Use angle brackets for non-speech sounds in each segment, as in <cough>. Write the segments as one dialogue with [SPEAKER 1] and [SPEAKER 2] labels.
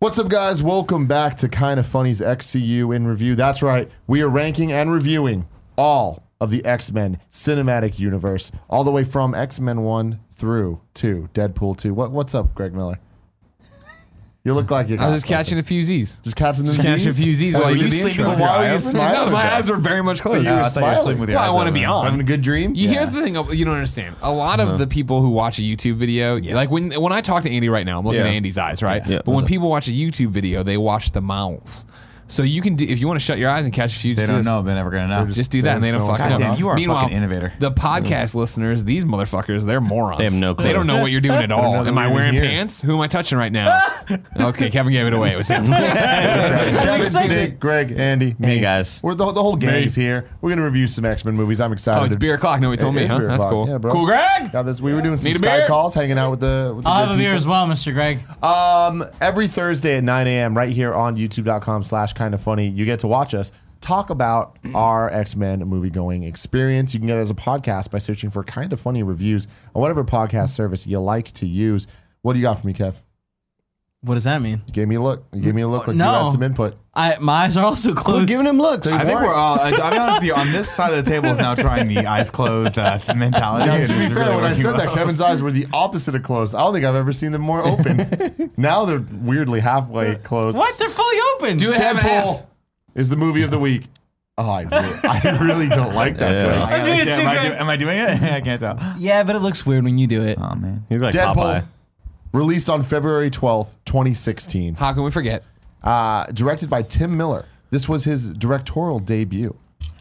[SPEAKER 1] What's up, guys? Welcome back to Kind of Funny's XCU in review. That's right, we are ranking and reviewing all of the X Men cinematic universe, all the way from X Men 1 through 2, Deadpool 2. What, what's up, Greg Miller? You look like you
[SPEAKER 2] I
[SPEAKER 1] got
[SPEAKER 2] was just
[SPEAKER 1] something.
[SPEAKER 2] catching a few Z's.
[SPEAKER 1] Just catching the
[SPEAKER 2] Catching a
[SPEAKER 1] disease?
[SPEAKER 2] few Z's
[SPEAKER 1] Oh,
[SPEAKER 2] while
[SPEAKER 1] were
[SPEAKER 2] you did the
[SPEAKER 1] sleeping?
[SPEAKER 2] intro.
[SPEAKER 1] Why were you smiling?
[SPEAKER 2] No, my
[SPEAKER 1] Greg?
[SPEAKER 2] eyes were very much closed.
[SPEAKER 1] You were
[SPEAKER 3] I thought you were
[SPEAKER 1] smiling.
[SPEAKER 3] sleeping with your
[SPEAKER 2] Well, I
[SPEAKER 3] eyes
[SPEAKER 2] wanna
[SPEAKER 3] open.
[SPEAKER 2] be on.
[SPEAKER 1] Having a good dream?
[SPEAKER 2] You- Here's the thing uh, you don't understand. A lot of the people who watch a YouTube video, like when when I talk to Andy right now, I'm looking
[SPEAKER 3] Yeah.
[SPEAKER 2] at Andy's eyes, right?
[SPEAKER 3] Yeah.
[SPEAKER 2] But when people watch a YouTube video, they watch the mouths. So you can, do, if you want to shut your eyes and catch a few,
[SPEAKER 3] They
[SPEAKER 2] just do
[SPEAKER 3] don't
[SPEAKER 2] this.
[SPEAKER 3] know. They're never gonna know.
[SPEAKER 2] Just do that, and they don't fucking know.
[SPEAKER 3] Goddamn, you are a
[SPEAKER 2] Meanwhile,
[SPEAKER 3] fucking innovator.
[SPEAKER 2] The podcast listeners, these motherfuckers, they're morons. They
[SPEAKER 4] have no
[SPEAKER 2] They
[SPEAKER 4] clue.
[SPEAKER 2] don't know what you're doing at all.
[SPEAKER 1] that
[SPEAKER 2] Am
[SPEAKER 1] we're
[SPEAKER 2] I
[SPEAKER 1] even
[SPEAKER 2] wearing
[SPEAKER 1] here.
[SPEAKER 2] pants? Who am I touching right now? okay, Kevin gave it away. It was him.
[SPEAKER 1] Kevin,
[SPEAKER 5] expecting-
[SPEAKER 1] Nick, Greg, Andy, me.
[SPEAKER 4] Hey, guys.
[SPEAKER 1] We're the, the whole gang's here. We're gonna review some X Men movies. I'm excited.
[SPEAKER 2] Oh, it's
[SPEAKER 1] to-
[SPEAKER 2] beer o'clock. No, he told
[SPEAKER 1] It
[SPEAKER 2] me,
[SPEAKER 1] is
[SPEAKER 2] huh?
[SPEAKER 1] beer
[SPEAKER 2] That's
[SPEAKER 1] o'clock.
[SPEAKER 2] cool.
[SPEAKER 1] Yeah, bro.
[SPEAKER 2] Cool, Greg.
[SPEAKER 1] Got this. We were doing some
[SPEAKER 2] Need a
[SPEAKER 1] Skype
[SPEAKER 2] beer?
[SPEAKER 1] calls, hanging out with the. With the
[SPEAKER 5] I'll
[SPEAKER 1] good
[SPEAKER 5] have a beer
[SPEAKER 1] people.
[SPEAKER 5] as well, Mr. Greg.
[SPEAKER 1] Um, every Thursday at 9 a.m. right here on youtube.com slash kind of funny, you get to watch us talk about our X-Men movie going experience. You can get it as a podcast by searching for kind of funny reviews on whatever podcast service you like to use. What do you got for me, Kev?
[SPEAKER 5] What does that mean?
[SPEAKER 1] You gave me a look. You gave me a look like you
[SPEAKER 5] No.
[SPEAKER 1] had some input.
[SPEAKER 5] I my eyes are also
[SPEAKER 4] We're
[SPEAKER 5] closed.
[SPEAKER 4] giving him looks.
[SPEAKER 3] I think we're all. I- I'll be honest with you. On this side of the table is now trying the eyes closed uh, mentality.
[SPEAKER 1] Now,
[SPEAKER 3] and
[SPEAKER 1] to be
[SPEAKER 3] it's
[SPEAKER 1] fair,
[SPEAKER 3] really
[SPEAKER 1] when I
[SPEAKER 3] working
[SPEAKER 1] said that,
[SPEAKER 3] well.
[SPEAKER 1] Kevin's eyes were the opposite of closed. I don't think I've ever seen them more open. now they're weirdly halfway closed.
[SPEAKER 5] what? They're fully open.
[SPEAKER 2] Do it. Half and half.
[SPEAKER 1] Deadpool is the movie of the week. Oh, I, re- I really don't like that.
[SPEAKER 3] <laughs>
[SPEAKER 4] Yeah.
[SPEAKER 1] Greg.
[SPEAKER 3] I gotta-
[SPEAKER 5] doing it
[SPEAKER 3] am
[SPEAKER 5] too,
[SPEAKER 3] I
[SPEAKER 5] Greg.
[SPEAKER 3] do- Am I doing it? <laughs> I can't tell.
[SPEAKER 5] Yeah, but it looks weird when you do it.
[SPEAKER 1] Uh,
[SPEAKER 3] Oh man.
[SPEAKER 4] He's like
[SPEAKER 1] Deadpool,
[SPEAKER 4] Popeye.
[SPEAKER 1] released on February 12th, 2016.
[SPEAKER 2] How can we forget?
[SPEAKER 1] Uh, directed by Tim Miller. This was his directorial debut.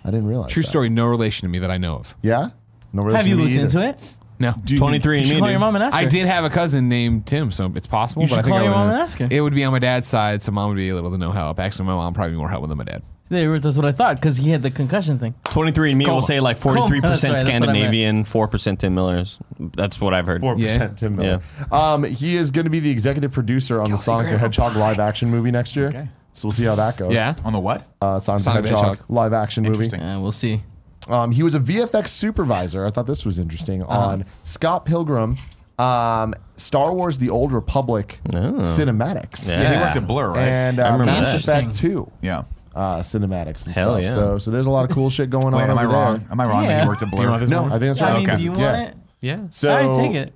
[SPEAKER 1] I didn't realize.
[SPEAKER 2] True
[SPEAKER 1] that.
[SPEAKER 2] story. No relation to me that I know of.
[SPEAKER 1] Yeah? No relation
[SPEAKER 5] have
[SPEAKER 1] to
[SPEAKER 5] you
[SPEAKER 1] me
[SPEAKER 5] looked
[SPEAKER 1] either.
[SPEAKER 5] into it?
[SPEAKER 2] No.
[SPEAKER 4] Twenty three
[SPEAKER 5] You
[SPEAKER 4] and
[SPEAKER 5] should
[SPEAKER 4] me.
[SPEAKER 5] call your mom and ask her.
[SPEAKER 2] I did have a cousin named Tim, so it's possible.
[SPEAKER 5] You
[SPEAKER 2] but I
[SPEAKER 5] should
[SPEAKER 2] think
[SPEAKER 5] call
[SPEAKER 2] I
[SPEAKER 5] your
[SPEAKER 2] would've-
[SPEAKER 5] mom and ask her.
[SPEAKER 2] It would be on my dad's side, so mom would be a little to no help. Actually, my mom probably be more help than my dad.
[SPEAKER 5] They were- That's what I thought because he had the concussion thing.
[SPEAKER 4] Twenty three and me will
[SPEAKER 2] Coma.
[SPEAKER 4] say like
[SPEAKER 5] Coma.
[SPEAKER 4] forty three
[SPEAKER 5] That's right,
[SPEAKER 4] percent
[SPEAKER 5] that's what I meant.
[SPEAKER 4] Scandinavian, four percent Tim Millers. That's what I've heard.
[SPEAKER 1] Four
[SPEAKER 2] Yeah.
[SPEAKER 1] percent Tim Miller. Um, he is going to be the executive producer on the Sonic the Hedgehog live action movie next year.
[SPEAKER 3] Okay.
[SPEAKER 1] So we'll see how that goes.
[SPEAKER 2] Yeah.
[SPEAKER 3] On the what?
[SPEAKER 1] Uh, Sonic,
[SPEAKER 2] Sonic
[SPEAKER 1] the
[SPEAKER 2] the
[SPEAKER 1] Hedgehog,
[SPEAKER 2] Hedgehog.
[SPEAKER 1] live action movie.
[SPEAKER 3] Interesting.
[SPEAKER 5] Uh, we'll see.
[SPEAKER 1] Um, he was a VFX supervisor. I thought this was interesting
[SPEAKER 5] Uh-huh.
[SPEAKER 1] on Scott Pilgrim, um, Star Wars: The Old Republic
[SPEAKER 5] Oh.
[SPEAKER 1] cinematics,
[SPEAKER 3] Yeah, he
[SPEAKER 4] Yeah.
[SPEAKER 3] went to Blur, right?
[SPEAKER 1] and uh,
[SPEAKER 4] remember
[SPEAKER 1] Mass
[SPEAKER 5] that.
[SPEAKER 1] Effect Two
[SPEAKER 3] yeah.
[SPEAKER 1] uh, cinematics and
[SPEAKER 4] Hell
[SPEAKER 1] stuff.
[SPEAKER 4] yeah.
[SPEAKER 1] So, so there's a lot of cool shit going
[SPEAKER 3] Wait,
[SPEAKER 1] on
[SPEAKER 3] am
[SPEAKER 1] over
[SPEAKER 3] I wrong?
[SPEAKER 1] there.
[SPEAKER 3] Am I wrong that
[SPEAKER 5] Yeah.
[SPEAKER 3] he worked at Blur?
[SPEAKER 1] No, I think that's
[SPEAKER 5] I
[SPEAKER 1] right.
[SPEAKER 5] mean,
[SPEAKER 3] Okay.
[SPEAKER 5] do you want
[SPEAKER 1] Yeah.
[SPEAKER 5] it?
[SPEAKER 2] Yeah.
[SPEAKER 1] So
[SPEAKER 5] All right, take it.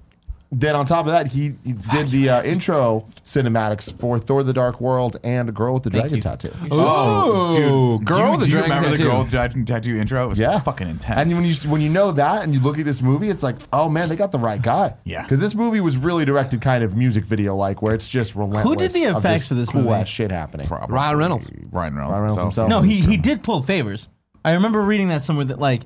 [SPEAKER 1] Then on top of that, he, he did the uh, intro cinematics for Thor: The Dark World and Girl with the Dragon Tattoo.
[SPEAKER 3] Oh,
[SPEAKER 2] Ooh,
[SPEAKER 3] dude,
[SPEAKER 2] girl
[SPEAKER 3] Do you,
[SPEAKER 2] with
[SPEAKER 3] do
[SPEAKER 2] the
[SPEAKER 3] you
[SPEAKER 2] dragon
[SPEAKER 3] remember
[SPEAKER 2] tattoo.
[SPEAKER 3] the girl with the dragon tattoo intro? It was
[SPEAKER 1] Yeah,
[SPEAKER 3] fucking intense.
[SPEAKER 1] And when you when you know that, and you look at this movie, it's like, oh man, they got the right guy.
[SPEAKER 3] Yeah.
[SPEAKER 1] because this movie was really directed kind of music video like, where it's just relentless.
[SPEAKER 5] did the
[SPEAKER 1] of
[SPEAKER 5] effects
[SPEAKER 1] just
[SPEAKER 5] for this
[SPEAKER 1] cool
[SPEAKER 5] movie?
[SPEAKER 1] ass shit happening?
[SPEAKER 3] Probably
[SPEAKER 2] Ryan Reynolds.
[SPEAKER 3] Ryan Reynolds.
[SPEAKER 1] Ryan Reynolds himself.
[SPEAKER 5] No, he he did pull favors. I remember reading that somewhere that like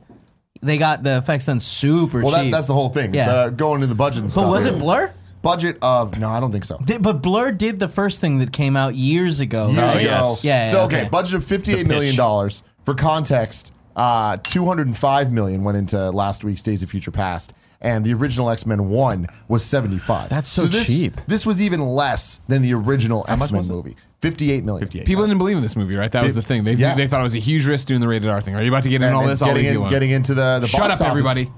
[SPEAKER 5] they got the effects done super
[SPEAKER 1] Well, that,
[SPEAKER 5] cheap.
[SPEAKER 1] that's the whole thing.
[SPEAKER 5] Yeah.
[SPEAKER 1] the, going into the budget. And
[SPEAKER 5] but
[SPEAKER 1] stuff.
[SPEAKER 5] was it Blur?
[SPEAKER 1] Budget of no, I don't think so.
[SPEAKER 5] Did, but Blur did the first thing that came out years ago.
[SPEAKER 1] Years
[SPEAKER 5] right?
[SPEAKER 1] ago.
[SPEAKER 4] yes.
[SPEAKER 5] Yeah,
[SPEAKER 1] So
[SPEAKER 5] yeah,
[SPEAKER 1] okay,
[SPEAKER 5] okay.
[SPEAKER 1] budget of fifty-eight million dollars for context. Uh, two hundred and five million went into last week's Days of Future Past, and the original X Men One was seventy-five.
[SPEAKER 4] That's so
[SPEAKER 1] this,
[SPEAKER 4] cheap.
[SPEAKER 1] This was even less than the original X Men
[SPEAKER 3] was it?
[SPEAKER 1] movie. Fifty-eight million.
[SPEAKER 2] People didn't believe in this movie, right? That was the thing. They,
[SPEAKER 1] Yeah.
[SPEAKER 2] they thought it was a huge risk doing the rated R thing. Are you about to get into
[SPEAKER 1] and
[SPEAKER 2] all
[SPEAKER 1] then
[SPEAKER 2] this? I'll
[SPEAKER 1] getting,
[SPEAKER 2] leave you
[SPEAKER 1] in,
[SPEAKER 2] alone.
[SPEAKER 1] getting into the, the
[SPEAKER 2] Shut
[SPEAKER 1] box office-
[SPEAKER 2] up, everybody.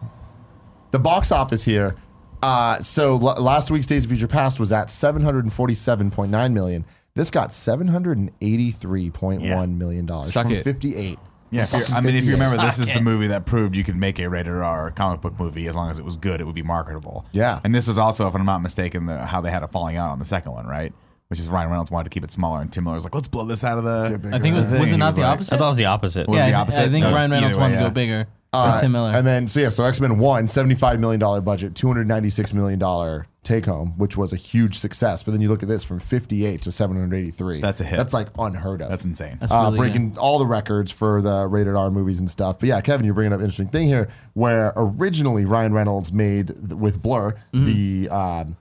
[SPEAKER 1] The box office here. Uh, so l- last week's Days of Future Past was at seven hundred and forty-seven point nine million. This got seven hundred and eighty-three point one million dollars
[SPEAKER 2] Suck
[SPEAKER 1] from
[SPEAKER 2] it.
[SPEAKER 1] fifty-eight.
[SPEAKER 3] Yeah, if you're- I mean, if you
[SPEAKER 1] Suck
[SPEAKER 3] remember, this is the movie that proved you could make a rated R comic book movie as long as it was good, it would be marketable.
[SPEAKER 1] Yeah.
[SPEAKER 3] and this was also, if I'm not mistaken, the, how they had a falling out on the second one, right? Which is Ryan Reynolds wanted to keep it smaller, and Tim Miller was like, "Let's blow this out of the."
[SPEAKER 5] I think it was, was
[SPEAKER 3] He
[SPEAKER 5] it not
[SPEAKER 3] was
[SPEAKER 5] the
[SPEAKER 3] like-
[SPEAKER 5] opposite?
[SPEAKER 4] I thought it was the opposite.
[SPEAKER 3] Was it
[SPEAKER 5] yeah,
[SPEAKER 3] the
[SPEAKER 5] I thi-
[SPEAKER 3] opposite?
[SPEAKER 5] I think
[SPEAKER 3] No,
[SPEAKER 5] Ryan Reynolds
[SPEAKER 3] either way,
[SPEAKER 5] wanted to
[SPEAKER 3] yeah.
[SPEAKER 5] go bigger than Tim Miller.
[SPEAKER 1] Uh, And then, so yeah, so X Men 1, $75 million budget, $296 million take home, which was a huge success. But then you look at this from 58 to 783.
[SPEAKER 3] That's a hit.
[SPEAKER 1] That's like unheard of.
[SPEAKER 3] That's insane.
[SPEAKER 5] That's
[SPEAKER 1] uh,
[SPEAKER 5] really
[SPEAKER 1] breaking all the records for the rated R movies and stuff. But yeah, Kevin, you're bringing up an interesting thing here where originally Ryan Reynolds made th- with Blur the um,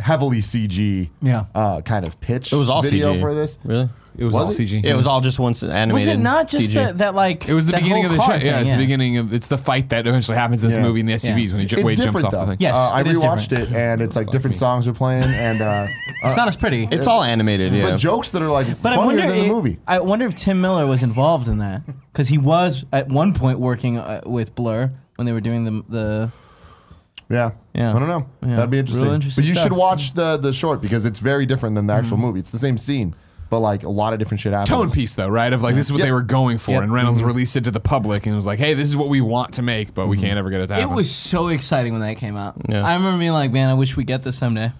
[SPEAKER 1] heavily CG
[SPEAKER 5] Yeah.
[SPEAKER 1] uh, kind of pitch
[SPEAKER 4] It was all
[SPEAKER 1] video
[SPEAKER 4] CG.
[SPEAKER 1] for this.
[SPEAKER 4] Really?
[SPEAKER 2] It was,
[SPEAKER 1] Was
[SPEAKER 2] all
[SPEAKER 1] it?
[SPEAKER 2] CG.
[SPEAKER 4] It was all just once animated.
[SPEAKER 5] Was it not just
[SPEAKER 4] CG.
[SPEAKER 5] that, that like
[SPEAKER 2] It was the
[SPEAKER 5] that
[SPEAKER 2] beginning of
[SPEAKER 5] whole
[SPEAKER 2] the show.
[SPEAKER 5] car
[SPEAKER 2] Yeah,
[SPEAKER 5] thing,
[SPEAKER 2] it's the beginning of it's the fight that eventually happens. in This
[SPEAKER 1] Yeah.
[SPEAKER 2] movie in the SUVs when he j-
[SPEAKER 1] It's
[SPEAKER 2] Wade jumps
[SPEAKER 1] different
[SPEAKER 2] off
[SPEAKER 1] though.
[SPEAKER 2] the thing.
[SPEAKER 5] Yes,
[SPEAKER 1] uh, I
[SPEAKER 5] it is
[SPEAKER 1] rewatched
[SPEAKER 5] different.
[SPEAKER 1] it, and it's like different songs are playing, and uh,
[SPEAKER 5] It's not as pretty.
[SPEAKER 4] It's all animated. Yeah.
[SPEAKER 1] but jokes that are like
[SPEAKER 5] but I
[SPEAKER 1] funnier
[SPEAKER 5] wonder,
[SPEAKER 1] than the
[SPEAKER 5] if-
[SPEAKER 1] movie.
[SPEAKER 5] I wonder if Tim Miller was involved in that because he was at one point working uh, with Blur when they were doing the the
[SPEAKER 1] Yeah.
[SPEAKER 5] Yeah.
[SPEAKER 1] I don't know.
[SPEAKER 5] Yeah.
[SPEAKER 1] That'd be interesting.
[SPEAKER 5] Real interesting
[SPEAKER 1] but you should
[SPEAKER 5] stuff. Mm-hmm.
[SPEAKER 1] watch the the short because it's very different than the actual movie. It's the same scene, but like a lot of different shit happens.
[SPEAKER 2] Tone piece, though, right? Of like, this is what
[SPEAKER 1] Yep.
[SPEAKER 2] they were going for.
[SPEAKER 5] Yep.
[SPEAKER 2] And Reynolds released it to the public and was like, hey, this is what we want to make, but we can't ever get it to
[SPEAKER 5] It
[SPEAKER 2] happen.
[SPEAKER 5] was so exciting when that came out.
[SPEAKER 4] Yeah.
[SPEAKER 5] I remember being like, man, I wish we get this someday.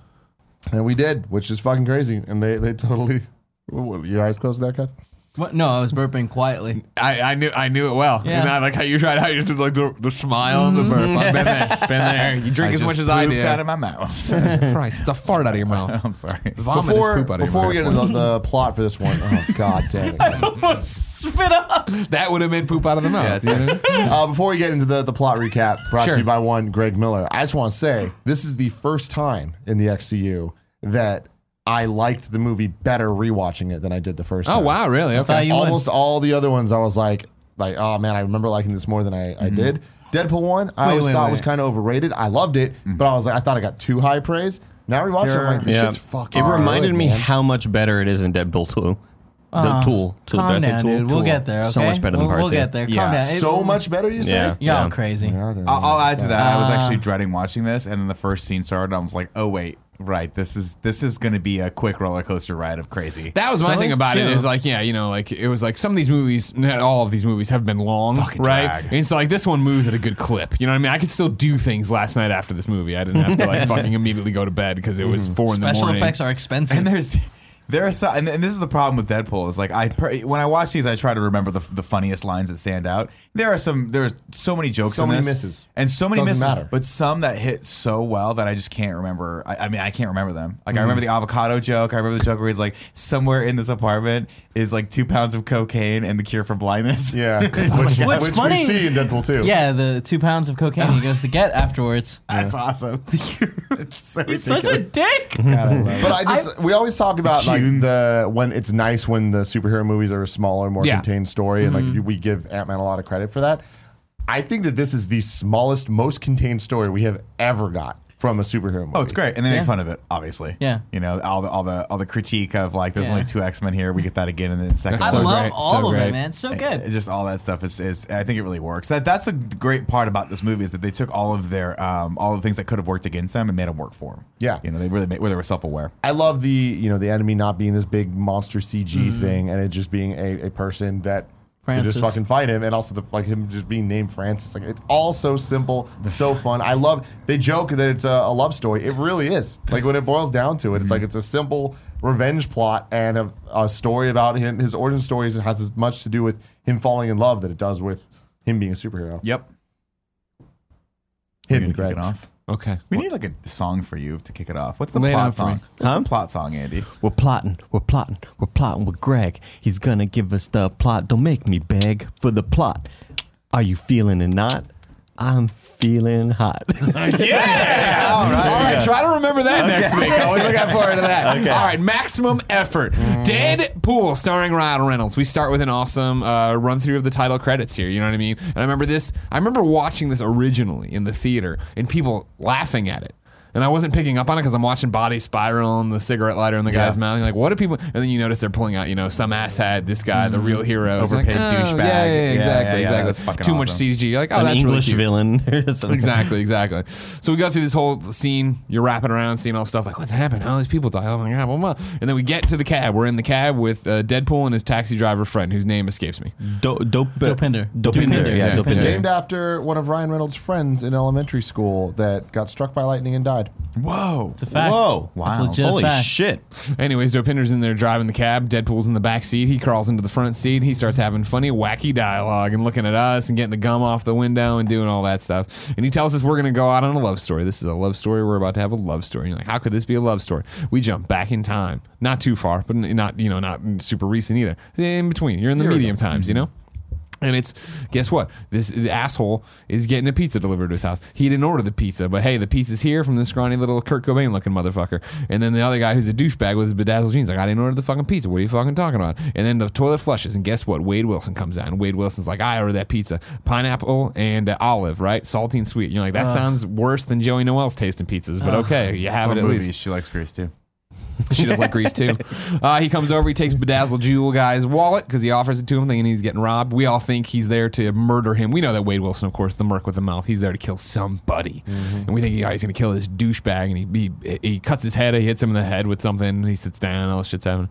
[SPEAKER 1] And we did, which is fucking crazy. And they they totally <laughs> your eyes closed there, Kev?
[SPEAKER 5] What? No, I was burping quietly.
[SPEAKER 2] I, I knew I knew it well.
[SPEAKER 5] Yeah. Mm-hmm.
[SPEAKER 2] And I like how you tried how you did like the, the smile and the burp. I've been
[SPEAKER 5] <laughs>
[SPEAKER 2] there. Been there. You drink as
[SPEAKER 3] just
[SPEAKER 2] much as I
[SPEAKER 3] pooped
[SPEAKER 2] do.
[SPEAKER 3] out of my mouth. <laughs>
[SPEAKER 2] Christ, the fart out of
[SPEAKER 1] <laughs>
[SPEAKER 2] your mouth.
[SPEAKER 3] I'm sorry.
[SPEAKER 2] <laughs> Vomit is
[SPEAKER 1] Before,
[SPEAKER 2] poop out of
[SPEAKER 1] before we
[SPEAKER 2] your
[SPEAKER 1] get into the, the plot for this one, oh <laughs> god damn it.
[SPEAKER 5] <laughs> Spit up.
[SPEAKER 2] mouth. That would have been poop out of the mouth. you know?
[SPEAKER 1] <laughs> uh, before we get into the, the plot recap, brought
[SPEAKER 2] Sure.
[SPEAKER 1] to you by one Greg Miller, I just want to say this is the first time in the XCU that I liked the movie better rewatching it than I did the first
[SPEAKER 2] Oh
[SPEAKER 1] time.
[SPEAKER 2] wow, really? Okay.
[SPEAKER 5] you
[SPEAKER 1] Almost all the other ones, I was like, like, oh man, I remember liking this more than I, I did. Deadpool one, I
[SPEAKER 5] Wait,
[SPEAKER 1] always
[SPEAKER 5] wait,
[SPEAKER 1] thought
[SPEAKER 5] wait.
[SPEAKER 1] was kind of overrated. I loved it, but I was like, I thought I got too high praise. Now rewatching, it, I'm like, this
[SPEAKER 4] yeah.
[SPEAKER 1] shit's fucking.
[SPEAKER 4] It reminded
[SPEAKER 1] good,
[SPEAKER 4] me
[SPEAKER 1] man.
[SPEAKER 4] how much better it is in Deadpool 2. The tool. tool.
[SPEAKER 5] Uh-huh. Calm
[SPEAKER 4] Did I say
[SPEAKER 5] down,
[SPEAKER 4] tool?
[SPEAKER 5] dude. We'll
[SPEAKER 4] Tool.
[SPEAKER 5] get there.
[SPEAKER 4] So
[SPEAKER 5] okay?
[SPEAKER 4] much better than
[SPEAKER 5] we'll,
[SPEAKER 4] part
[SPEAKER 5] we'll
[SPEAKER 4] two.
[SPEAKER 5] get there. Calm
[SPEAKER 3] Yeah,
[SPEAKER 5] down. It-
[SPEAKER 1] so much better. You say?
[SPEAKER 4] Yeah.
[SPEAKER 5] Y'all crazy.
[SPEAKER 1] Yeah, then-
[SPEAKER 3] I'll, I'll add to that. I was actually
[SPEAKER 2] Uh,
[SPEAKER 3] dreading watching this, and then the first scene started. I was like, "Oh wait, right. This is this is going to be a quick roller coaster ride of crazy."
[SPEAKER 2] That was my
[SPEAKER 5] So
[SPEAKER 2] thing
[SPEAKER 5] is
[SPEAKER 2] about it
[SPEAKER 5] two.
[SPEAKER 2] is like, yeah, you know, like it was like some of these movies, not all of these movies have been long,
[SPEAKER 3] Fucking
[SPEAKER 2] right?
[SPEAKER 3] drag.
[SPEAKER 2] And so like this one moves at a good clip. You know what I mean? I could still do things last night after this movie. I didn't have to
[SPEAKER 3] <laughs>
[SPEAKER 2] like fucking immediately go to bed because it was
[SPEAKER 3] Mm.
[SPEAKER 2] four in the
[SPEAKER 5] Special
[SPEAKER 2] morning.
[SPEAKER 5] effects are expensive.
[SPEAKER 3] and there's there are some, and, and this is the problem with Deadpool is like I per- when I watch these I try to remember the, the funniest lines that stand out. There are some there's so many jokes,
[SPEAKER 1] So
[SPEAKER 3] in
[SPEAKER 1] many
[SPEAKER 3] this,
[SPEAKER 1] misses.
[SPEAKER 3] and so many
[SPEAKER 1] Doesn't
[SPEAKER 3] misses,
[SPEAKER 1] matter.
[SPEAKER 3] but some that hit so well that I just can't remember. I, I mean, I can't remember them.
[SPEAKER 1] Mm-hmm.
[SPEAKER 3] Like I remember the avocado joke. I remember the joke where he's like, somewhere in this apartment is like two pounds of cocaine and the cure for blindness. <laughs>
[SPEAKER 1] Yeah,
[SPEAKER 5] What's
[SPEAKER 1] which, which
[SPEAKER 5] funny-
[SPEAKER 1] we see in Deadpool too.
[SPEAKER 5] yeah, the two pounds of cocaine he goes
[SPEAKER 2] <laughs>
[SPEAKER 5] to get afterwards.
[SPEAKER 1] <laughs>
[SPEAKER 3] That's awome. it's so
[SPEAKER 5] He's such a
[SPEAKER 3] ridiculous.
[SPEAKER 2] <laughs>
[SPEAKER 5] dick.
[SPEAKER 3] God, I love it.
[SPEAKER 1] But I just we always talk about like the when it's nice when the superhero movies are a smaller, more
[SPEAKER 2] Yeah.
[SPEAKER 1] contained story, and like we give Ant Man a lot of credit for that. I think that this is the smallest, most contained story we have ever got from a superhero movie.
[SPEAKER 3] Oh, it's great, and they
[SPEAKER 5] Yeah.
[SPEAKER 3] make fun of it, obviously.
[SPEAKER 5] Yeah.
[SPEAKER 3] you know all the all the all the critique of like there's
[SPEAKER 5] Yeah.
[SPEAKER 3] only two X Men here. We get that again in the second.
[SPEAKER 5] I
[SPEAKER 2] So
[SPEAKER 3] one.
[SPEAKER 5] love
[SPEAKER 2] great, so
[SPEAKER 5] all of
[SPEAKER 2] great.
[SPEAKER 5] it, man. It's so
[SPEAKER 3] It-
[SPEAKER 5] good.
[SPEAKER 3] Just all that stuff is, is I think it really works. That that's the great part about this movie is that they took all of their um all the things that could have worked against them and made them work for them.
[SPEAKER 1] Yeah.
[SPEAKER 3] you know they really made, where they were self aware.
[SPEAKER 1] I love the you know the enemy not being this big monster CG thing, and it just being a, a person that. could
[SPEAKER 5] Francis.
[SPEAKER 1] just fucking fight him, and also the like him just being named Francis. Like it's all so simple, so fun. I love. They joke that it's a, a love story. It really is. Like when it boils down to
[SPEAKER 3] Mm-hmm.
[SPEAKER 1] it, it's like it's a simple revenge plot and a, a story about him. His origin story is- has as much to do with him falling in love that it does with him being a superhero.
[SPEAKER 3] Yep.
[SPEAKER 1] Hit me,
[SPEAKER 3] You gonna kick
[SPEAKER 1] Greg.
[SPEAKER 3] it off.
[SPEAKER 2] Okay.
[SPEAKER 3] We need like a song for you to kick it off. What's the
[SPEAKER 2] Lay it
[SPEAKER 3] plot
[SPEAKER 2] out for me.
[SPEAKER 3] song? What's
[SPEAKER 4] Huh?
[SPEAKER 3] the plot song, Andy?
[SPEAKER 4] We're plotting, we're plotting, we're plotting with Greg. He's gonna give us the plot. Don't make me beg for the plot. Are you feeling it not? I'm feeling hot. <laughs>
[SPEAKER 2] Yeah. all right. All right. Try to remember that next week. I'll look out forward to that. All right. Maximum effort. Deadpool, starring Ryan Reynolds. We start with an awesome uh, run through of the title credits here. You know what I mean? And I remember this. I remember watching this originally in the theater and people laughing at it. And I wasn't picking up on it because I'm watching Body Spiral and the cigarette lighter in the guy's mouth. And you're like, what do people? And then you notice they're pulling out, you know, some ass had this guy, the real hero, It's like, oh,
[SPEAKER 3] Overpaid douchebag.
[SPEAKER 2] Yeah, yeah,
[SPEAKER 3] Yeah, yeah,
[SPEAKER 2] exactly,
[SPEAKER 3] yeah, that's
[SPEAKER 2] exactly.
[SPEAKER 3] fucking
[SPEAKER 2] Too much
[SPEAKER 3] awesome.
[SPEAKER 2] CG. You're like, oh,
[SPEAKER 4] An
[SPEAKER 2] that's really
[SPEAKER 4] English
[SPEAKER 2] cute
[SPEAKER 4] villain <laughs> or
[SPEAKER 2] <laughs>
[SPEAKER 4] something.
[SPEAKER 2] exactly, exactly. So we go through this whole scene. You're wrapping around, seeing all stuff like what's happened. All these people die. Oh my god, blah, blah. And then we get to the cab. We're in the cab with uh, Deadpool and his taxi driver friend, whose name escapes me.
[SPEAKER 4] Do- dope,
[SPEAKER 5] Dopinder.
[SPEAKER 4] Dopinder. Yeah,
[SPEAKER 2] Yeah,
[SPEAKER 4] Dopinder.
[SPEAKER 2] Dopinder.
[SPEAKER 1] Named after one of Ryan Reynolds' friends in elementary school that got struck by lightning and died.
[SPEAKER 3] Whoa!
[SPEAKER 5] It's a fact.
[SPEAKER 4] Whoa.
[SPEAKER 5] It's
[SPEAKER 3] Wow.
[SPEAKER 5] legit a
[SPEAKER 4] Holy
[SPEAKER 5] fact.
[SPEAKER 4] shit.
[SPEAKER 2] Anyways, Dopinder's in there driving the cab. Deadpool's in the back seat. He crawls into the front seat. He starts having funny, wacky dialogue and looking at us and getting the gum off the window and doing all that stuff. And he tells us we're going to go out on a love story. This is a love story. We're about to have a love story. And you're like, how could this be a love story? We jump back in time, not too far, but not you know not super recent either. In between, you're in the medium times, you know. And it's guess what? This asshole is getting a pizza delivered to his house. He didn't order the pizza, but hey, the pizza's here from this scrawny little Kurt Cobain looking motherfucker. And then the other guy who's a douchebag with his bedazzled jeans, like I didn't order the fucking pizza. What are you fucking talking about? And then the toilet flushes, and guess what? Wade Wilson comes out, and Wade Wilson's like, I ordered that pizza, pineapple and uh, olive, right? Salty and sweet. And you're like, that sounds worse than Joey Noel's taste in pizzas, but okay, you have
[SPEAKER 3] What
[SPEAKER 2] it at
[SPEAKER 3] movies
[SPEAKER 2] least.
[SPEAKER 3] she likes Grace too.
[SPEAKER 2] She does like Grease too. Uh, he comes over. He takes Bedazzled Jewel guy's wallet because he offers it to him, thinking he's getting robbed. We all think he's there to murder him. We know that Wade Wilson, of course, the merc with the mouth, he's there to kill somebody, and we think he, oh, he's going to kill this douchebag. And he, he he cuts his head. He hits him in the head with something. He sits down. All this shit's happening,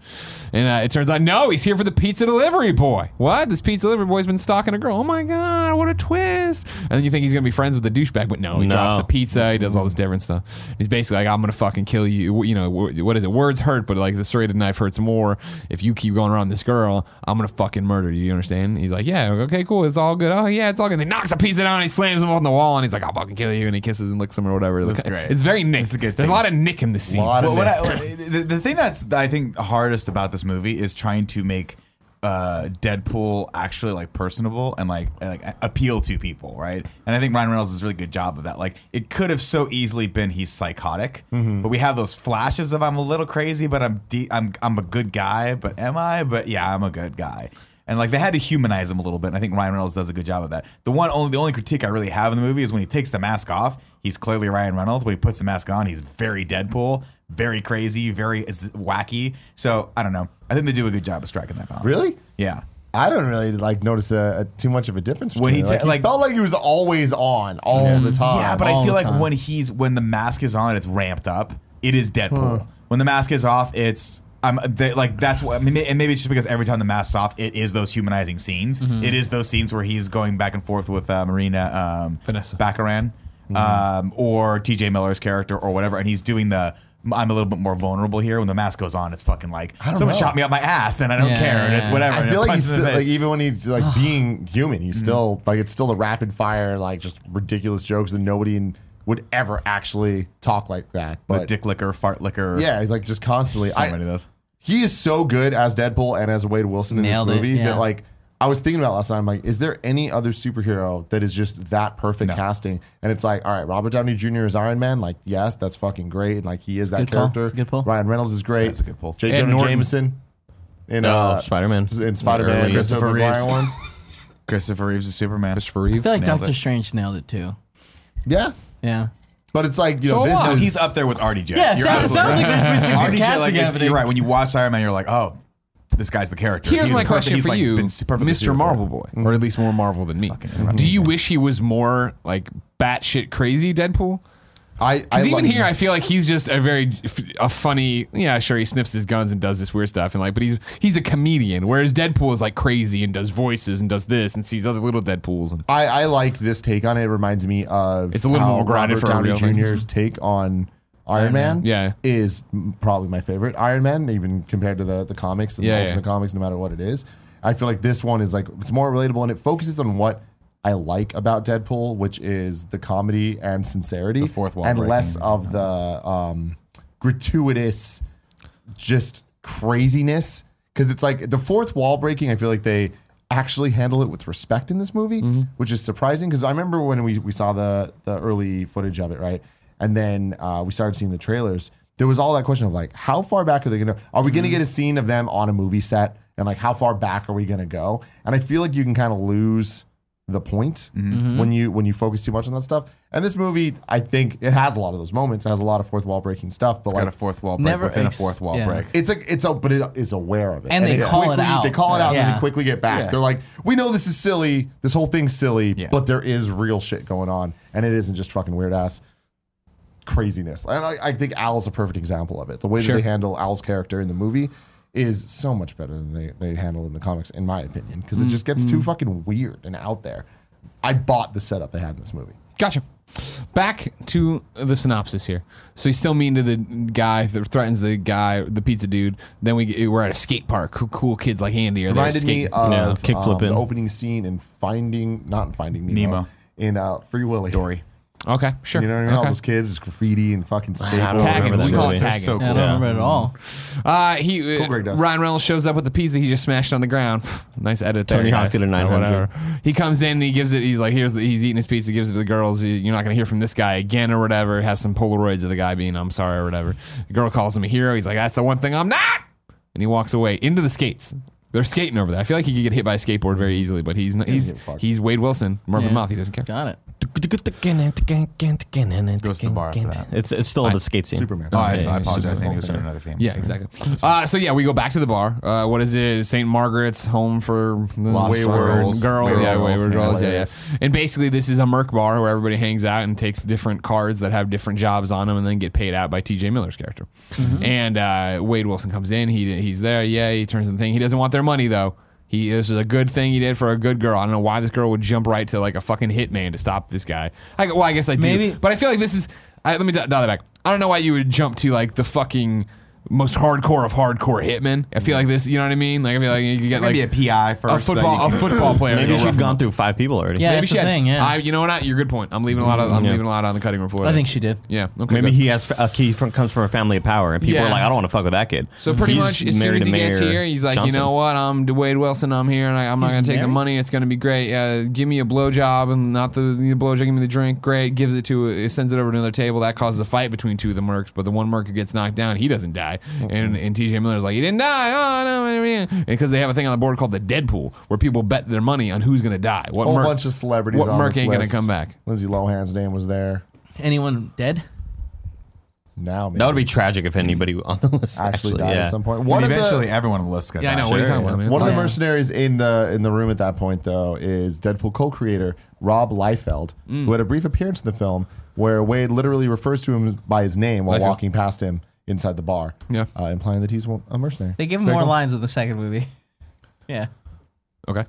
[SPEAKER 2] and uh, it turns out no, he's here for the pizza delivery boy. What? This pizza delivery boy's been stalking a girl. Oh my god, what a twist! And then you think he's going to be friends with the douchebag, but no, he
[SPEAKER 4] No.
[SPEAKER 2] drops the pizza. He does all this
[SPEAKER 3] Mm-hmm.
[SPEAKER 2] different stuff. He's basically like, I'm gonna fucking kill you. You know, wh- what is it? Words hurt, but like the serrated knife hurts more. If you keep going around this girl, I'm gonna fucking murder you. You understand? He's like, yeah, okay, cool. It's all good. Oh yeah, it's all good. And he knocks a pizza down. And he slams him on the wall, and he's like, I'll fucking kill you. And he kisses and licks him or whatever. It's,
[SPEAKER 3] great.
[SPEAKER 2] It's very Nick.
[SPEAKER 3] It's a good
[SPEAKER 2] There's
[SPEAKER 3] scene.
[SPEAKER 2] a lot of Nick in this scene.
[SPEAKER 1] Lot of
[SPEAKER 3] Well, what
[SPEAKER 1] Nick.
[SPEAKER 3] I, what- the, the thing that's I think hardest about this movie is trying to make uh, Deadpool actually like personable and like and, like appeal to people, right? And I think Ryan Reynolds does a really good job of that. Like it could have so easily been he's psychotic, but we have those flashes of I'm a little crazy, but I'm de- I'm I'm a good guy, but am I? But yeah, I'm a good guy. And like they had to humanize him a little bit, and I think Ryan Reynolds does a good job of that. The one only the only critique I really have in the movie is when he takes the mask off, he's clearly Ryan Reynolds. When he puts the mask on, he's very Deadpool, very crazy, very z- wacky. So I don't know. I think they do a good job of striking that balance.
[SPEAKER 1] Really?
[SPEAKER 3] Yeah.
[SPEAKER 1] I don't really like notice a, a, too much of a difference.
[SPEAKER 3] When
[SPEAKER 1] When
[SPEAKER 3] he
[SPEAKER 1] he,
[SPEAKER 3] ta-
[SPEAKER 1] like, he
[SPEAKER 3] like-
[SPEAKER 1] felt like he was always on all the time.
[SPEAKER 3] Yeah, but I
[SPEAKER 1] All
[SPEAKER 3] feel
[SPEAKER 1] the
[SPEAKER 3] like
[SPEAKER 1] time.
[SPEAKER 3] when he's when the mask is on, it's ramped up. It is Deadpool. When the mask is off, it's I'm they, like that's what. I mean, and maybe it's just because every time the mask's off, it is those humanizing scenes.
[SPEAKER 1] Mm-hmm.
[SPEAKER 3] It is those scenes where he's going back and forth with uh, Marina um,
[SPEAKER 2] Vanessa.
[SPEAKER 3] Baccaran,
[SPEAKER 1] Mm-hmm.
[SPEAKER 3] um, or T.J. Miller's character or whatever, and he's doing the. I'm a little bit more vulnerable here. When the mask goes on, it's fucking like
[SPEAKER 1] don't
[SPEAKER 3] someone
[SPEAKER 1] know.
[SPEAKER 3] shot me up my ass, and I don't
[SPEAKER 5] Yeah.
[SPEAKER 3] care, and it's whatever. and
[SPEAKER 1] I
[SPEAKER 3] it
[SPEAKER 1] feel like
[SPEAKER 3] punches
[SPEAKER 1] he's
[SPEAKER 3] in the
[SPEAKER 1] still, like
[SPEAKER 3] face. Mm-hmm.
[SPEAKER 1] even when he's like being
[SPEAKER 3] <sighs>
[SPEAKER 1] human, he's still like it's still a rapid fire like just ridiculous jokes that nobody in, would ever actually talk like that.
[SPEAKER 3] The
[SPEAKER 1] But
[SPEAKER 3] dick licker, fart licker.
[SPEAKER 1] yeah, like just constantly.
[SPEAKER 3] so
[SPEAKER 1] I,
[SPEAKER 3] many of those.
[SPEAKER 1] he is so good as Deadpool and as Wade Wilson in
[SPEAKER 5] Nailed it,
[SPEAKER 1] this movie
[SPEAKER 5] yeah.
[SPEAKER 1] that like I was thinking about last night. I'm like, is there any other superhero that is just that perfect casting? And it's like, all right, Robert Downey Jr. is Iron Man. Like, yes, that's fucking great, and like he is that
[SPEAKER 5] good call.
[SPEAKER 1] character.
[SPEAKER 5] It's a good pull.
[SPEAKER 1] Ryan Reynolds is great.
[SPEAKER 3] That's a good pull.
[SPEAKER 1] J.
[SPEAKER 2] And
[SPEAKER 1] Jonah
[SPEAKER 2] Norton.
[SPEAKER 1] Jameson. In
[SPEAKER 4] Oh,
[SPEAKER 1] uh,
[SPEAKER 4] Spider-Man.
[SPEAKER 1] in Spider Man,
[SPEAKER 4] Early.
[SPEAKER 1] Christopher
[SPEAKER 3] Christopher
[SPEAKER 1] Reeve
[SPEAKER 3] Reeves.
[SPEAKER 1] ones.
[SPEAKER 3] <laughs> Christopher Reeves is Superman.
[SPEAKER 2] Christopher Reeve.
[SPEAKER 5] I feel like
[SPEAKER 3] Nailed
[SPEAKER 5] Doctor
[SPEAKER 3] it.
[SPEAKER 5] Strange nailed it too.
[SPEAKER 1] Yeah,
[SPEAKER 5] Yeah.
[SPEAKER 1] but it's like you
[SPEAKER 2] So
[SPEAKER 1] know this
[SPEAKER 2] what?
[SPEAKER 1] is
[SPEAKER 3] He's up there with RDJ.
[SPEAKER 5] Yeah,
[SPEAKER 3] You're
[SPEAKER 5] sounds,
[SPEAKER 3] absolutely right.
[SPEAKER 5] sounds like there's
[SPEAKER 3] <laughs>
[SPEAKER 5] been
[SPEAKER 3] RDJ,
[SPEAKER 5] some good
[SPEAKER 3] like,
[SPEAKER 5] casting
[SPEAKER 3] it's-
[SPEAKER 5] happening.
[SPEAKER 3] you're right. When you watch Iron Man, you're like, oh, this guy's the character.
[SPEAKER 2] Here's
[SPEAKER 3] He's
[SPEAKER 2] my
[SPEAKER 3] perfect.
[SPEAKER 2] question
[SPEAKER 3] He's,
[SPEAKER 2] for
[SPEAKER 3] like,
[SPEAKER 2] you,
[SPEAKER 3] been perfectly
[SPEAKER 2] Mr.
[SPEAKER 3] suited for
[SPEAKER 2] Marvel
[SPEAKER 3] it.
[SPEAKER 2] Boy, or at least more Marvel than me. Do you wish he was more like batshit crazy Deadpool?
[SPEAKER 1] I, I
[SPEAKER 2] Because even
[SPEAKER 1] like-
[SPEAKER 2] here, I feel like he's just a very f- a funny. Yeah, sure, he sniffs his guns and does this weird stuff, and like, but he's he's a comedian. Whereas Deadpool is like crazy and does voices and does this and sees other little Deadpool's. And
[SPEAKER 1] I, I like this take on it. It reminds me of
[SPEAKER 2] It's a little
[SPEAKER 1] how
[SPEAKER 2] more grounded
[SPEAKER 1] Robert
[SPEAKER 2] for a
[SPEAKER 1] Downey
[SPEAKER 2] real thing.
[SPEAKER 1] Jr.'s take on Iron Man.
[SPEAKER 2] Man.
[SPEAKER 1] is m- probably my favorite Iron Man, even compared to the the comics and
[SPEAKER 2] Yeah,
[SPEAKER 1] the
[SPEAKER 2] yeah.
[SPEAKER 1] Ultimate Comics. No matter what it is, I feel like this one is like it's more relatable and it focuses on what I like about Deadpool, which is the comedy and sincerity, the
[SPEAKER 3] fourth wall
[SPEAKER 1] and
[SPEAKER 3] breaking.
[SPEAKER 1] less of the um, gratuitous just craziness because it's like the fourth wall breaking. I feel like they actually handle it with respect in this movie,
[SPEAKER 3] Mm-hmm.
[SPEAKER 1] which is surprising because I remember when we, we saw the the early footage of it, right? And then uh, we started seeing the trailers. There was all that question of like, how far back are they gonna? Are we
[SPEAKER 3] Mm-hmm.
[SPEAKER 1] gonna get a scene of them on a movie set? And like, how far back are we gonna go? And I feel like you can kind of lose the point
[SPEAKER 3] Mm-hmm.
[SPEAKER 1] when you when you focus too much on that stuff. And this movie, I think it has a lot of those moments. It has a lot of fourth wall breaking stuff, but
[SPEAKER 3] It's
[SPEAKER 1] like
[SPEAKER 3] got a fourth wall break
[SPEAKER 5] Never
[SPEAKER 3] within
[SPEAKER 5] ex-
[SPEAKER 3] a fourth wall
[SPEAKER 5] yeah.
[SPEAKER 3] break.
[SPEAKER 2] Oh,
[SPEAKER 3] Oh,
[SPEAKER 1] it's a it's a but it is aware of it,
[SPEAKER 5] And they call it
[SPEAKER 1] quickly-
[SPEAKER 5] out.
[SPEAKER 1] They call it out, and then
[SPEAKER 5] Yeah.
[SPEAKER 1] they quickly get back.
[SPEAKER 3] Yeah.
[SPEAKER 1] They're like, we know this is silly. This whole thing's silly,
[SPEAKER 3] Yeah.
[SPEAKER 1] but there is real shit going on, and it isn't just fucking weird ass craziness. And I, I think Al's a perfect example of it. The way
[SPEAKER 2] Sure.
[SPEAKER 1] that they handle Al's character in the movie is so much better than they they handle in the comics, in my opinion, because it just gets
[SPEAKER 5] Mm-hmm.
[SPEAKER 1] too fucking weird and out there. I bought the setup they had in this movie.
[SPEAKER 2] Gotcha. Back to the synopsis here. So he's still mean to the guy that threatens the guy, the pizza dude. Then we get, we're at a skate park. Cool, cool kids like Andy are there.
[SPEAKER 1] reminded me
[SPEAKER 2] skating.
[SPEAKER 1] of
[SPEAKER 4] Yeah,
[SPEAKER 1] um,
[SPEAKER 4] kickflipping.
[SPEAKER 1] the opening scene in Finding, not in Finding Nemo,
[SPEAKER 3] Nemo.
[SPEAKER 1] in uh, Free Willy.
[SPEAKER 3] Dory.
[SPEAKER 2] okay, sure.
[SPEAKER 1] You know what I mean? All
[SPEAKER 2] Okay.
[SPEAKER 1] those kids, just graffiti and fucking staples.
[SPEAKER 4] remember
[SPEAKER 2] Tagging.
[SPEAKER 4] that
[SPEAKER 2] We call it
[SPEAKER 4] movie.
[SPEAKER 2] tagging.
[SPEAKER 3] So
[SPEAKER 5] Yeah, I don't remember it at all.
[SPEAKER 2] Uh, he uh,
[SPEAKER 1] Greg Dust.
[SPEAKER 2] Ryan Reynolds shows up with the pizza he just smashed on the ground. nice edit. there,
[SPEAKER 4] Tony Hawk
[SPEAKER 2] guys.
[SPEAKER 4] did a
[SPEAKER 2] Or
[SPEAKER 4] 900.
[SPEAKER 2] whatever. He comes in and he gives it. He's like, here's the, he's eating his pizza. Gives it to the girls. "You- You're not gonna hear from this guy again or whatever. Has some Polaroids of the guy being I'm sorry or whatever. The girl calls him a hero. He's like, that's the one thing I'm not. And he walks away into the skates. They're skating over there. I feel like he could get hit by a skateboard very easily, but he's not, he's
[SPEAKER 1] give a fuck.
[SPEAKER 2] he's Wade Wilson, Marvin
[SPEAKER 5] Yeah.
[SPEAKER 2] Mouth. He doesn't care.
[SPEAKER 5] Got it.
[SPEAKER 4] Goes
[SPEAKER 3] Goes to the bar after that.
[SPEAKER 4] It's it's still on the skate scene.
[SPEAKER 1] Superman.
[SPEAKER 3] Oh, I,
[SPEAKER 4] yeah,
[SPEAKER 3] so I
[SPEAKER 4] yeah,
[SPEAKER 3] apologize.
[SPEAKER 4] Super
[SPEAKER 3] I knew it was
[SPEAKER 4] Bowl.
[SPEAKER 3] from another theme.
[SPEAKER 2] Yeah,
[SPEAKER 3] Sorry.
[SPEAKER 2] exactly. Uh, so yeah, we go back to the bar. Uh, what is it? St. Margaret's Home for the
[SPEAKER 3] Lost
[SPEAKER 2] Wayward
[SPEAKER 3] Girls.
[SPEAKER 2] Girls.
[SPEAKER 3] Wayward
[SPEAKER 2] Yeah,
[SPEAKER 3] Girls.
[SPEAKER 2] Wayward Girls. Yeah, yeah.
[SPEAKER 1] Hilarious.
[SPEAKER 2] And basically, this is a Merc bar where everybody hangs out and takes different cards that have different jobs on them, and then get paid out by T.J. Miller's character. And uh, Wade Wilson comes in. He he's there. Yeah, he turns in the thing. He doesn't want their money though. He this is a good thing he did for a good girl. I don't know why this girl would jump right to like a fucking hitman to stop this guy. I, well, I guess I do,
[SPEAKER 5] Maybe-
[SPEAKER 2] but I feel like this is. I, let me dial that back. I don't know why you would jump to like the fucking most hardcore of hardcore hitmen. I feel like this. You know what I mean? Like I feel like you get like
[SPEAKER 3] Maybe a PI first.
[SPEAKER 2] a
[SPEAKER 3] that you
[SPEAKER 2] football a
[SPEAKER 3] can-
[SPEAKER 2] football player.
[SPEAKER 4] Maybe
[SPEAKER 2] You'll
[SPEAKER 4] she'd
[SPEAKER 2] rough
[SPEAKER 4] gone through five people already.
[SPEAKER 5] Yeah.
[SPEAKER 2] Maybe
[SPEAKER 5] that's
[SPEAKER 2] she
[SPEAKER 5] the
[SPEAKER 2] had-
[SPEAKER 5] thing, yeah.
[SPEAKER 2] I, you know what? Your good point. I'm leaving a lot of. I'm
[SPEAKER 4] Yeah.
[SPEAKER 2] leaving a lot on the cutting room floor.
[SPEAKER 5] I
[SPEAKER 2] there.
[SPEAKER 5] think she did.
[SPEAKER 2] Yeah. Okay.
[SPEAKER 4] Maybe
[SPEAKER 2] good.
[SPEAKER 4] he has a key from, comes from a family of power, and people
[SPEAKER 2] Yeah.
[SPEAKER 4] are like, I don't want to fuck with that kid.
[SPEAKER 2] So pretty
[SPEAKER 4] He's
[SPEAKER 2] much as soon
[SPEAKER 4] married
[SPEAKER 2] as
[SPEAKER 4] to
[SPEAKER 2] he gets
[SPEAKER 4] Mayor
[SPEAKER 2] here, he's like, you
[SPEAKER 4] Johnson.
[SPEAKER 2] know what? I'm Dwayne Wilson. I'm here, and I, I'm not
[SPEAKER 5] He's
[SPEAKER 2] gonna take the
[SPEAKER 5] married?
[SPEAKER 2] money. It's gonna be great. Uh, give me a blowjob and not the, the blowjob. Give me the drink. Great. Gives it to. It sends it over to another table. That causes a fight between two of the mercs. But the one merc who gets knocked down, he doesn't die. And and TJ Miller's like, he didn't die. Oh no, because they have a thing on the board called the Deadpool, where people bet their money on who's gonna die. What
[SPEAKER 1] whole
[SPEAKER 2] merc,
[SPEAKER 1] bunch of celebrities.
[SPEAKER 2] What
[SPEAKER 1] on
[SPEAKER 2] merc
[SPEAKER 1] this
[SPEAKER 2] ain't
[SPEAKER 1] list.
[SPEAKER 2] gonna come back?
[SPEAKER 1] Lindsay Lohan's name was there.
[SPEAKER 5] Anyone dead?
[SPEAKER 1] Now maybe.
[SPEAKER 4] That would be tragic if anybody <laughs> on the list
[SPEAKER 1] actually,
[SPEAKER 4] actually,
[SPEAKER 1] died
[SPEAKER 4] yeah.
[SPEAKER 1] at some point.
[SPEAKER 3] And
[SPEAKER 1] One of
[SPEAKER 3] eventually,
[SPEAKER 1] the
[SPEAKER 3] everyone on the list got
[SPEAKER 2] Yeah, I
[SPEAKER 3] that.
[SPEAKER 2] know. What are you
[SPEAKER 3] Sure,
[SPEAKER 2] talking about,
[SPEAKER 3] yeah.
[SPEAKER 2] man?
[SPEAKER 1] one of the
[SPEAKER 5] Yeah.
[SPEAKER 1] mercenaries in the in the room at that point though is Deadpool co-creator Rob Liefeld,
[SPEAKER 2] Mm.
[SPEAKER 1] who had a brief appearance in the film where Wade literally refers to him by his name while
[SPEAKER 2] Liefeld.
[SPEAKER 1] walking past him inside the bar,
[SPEAKER 2] Yeah.
[SPEAKER 1] uh, implying that he's one- a mercenary.
[SPEAKER 5] They give him
[SPEAKER 2] Very
[SPEAKER 5] more
[SPEAKER 2] cool.
[SPEAKER 5] lines in the second movie. <laughs> yeah.
[SPEAKER 2] Okay.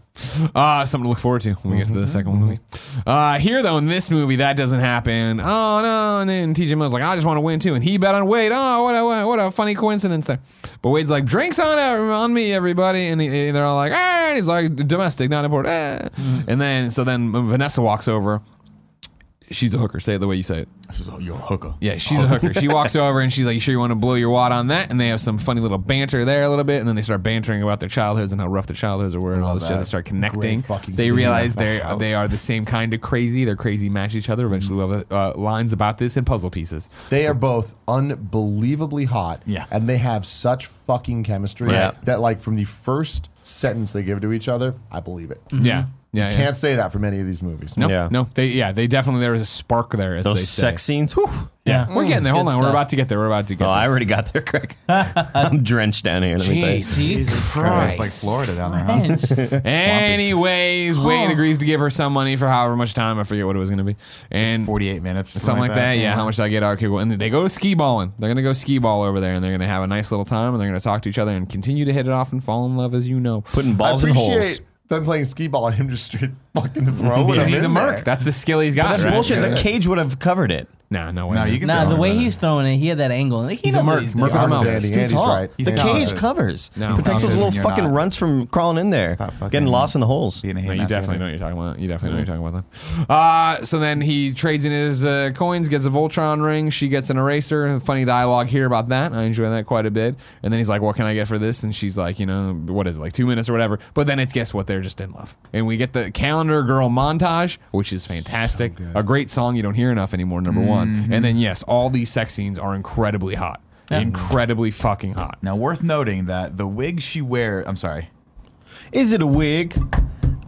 [SPEAKER 2] Uh, something to look forward to when we get to the second movie. Uh, here, though, in this movie, that doesn't happen. Oh, no. And then TJ Miller's like, I just want to win, too. And he bet on Wade. Oh, what a, what a funny coincidence there. But Wade's like, drinks on, every- on me, everybody. And, he- and they're all like, ah. And he's like, domestic, not important. Ah. And then, so then Vanessa walks over. She's a hooker. Say it the way you say it.
[SPEAKER 3] She's a- oh, You're a hooker.
[SPEAKER 2] Yeah, she's a hooker. She walks over and she's like, "You sure you want to blow your wad on that?" And they have some funny little banter there a little bit, and then they start bantering about their childhoods and how rough their childhoods were, and all this shit. They start connecting.
[SPEAKER 1] Great fucking
[SPEAKER 2] They
[SPEAKER 1] scene
[SPEAKER 2] realize
[SPEAKER 1] at that
[SPEAKER 2] they
[SPEAKER 1] house.
[SPEAKER 2] they are the same kind of crazy. They're crazy, match each other. Eventually, we'll have uh, lines about this and puzzle pieces.
[SPEAKER 1] They are both unbelievably hot.
[SPEAKER 3] Yeah.
[SPEAKER 1] And they have such fucking chemistry
[SPEAKER 4] Yeah.
[SPEAKER 1] that, like, from the first sentence they give to each other, I believe it.
[SPEAKER 2] Yeah, yeah, yeah.
[SPEAKER 1] Can't say that for many of these movies.
[SPEAKER 2] no,
[SPEAKER 4] Yeah.
[SPEAKER 2] no, they Mm-hmm. yeah, they definitely there was a spark there as they
[SPEAKER 4] Those
[SPEAKER 2] say.
[SPEAKER 4] sex scenes. Whew.
[SPEAKER 2] Yeah, we're getting there.
[SPEAKER 5] It's
[SPEAKER 2] Hold on,
[SPEAKER 5] good
[SPEAKER 2] we're <laughs>
[SPEAKER 5] stuff.
[SPEAKER 2] about to get there. We're about to get
[SPEAKER 4] Oh, I
[SPEAKER 2] there.
[SPEAKER 4] already got there,
[SPEAKER 2] <laughs>
[SPEAKER 4] Craig. I'm drenched down here. Let me tell you.
[SPEAKER 2] Jesus
[SPEAKER 3] It's like Florida down there. Huh?
[SPEAKER 2] Anyways, Wayne agrees to give her some money for however much time I forget what it was going to be, and
[SPEAKER 3] 48 minutes. or
[SPEAKER 2] Something like that, yeah. How much do I get? Okay, well, and they go ski balling. They're gonna go ski ball over there, and they're gonna have a nice little time, and they're gonna talk to each other and continue to hit it off and fall in love as you know.
[SPEAKER 4] Putting balls
[SPEAKER 1] I
[SPEAKER 4] in
[SPEAKER 1] appreciate
[SPEAKER 4] holes.
[SPEAKER 1] them playing skee ball and him just straight fucking throwing
[SPEAKER 2] Because
[SPEAKER 1] them
[SPEAKER 2] he's a
[SPEAKER 1] in
[SPEAKER 2] merc.
[SPEAKER 1] there.
[SPEAKER 2] That's the skill he's got.
[SPEAKER 4] That's
[SPEAKER 2] right?
[SPEAKER 4] bullshit.
[SPEAKER 2] Yeah.
[SPEAKER 4] The cage would have covered it.
[SPEAKER 2] Nah, no way.
[SPEAKER 3] No, you can
[SPEAKER 5] Nah,
[SPEAKER 3] throw
[SPEAKER 5] the
[SPEAKER 3] it
[SPEAKER 5] way
[SPEAKER 3] better.
[SPEAKER 5] he's throwing it, he had that angle. He
[SPEAKER 2] He's a
[SPEAKER 5] knows what
[SPEAKER 2] merc.
[SPEAKER 5] he's
[SPEAKER 2] Merc
[SPEAKER 5] doing.
[SPEAKER 2] with a mouth.
[SPEAKER 1] Andy,
[SPEAKER 2] It's too
[SPEAKER 1] Andy's
[SPEAKER 2] tall.
[SPEAKER 1] right.
[SPEAKER 3] He's
[SPEAKER 4] The
[SPEAKER 3] talented.
[SPEAKER 4] cage covers.
[SPEAKER 2] No,
[SPEAKER 4] it takes those
[SPEAKER 3] talented.
[SPEAKER 4] little
[SPEAKER 3] You're
[SPEAKER 4] fucking
[SPEAKER 3] not.
[SPEAKER 4] runts from crawling in there,
[SPEAKER 3] fucking-
[SPEAKER 4] getting lost in the holes.
[SPEAKER 3] Being a
[SPEAKER 2] No,
[SPEAKER 3] hate
[SPEAKER 2] you
[SPEAKER 3] master.
[SPEAKER 2] definitely know what you're talking about. You definitely know what you're talking about. Then. Uh, so then he trades in his uh, coins, gets a Voltron ring. She gets an eraser. Funny dialogue here about that. I enjoy that quite a bit. And then he's like, "What can I get for this?" And she's like, "You know, what is it? Like two minutes or whatever." But then it's guess what? They're just in love. And we get the calendar girl montage, which is fantastic. a great song you don't hear enough anymore. Number one. And then yes, all these sex scenes are incredibly hot. Incredibly fucking hot.
[SPEAKER 3] Now, worth noting that the wig she wears, I'm sorry,
[SPEAKER 4] Is it a wig?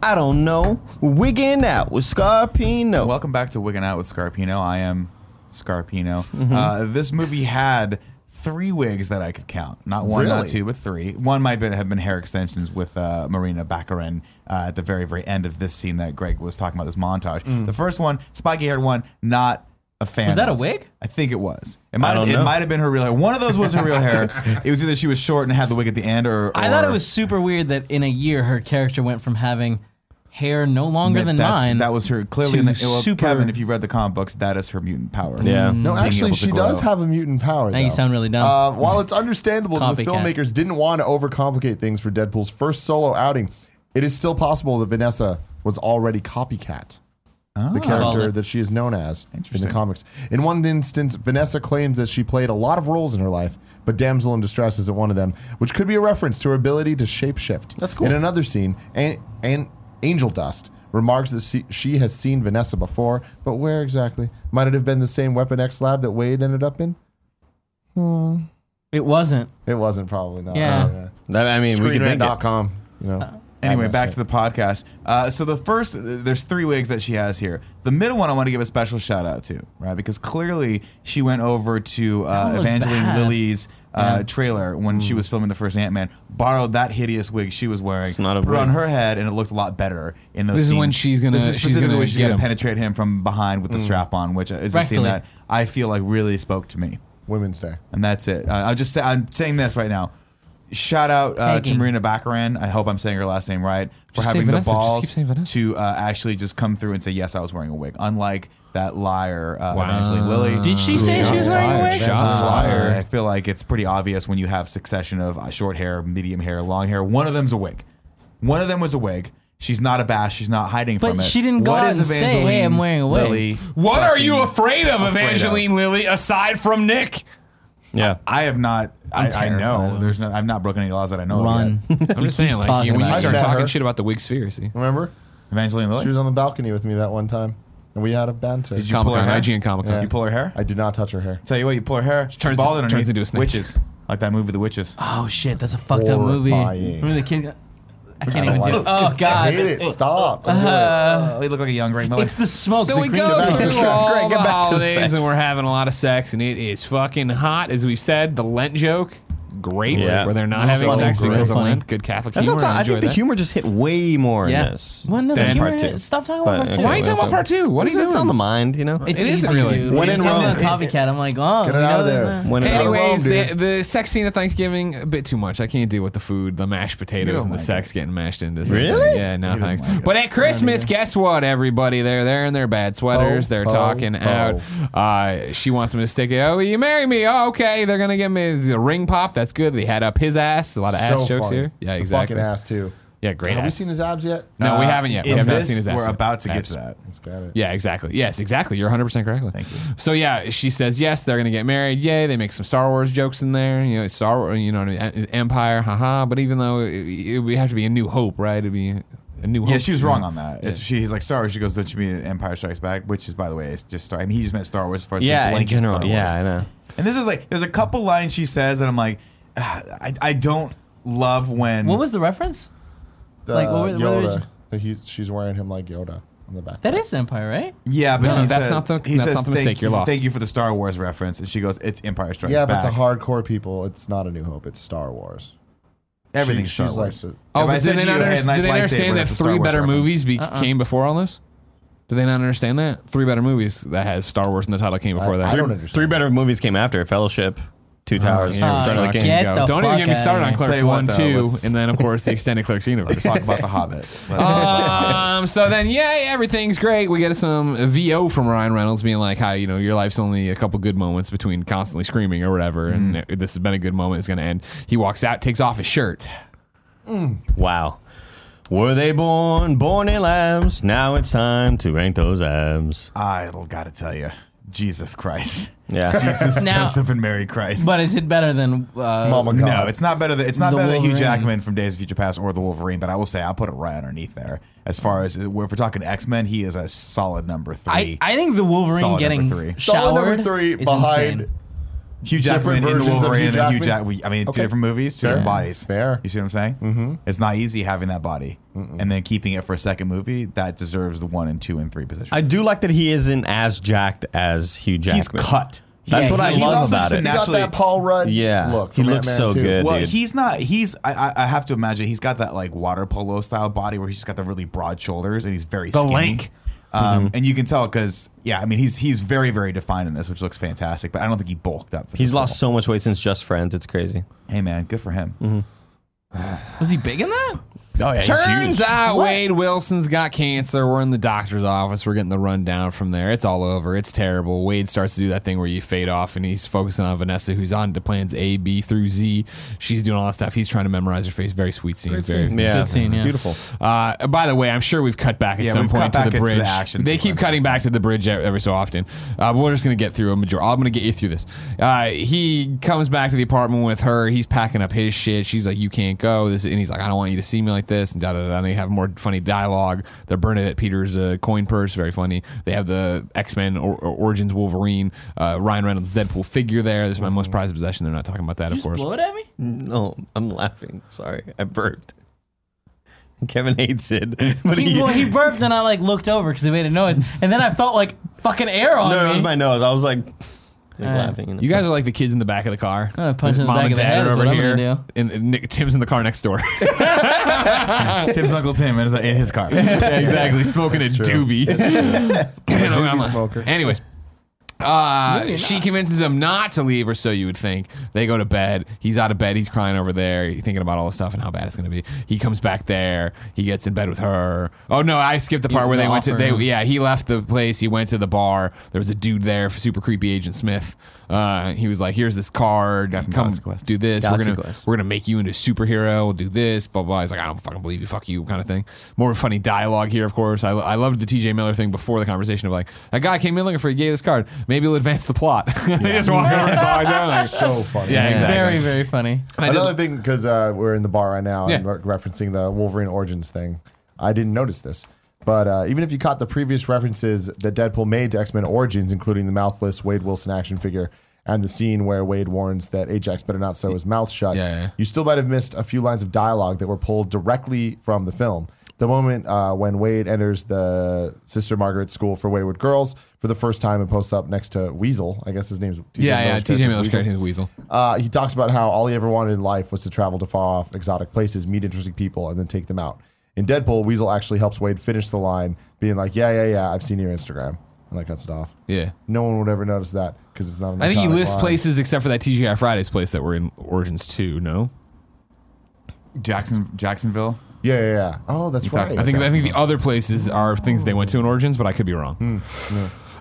[SPEAKER 4] I don't know. Wigging out with Scarpino.
[SPEAKER 3] Welcome back to Wigging Out with Scarpino. I am Scarpino.
[SPEAKER 5] Mm-hmm.
[SPEAKER 3] Uh, this movie had three wigs that I could count. Not one, not
[SPEAKER 1] Really?
[SPEAKER 3] two, but three. One might be- have been hair extensions with uh, Marina Baccarin uh, at the very, very end of this scene that Greg was talking about, this montage. The first one, spiky haired one, not a fan.
[SPEAKER 5] Mm. Was that a
[SPEAKER 3] of.
[SPEAKER 5] wig?
[SPEAKER 3] I think it was. It
[SPEAKER 4] I
[SPEAKER 3] might
[SPEAKER 4] don't
[SPEAKER 3] have, it
[SPEAKER 4] know.
[SPEAKER 3] might have been her real hair. One of those was her real
[SPEAKER 5] <laughs>
[SPEAKER 3] hair. It was either she was short and had the wig at the end or.
[SPEAKER 5] I thought it
[SPEAKER 3] or-
[SPEAKER 5] was super weird that in a year her character went from having hair no longer
[SPEAKER 3] that-
[SPEAKER 5] than
[SPEAKER 3] that's-
[SPEAKER 5] mine.
[SPEAKER 3] That was her clearly.
[SPEAKER 5] to
[SPEAKER 3] In the, well,
[SPEAKER 5] super-
[SPEAKER 3] Kevin, if you read the comic books, that is her mutant power.
[SPEAKER 4] Yeah.
[SPEAKER 1] No,
[SPEAKER 3] Being
[SPEAKER 1] actually,
[SPEAKER 3] able to
[SPEAKER 1] she
[SPEAKER 3] glow.
[SPEAKER 1] does have a mutant power.
[SPEAKER 5] Now you
[SPEAKER 1] though.
[SPEAKER 5] sound really dumb.
[SPEAKER 1] Uh, while it's understandable that the
[SPEAKER 5] Copycat.
[SPEAKER 1] filmmakers didn't want to overcomplicate things for Deadpool's first solo outing, it is still possible that Vanessa was already copycat. The character
[SPEAKER 5] Solid.
[SPEAKER 1] that she is known as in the
[SPEAKER 3] Interesting.
[SPEAKER 1] comics. In one instance, Vanessa claims that she played a lot of roles in her life, but Damsel in Distress isn't one of them, which could be a reference to her ability to shapeshift.
[SPEAKER 4] That's cool.
[SPEAKER 1] In another scene, an, an Angel Dust remarks that she, she has seen Vanessa before, but where exactly? Might it have been the same Weapon X lab that Wade ended up in?
[SPEAKER 5] it wasn't.
[SPEAKER 1] It wasn't probably not.
[SPEAKER 5] Yeah.
[SPEAKER 4] That- I mean, we could think it.
[SPEAKER 1] Screenrant.com. You know.
[SPEAKER 5] Uh,
[SPEAKER 3] Anyway,
[SPEAKER 1] That
[SPEAKER 3] back
[SPEAKER 1] shit.
[SPEAKER 3] to the podcast. Uh, so the first, there's three wigs that she has here. The middle one, I want to give a special shout out to, right? Because clearly she went over to
[SPEAKER 5] one
[SPEAKER 3] uh,
[SPEAKER 5] was
[SPEAKER 3] Evangeline
[SPEAKER 5] bad.
[SPEAKER 3] Lilly's uh, trailer when she was filming the first Ant Man, borrowed that hideous wig she was wearing,
[SPEAKER 4] It's not a
[SPEAKER 3] put it on
[SPEAKER 4] wig.
[SPEAKER 3] her head, and it looked a lot better in those.
[SPEAKER 2] This is when
[SPEAKER 3] scenes.
[SPEAKER 2] she's gonna-
[SPEAKER 3] This is
[SPEAKER 2] she's
[SPEAKER 3] specifically
[SPEAKER 2] gonna
[SPEAKER 3] when she's
[SPEAKER 2] get
[SPEAKER 3] gonna
[SPEAKER 2] him.
[SPEAKER 3] penetrate him from behind with the strap on, which is a scene
[SPEAKER 5] Rectally.
[SPEAKER 3] that I feel like really spoke to me
[SPEAKER 1] Women's Day.
[SPEAKER 3] and that's it. Uh, I'll just say I'm saying this right now. Shout out uh, to
[SPEAKER 5] Pegging.
[SPEAKER 3] Marina Baccarin. I hope I'm saying her last name right for
[SPEAKER 2] Just say
[SPEAKER 3] having the
[SPEAKER 2] Vanessa. Just keep
[SPEAKER 3] balls
[SPEAKER 2] saying Vanessa.
[SPEAKER 3] to uh, actually just come through and say yes, I was wearing a wig. Unlike that liar, uh,
[SPEAKER 2] Wow.
[SPEAKER 3] Evangeline Lilly.
[SPEAKER 5] Did she say she was
[SPEAKER 2] Shots
[SPEAKER 5] wearing a
[SPEAKER 2] fired.
[SPEAKER 5] wig?
[SPEAKER 2] Shots
[SPEAKER 3] Uh,
[SPEAKER 2] fired.
[SPEAKER 3] I feel like it's pretty obvious when you have succession of uh, short hair, medium hair, long hair. One of them's a wig. One of them was a wig. She's not abashed. She's not hiding
[SPEAKER 5] But
[SPEAKER 3] from it.
[SPEAKER 5] she didn't go
[SPEAKER 3] What
[SPEAKER 5] out
[SPEAKER 3] is
[SPEAKER 5] and say, "Hey, I'm wearing a wig."
[SPEAKER 3] Lilly
[SPEAKER 2] What are you
[SPEAKER 3] fucking-
[SPEAKER 2] afraid of,
[SPEAKER 3] afraid of?
[SPEAKER 2] Evangeline Lilly, aside from Nick?
[SPEAKER 4] Yeah.
[SPEAKER 3] I have not. I, I know.
[SPEAKER 2] terrified.
[SPEAKER 3] There's no. I've not broken any laws that I
[SPEAKER 1] Oh,
[SPEAKER 3] know.
[SPEAKER 1] <laughs>
[SPEAKER 3] Of
[SPEAKER 5] Run.
[SPEAKER 3] yet.
[SPEAKER 2] I'm just saying, like,
[SPEAKER 5] talking
[SPEAKER 2] you, when you
[SPEAKER 5] about
[SPEAKER 1] it.
[SPEAKER 2] start
[SPEAKER 1] I met
[SPEAKER 2] talking
[SPEAKER 1] her.
[SPEAKER 2] shit about the Wigspherecy,
[SPEAKER 1] Remember?
[SPEAKER 3] Evangeline Lilly.
[SPEAKER 1] She was on the balcony with me that one time, and we had a banter.
[SPEAKER 3] Did you pull
[SPEAKER 2] Comic
[SPEAKER 3] her
[SPEAKER 2] Con,
[SPEAKER 3] hair?
[SPEAKER 2] IGN Comic Con.
[SPEAKER 1] Yeah.
[SPEAKER 3] You pull her hair?
[SPEAKER 1] I did not touch her hair.
[SPEAKER 3] Tell you what, you pull her hair. She
[SPEAKER 2] turns-
[SPEAKER 3] bald underneath.
[SPEAKER 2] turns into a snake.
[SPEAKER 3] Witches, like that movie, The Witches.
[SPEAKER 5] Oh shit, that's a fucked up movie.
[SPEAKER 1] Horrifying.
[SPEAKER 5] Remember the kid? I
[SPEAKER 1] I
[SPEAKER 5] can't
[SPEAKER 1] don't
[SPEAKER 5] even do.
[SPEAKER 1] like
[SPEAKER 5] it. Oh
[SPEAKER 1] I
[SPEAKER 5] god,
[SPEAKER 1] hate it. Stop. Don't do it.
[SPEAKER 5] Uh,
[SPEAKER 3] Oh, you look like a young Greg Miller.
[SPEAKER 5] it's the smoke.
[SPEAKER 2] So
[SPEAKER 5] the
[SPEAKER 2] we
[SPEAKER 5] green
[SPEAKER 2] go
[SPEAKER 5] smoke.
[SPEAKER 1] to
[SPEAKER 2] through
[SPEAKER 1] the
[SPEAKER 2] all
[SPEAKER 3] Greg,
[SPEAKER 2] the
[SPEAKER 3] get back to the
[SPEAKER 2] holidays,
[SPEAKER 3] sex.
[SPEAKER 2] and we're having a lot of sex, and it is fucking hot, as we've said. The Lent joke, great,
[SPEAKER 4] Yeah.
[SPEAKER 2] where they're not
[SPEAKER 1] This is
[SPEAKER 2] having
[SPEAKER 1] funny.
[SPEAKER 2] sex
[SPEAKER 1] Great.
[SPEAKER 2] because of
[SPEAKER 5] Funny.
[SPEAKER 2] Lent. Good Catholic
[SPEAKER 4] That's
[SPEAKER 2] humor.
[SPEAKER 4] what I'm
[SPEAKER 2] I
[SPEAKER 4] talking. I think
[SPEAKER 2] enjoy
[SPEAKER 4] the humor just hit way more
[SPEAKER 5] Yeah.
[SPEAKER 4] in this.
[SPEAKER 5] Well, no, the
[SPEAKER 4] than
[SPEAKER 5] humor-
[SPEAKER 4] part two.
[SPEAKER 5] stop talking about part two.
[SPEAKER 2] that. Why are you talking about part two? What are you
[SPEAKER 4] It's- It's on the
[SPEAKER 2] doing?
[SPEAKER 4] mind, you know.
[SPEAKER 5] It's
[SPEAKER 2] It
[SPEAKER 5] easy
[SPEAKER 2] isn't really.
[SPEAKER 5] To do.
[SPEAKER 2] When
[SPEAKER 5] It's
[SPEAKER 1] in Rome.
[SPEAKER 5] like a copycat. I'm like, oh,
[SPEAKER 1] Get it
[SPEAKER 5] you
[SPEAKER 1] out
[SPEAKER 5] know
[SPEAKER 1] of there.
[SPEAKER 5] that-
[SPEAKER 4] When it-
[SPEAKER 2] Anyways,
[SPEAKER 1] Not alone,
[SPEAKER 2] the, the sex scene at Thanksgiving a bit too much. I can't deal with the food, the mashed potatoes, and the
[SPEAKER 3] like
[SPEAKER 2] sex getting mashed into.
[SPEAKER 4] Really?
[SPEAKER 2] Yeah, no
[SPEAKER 3] He doesn't
[SPEAKER 2] thanks.
[SPEAKER 3] like it.
[SPEAKER 2] but at Christmas, guess what? Everybody, they're there in their bad sweaters.
[SPEAKER 1] Oh,
[SPEAKER 2] they're
[SPEAKER 1] oh,
[SPEAKER 2] talking out. Uh, she wants me to stick it. Oh, will you marry me? Oh, okay. They're gonna give me a ring pop. That's good. They had up his ass. A lot of ass
[SPEAKER 1] So
[SPEAKER 2] jokes
[SPEAKER 1] funny.
[SPEAKER 2] here. Yeah,
[SPEAKER 1] The
[SPEAKER 2] exactly.
[SPEAKER 1] fucking ass too.
[SPEAKER 2] Yeah, great.
[SPEAKER 1] Have we
[SPEAKER 2] ass.
[SPEAKER 1] seen his abs yet?
[SPEAKER 2] no, we haven't yet. We
[SPEAKER 3] Uh, In
[SPEAKER 2] have not
[SPEAKER 3] this,
[SPEAKER 2] seen his ass.
[SPEAKER 3] We're
[SPEAKER 2] yet.
[SPEAKER 3] about to get
[SPEAKER 2] Abs.
[SPEAKER 3] to that.
[SPEAKER 1] He's got it.
[SPEAKER 2] Yeah, exactly. Yes, exactly. You're 100% correctly. Thank
[SPEAKER 3] you.
[SPEAKER 2] So yeah, she says yes. They're gonna get married. Yay! They make some Star Wars jokes in there. You know, it's Star Wars. You know, what I mean? Empire. Haha. But even though it, it would have to be a New Hope, right? It'd be a New Hope.
[SPEAKER 3] Yeah, she was wrong on that. It's, she, he's like, sorry. She goes, don't you mean Empire Strikes Back? Which is, by the way, it's just Star. I mean, he just meant Star Wars as far as the
[SPEAKER 4] yeah, in
[SPEAKER 3] blanket
[SPEAKER 4] general.
[SPEAKER 3] Star Wars.
[SPEAKER 4] Yeah, I know.
[SPEAKER 3] And this is like, there's a couple lines she says that I'm like, ah, I, I don't love when.
[SPEAKER 5] What was the reference?
[SPEAKER 1] The,
[SPEAKER 5] Like, what were- what were-
[SPEAKER 1] Uh, Yoda. The- he- she's wearing him like Yoda on the back.
[SPEAKER 5] That is Empire, right?
[SPEAKER 3] Yeah, but
[SPEAKER 2] No,
[SPEAKER 3] he
[SPEAKER 2] no, that's
[SPEAKER 3] says-
[SPEAKER 2] not the-
[SPEAKER 3] he
[SPEAKER 2] that's
[SPEAKER 3] says,
[SPEAKER 2] not the mistake.
[SPEAKER 3] Thank,
[SPEAKER 2] You're
[SPEAKER 3] you-
[SPEAKER 2] lost.
[SPEAKER 3] Thank you for the Star Wars reference. And she goes, it's Empire Strikes
[SPEAKER 1] yeah,
[SPEAKER 3] Back.
[SPEAKER 1] but to hardcore people, it's not a New Hope. It's Star Wars.
[SPEAKER 3] Everything's
[SPEAKER 1] She-
[SPEAKER 3] Star
[SPEAKER 1] she's
[SPEAKER 3] Wars.
[SPEAKER 1] like-
[SPEAKER 2] Oh,
[SPEAKER 3] If I
[SPEAKER 2] but
[SPEAKER 3] said
[SPEAKER 2] did they
[SPEAKER 3] to you,
[SPEAKER 2] not
[SPEAKER 3] "Hey,
[SPEAKER 2] understand,
[SPEAKER 3] nice
[SPEAKER 2] did they
[SPEAKER 3] lightsaber,"
[SPEAKER 2] understand that
[SPEAKER 3] that's a Star
[SPEAKER 2] three
[SPEAKER 3] Wars
[SPEAKER 2] better
[SPEAKER 3] reference.
[SPEAKER 2] movies be-
[SPEAKER 5] Uh-uh.
[SPEAKER 2] came before all this? Did they not understand that three better movies that has Star Wars in the title came before
[SPEAKER 1] I-
[SPEAKER 2] that?
[SPEAKER 1] I don't understand.
[SPEAKER 4] Three better movies came after Fellowship, Two Towers,
[SPEAKER 2] Here we
[SPEAKER 5] Uh,
[SPEAKER 4] Return of the
[SPEAKER 2] fucking
[SPEAKER 4] King.
[SPEAKER 5] get
[SPEAKER 2] go.
[SPEAKER 5] the
[SPEAKER 2] Don't even
[SPEAKER 5] fuck
[SPEAKER 2] Oh, get me started
[SPEAKER 5] outta
[SPEAKER 2] on
[SPEAKER 5] here.
[SPEAKER 2] Clerks
[SPEAKER 3] Tell you what,
[SPEAKER 2] one,
[SPEAKER 3] though,
[SPEAKER 2] two,
[SPEAKER 3] let's-
[SPEAKER 2] and then of course the extended
[SPEAKER 3] <laughs>
[SPEAKER 2] Clerks universe.
[SPEAKER 3] Talk about the Hobbit. Let's-
[SPEAKER 2] um, so then, yay, everything's great. We get some VO from Ryan Reynolds being like, hi, you know, your life's only a couple good moments between constantly screaming or whatever, and it- this has been a good moment. It's going to end. He walks out, takes off his shirt.
[SPEAKER 4] Wow. Were they born, born in labs? Now it's time to rank those abs.
[SPEAKER 3] I gotta tell you, Jesus Christ,
[SPEAKER 4] Yeah.
[SPEAKER 3] Jesus,
[SPEAKER 5] Now-
[SPEAKER 3] Joseph, and Mary Christ.
[SPEAKER 5] But is it better than uh,
[SPEAKER 1] Mama God.
[SPEAKER 3] no, it's not better than it's not
[SPEAKER 5] The
[SPEAKER 3] better than Hugh
[SPEAKER 5] Wolverine.
[SPEAKER 3] Jackman from Days of Future Past or the Wolverine. But I will say, I'll put it right underneath there. As far as if we're talking X Men, he is a solid number
[SPEAKER 5] I,
[SPEAKER 3] three.
[SPEAKER 5] I think the Wolverine
[SPEAKER 3] Solid
[SPEAKER 5] getting
[SPEAKER 3] number three.
[SPEAKER 1] Solid
[SPEAKER 5] showered
[SPEAKER 1] number three
[SPEAKER 5] is
[SPEAKER 1] behind.
[SPEAKER 5] insane.
[SPEAKER 3] Hugh Jackman in
[SPEAKER 1] different
[SPEAKER 3] the
[SPEAKER 1] versions of
[SPEAKER 3] Wolverine
[SPEAKER 1] Hugh
[SPEAKER 3] and Hugh
[SPEAKER 1] Jackman?
[SPEAKER 3] Jackman. I mean,
[SPEAKER 1] Okay.
[SPEAKER 3] two different movies, two
[SPEAKER 1] Fair.
[SPEAKER 3] different bodies.
[SPEAKER 1] Fair.
[SPEAKER 3] You see what I'm saying? Mm-hmm. It's not easy having that body and then keeping it for a second movie that deserves the one and two and three position.
[SPEAKER 4] I do like that he isn't as jacked as Hugh Jackman.
[SPEAKER 3] He's cut.
[SPEAKER 4] That's
[SPEAKER 3] Yeah,
[SPEAKER 4] what I
[SPEAKER 3] he's
[SPEAKER 4] love
[SPEAKER 3] also
[SPEAKER 4] about
[SPEAKER 3] just a
[SPEAKER 4] it.
[SPEAKER 1] He got
[SPEAKER 3] Naturally-
[SPEAKER 1] that Paul Rudd
[SPEAKER 4] Yeah.
[SPEAKER 1] look.
[SPEAKER 4] He
[SPEAKER 1] from
[SPEAKER 4] looks
[SPEAKER 1] Ant-Man
[SPEAKER 4] so
[SPEAKER 1] 2.
[SPEAKER 3] <laughs>
[SPEAKER 4] good.
[SPEAKER 3] Well,
[SPEAKER 4] dude.
[SPEAKER 3] he's not. He's. I, I. I have to imagine he's got that like water polo style body where he's just got the really broad shoulders and he's very skinny.
[SPEAKER 2] lank.
[SPEAKER 3] Um, And you can tell because yeah, I mean he's he's very very defined in this, which looks fantastic. But I don't think he bulked up. for
[SPEAKER 4] He's
[SPEAKER 3] this
[SPEAKER 4] lost so much weight since Just Friends. It's crazy.
[SPEAKER 3] role. Hey man, good for him.
[SPEAKER 5] Was he big in that?
[SPEAKER 4] Oh, yeah.
[SPEAKER 2] Turns out Wade Wilson's got cancer. We're in the doctor's office. We're getting the rundown from there. It's all over. It's terrible. Wade starts to do that thing where you fade off and he's focusing on Vanessa, who's on to plans A, B through Z. She's doing all that stuff. He's trying to memorize her face. Very sweet scene. Very
[SPEAKER 4] Yeah.
[SPEAKER 5] Good scene, yeah.
[SPEAKER 4] Beautiful.
[SPEAKER 2] Uh, by the way, I'm sure we've cut back at
[SPEAKER 3] Yeah,
[SPEAKER 2] some
[SPEAKER 3] we've cut
[SPEAKER 2] point to
[SPEAKER 3] back
[SPEAKER 2] the
[SPEAKER 3] into the
[SPEAKER 2] bridge.
[SPEAKER 3] action
[SPEAKER 2] they keep
[SPEAKER 3] sequence.
[SPEAKER 2] cutting back to the bridge e- every so often. Uh, but we're just going to get through a majority. I'm going to get you through this. Uh, he comes back to the apartment with her. He's packing up his shit. She's like, "You can't go." This and he's like, "I don't want you to see me like this." And da da da. And they have more funny dialogue. They're burning at Peter's uh, coin purse. Very funny. They have the X Men or- or Origins Wolverine, uh, Ryan Reynolds Deadpool figure there. This is my most prized possession. They're not talking about that, of
[SPEAKER 5] Just
[SPEAKER 2] course.
[SPEAKER 5] blow it at me.
[SPEAKER 4] No, I'm laughing. Sorry. I burped. <laughs> Kevin hates it, <laughs> but
[SPEAKER 5] He, well, he burped and I like looked over because he made a noise, and then I felt like fucking air on
[SPEAKER 4] no, it was
[SPEAKER 5] me.
[SPEAKER 4] my nose. I was like, like laughing.
[SPEAKER 2] You guys are like the kids in the back of the car.
[SPEAKER 5] gonna punch you Uh, in the
[SPEAKER 2] Mom
[SPEAKER 5] back
[SPEAKER 2] and
[SPEAKER 5] of the
[SPEAKER 2] dad
[SPEAKER 5] head
[SPEAKER 2] are
[SPEAKER 5] is
[SPEAKER 2] over
[SPEAKER 5] what I'm
[SPEAKER 2] here,
[SPEAKER 5] gonna do.
[SPEAKER 2] and and Nick, Tim's in the car next door.
[SPEAKER 3] <laughs>
[SPEAKER 2] <laughs>
[SPEAKER 3] Tim's Uncle Tim in his, in his <laughs> car.
[SPEAKER 2] Yeah, exactly. Smoking a doobie. <laughs> You know, I'm
[SPEAKER 1] doobie
[SPEAKER 2] a-
[SPEAKER 1] smoker.
[SPEAKER 2] Anyways. Uh, she convinces him not to leave, or so you would think. They go to bed. He's out of bed. He's crying over there, thinking about all the stuff and how bad it's going to be. He comes back there. He gets in bed with her. Oh no, I skipped the part where they went to.
[SPEAKER 5] offer
[SPEAKER 2] They
[SPEAKER 5] him.
[SPEAKER 2] yeah, he left the place. He went to the bar. There was a dude there, super creepy Agent Smith. Uh, he was like, "Here's this card. Come
[SPEAKER 3] God's quest.
[SPEAKER 2] do this. We're
[SPEAKER 4] Galaxy
[SPEAKER 2] gonna
[SPEAKER 4] Quest.
[SPEAKER 2] we're gonna make you into a superhero. We'll do this, blah blah. He's like, I don't fucking believe you, fuck you, kind of thing. More funny dialogue here, of course. I, I loved the T.J. Miller thing before the conversation of like, that guy came in looking for a gay this card. Maybe it'll advance the plot. <laughs> they just walk over and talk down. Like,
[SPEAKER 1] so funny.
[SPEAKER 2] yeah, exactly.
[SPEAKER 5] Very very funny.
[SPEAKER 2] I did-
[SPEAKER 1] Another thing, because uh, we're in the bar right now and
[SPEAKER 2] Yeah.
[SPEAKER 1] we're referencing the Wolverine Origins thing, I didn't notice this. But uh, even if you caught the previous references that Deadpool made to X Men Origins, including the mouthless Wade Wilson action figure and the scene where Wade warns that Ajax better not sew his mouth shut,
[SPEAKER 2] Yeah, yeah.
[SPEAKER 1] you still might have missed a few lines of dialogue that were pulled directly from the film. The moment uh, when Wade enters the Sister Margaret School for Wayward Girls for the first time and posts up next to Weasel, I guess his name's TJ
[SPEAKER 2] yeah, yeah.
[SPEAKER 1] Miller's
[SPEAKER 2] T.J.
[SPEAKER 1] character's
[SPEAKER 2] Miller's
[SPEAKER 1] Weasel.
[SPEAKER 2] character is Weasel.
[SPEAKER 1] Uh, he talks about how all he ever wanted in life was to travel to far off exotic places, meet interesting people, and then take them out. In Deadpool, Weasel actually helps Wade finish the line, being like, "Yeah, yeah, yeah, I've seen your Instagram," and that cuts it off.
[SPEAKER 2] Yeah.
[SPEAKER 1] No one would ever notice that because it's not. An
[SPEAKER 2] I think he
[SPEAKER 1] iconic
[SPEAKER 2] lists
[SPEAKER 1] line.
[SPEAKER 2] places except for that TGI Fridays place that we're in Origins 2, no?
[SPEAKER 3] Jackson Jacksonville.
[SPEAKER 1] Yeah, yeah, yeah. Oh, that's right.
[SPEAKER 3] talks
[SPEAKER 2] I think I think the other places are things they went to in Origins, but I could be wrong.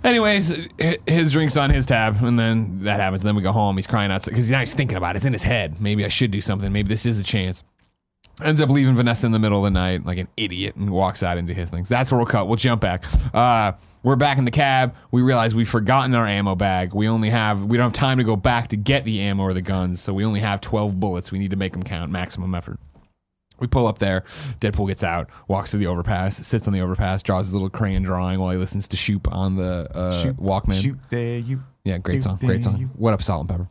[SPEAKER 2] Anyways, hi- his drink's on his tab, and then that happens. Then we go home. He's crying outside because now he's thinking about it. It's in his head. Maybe I should do something. Maybe this is a chance. Ends up leaving Vanessa in the middle of the night like an idiot and walks out into his things. That's where we'll cut. We'll jump back. Uh, we're back in the cab. We realize we've forgotten our ammo bag. We only have, we don't have time to go back to get the ammo or the guns. So we only have 12 bullets. We need to make them count. Maximum effort. We pull up there. Deadpool gets out, walks through the overpass, sits on the overpass, draws his little crayon drawing while he listens to Shoop on the uh,
[SPEAKER 3] Shoop,
[SPEAKER 2] Walkman.
[SPEAKER 3] Shoot there, you.
[SPEAKER 2] Yeah, great
[SPEAKER 3] Shoop
[SPEAKER 2] song.
[SPEAKER 3] there,
[SPEAKER 2] Great song.
[SPEAKER 3] you.
[SPEAKER 2] What up, Salt and Pepper?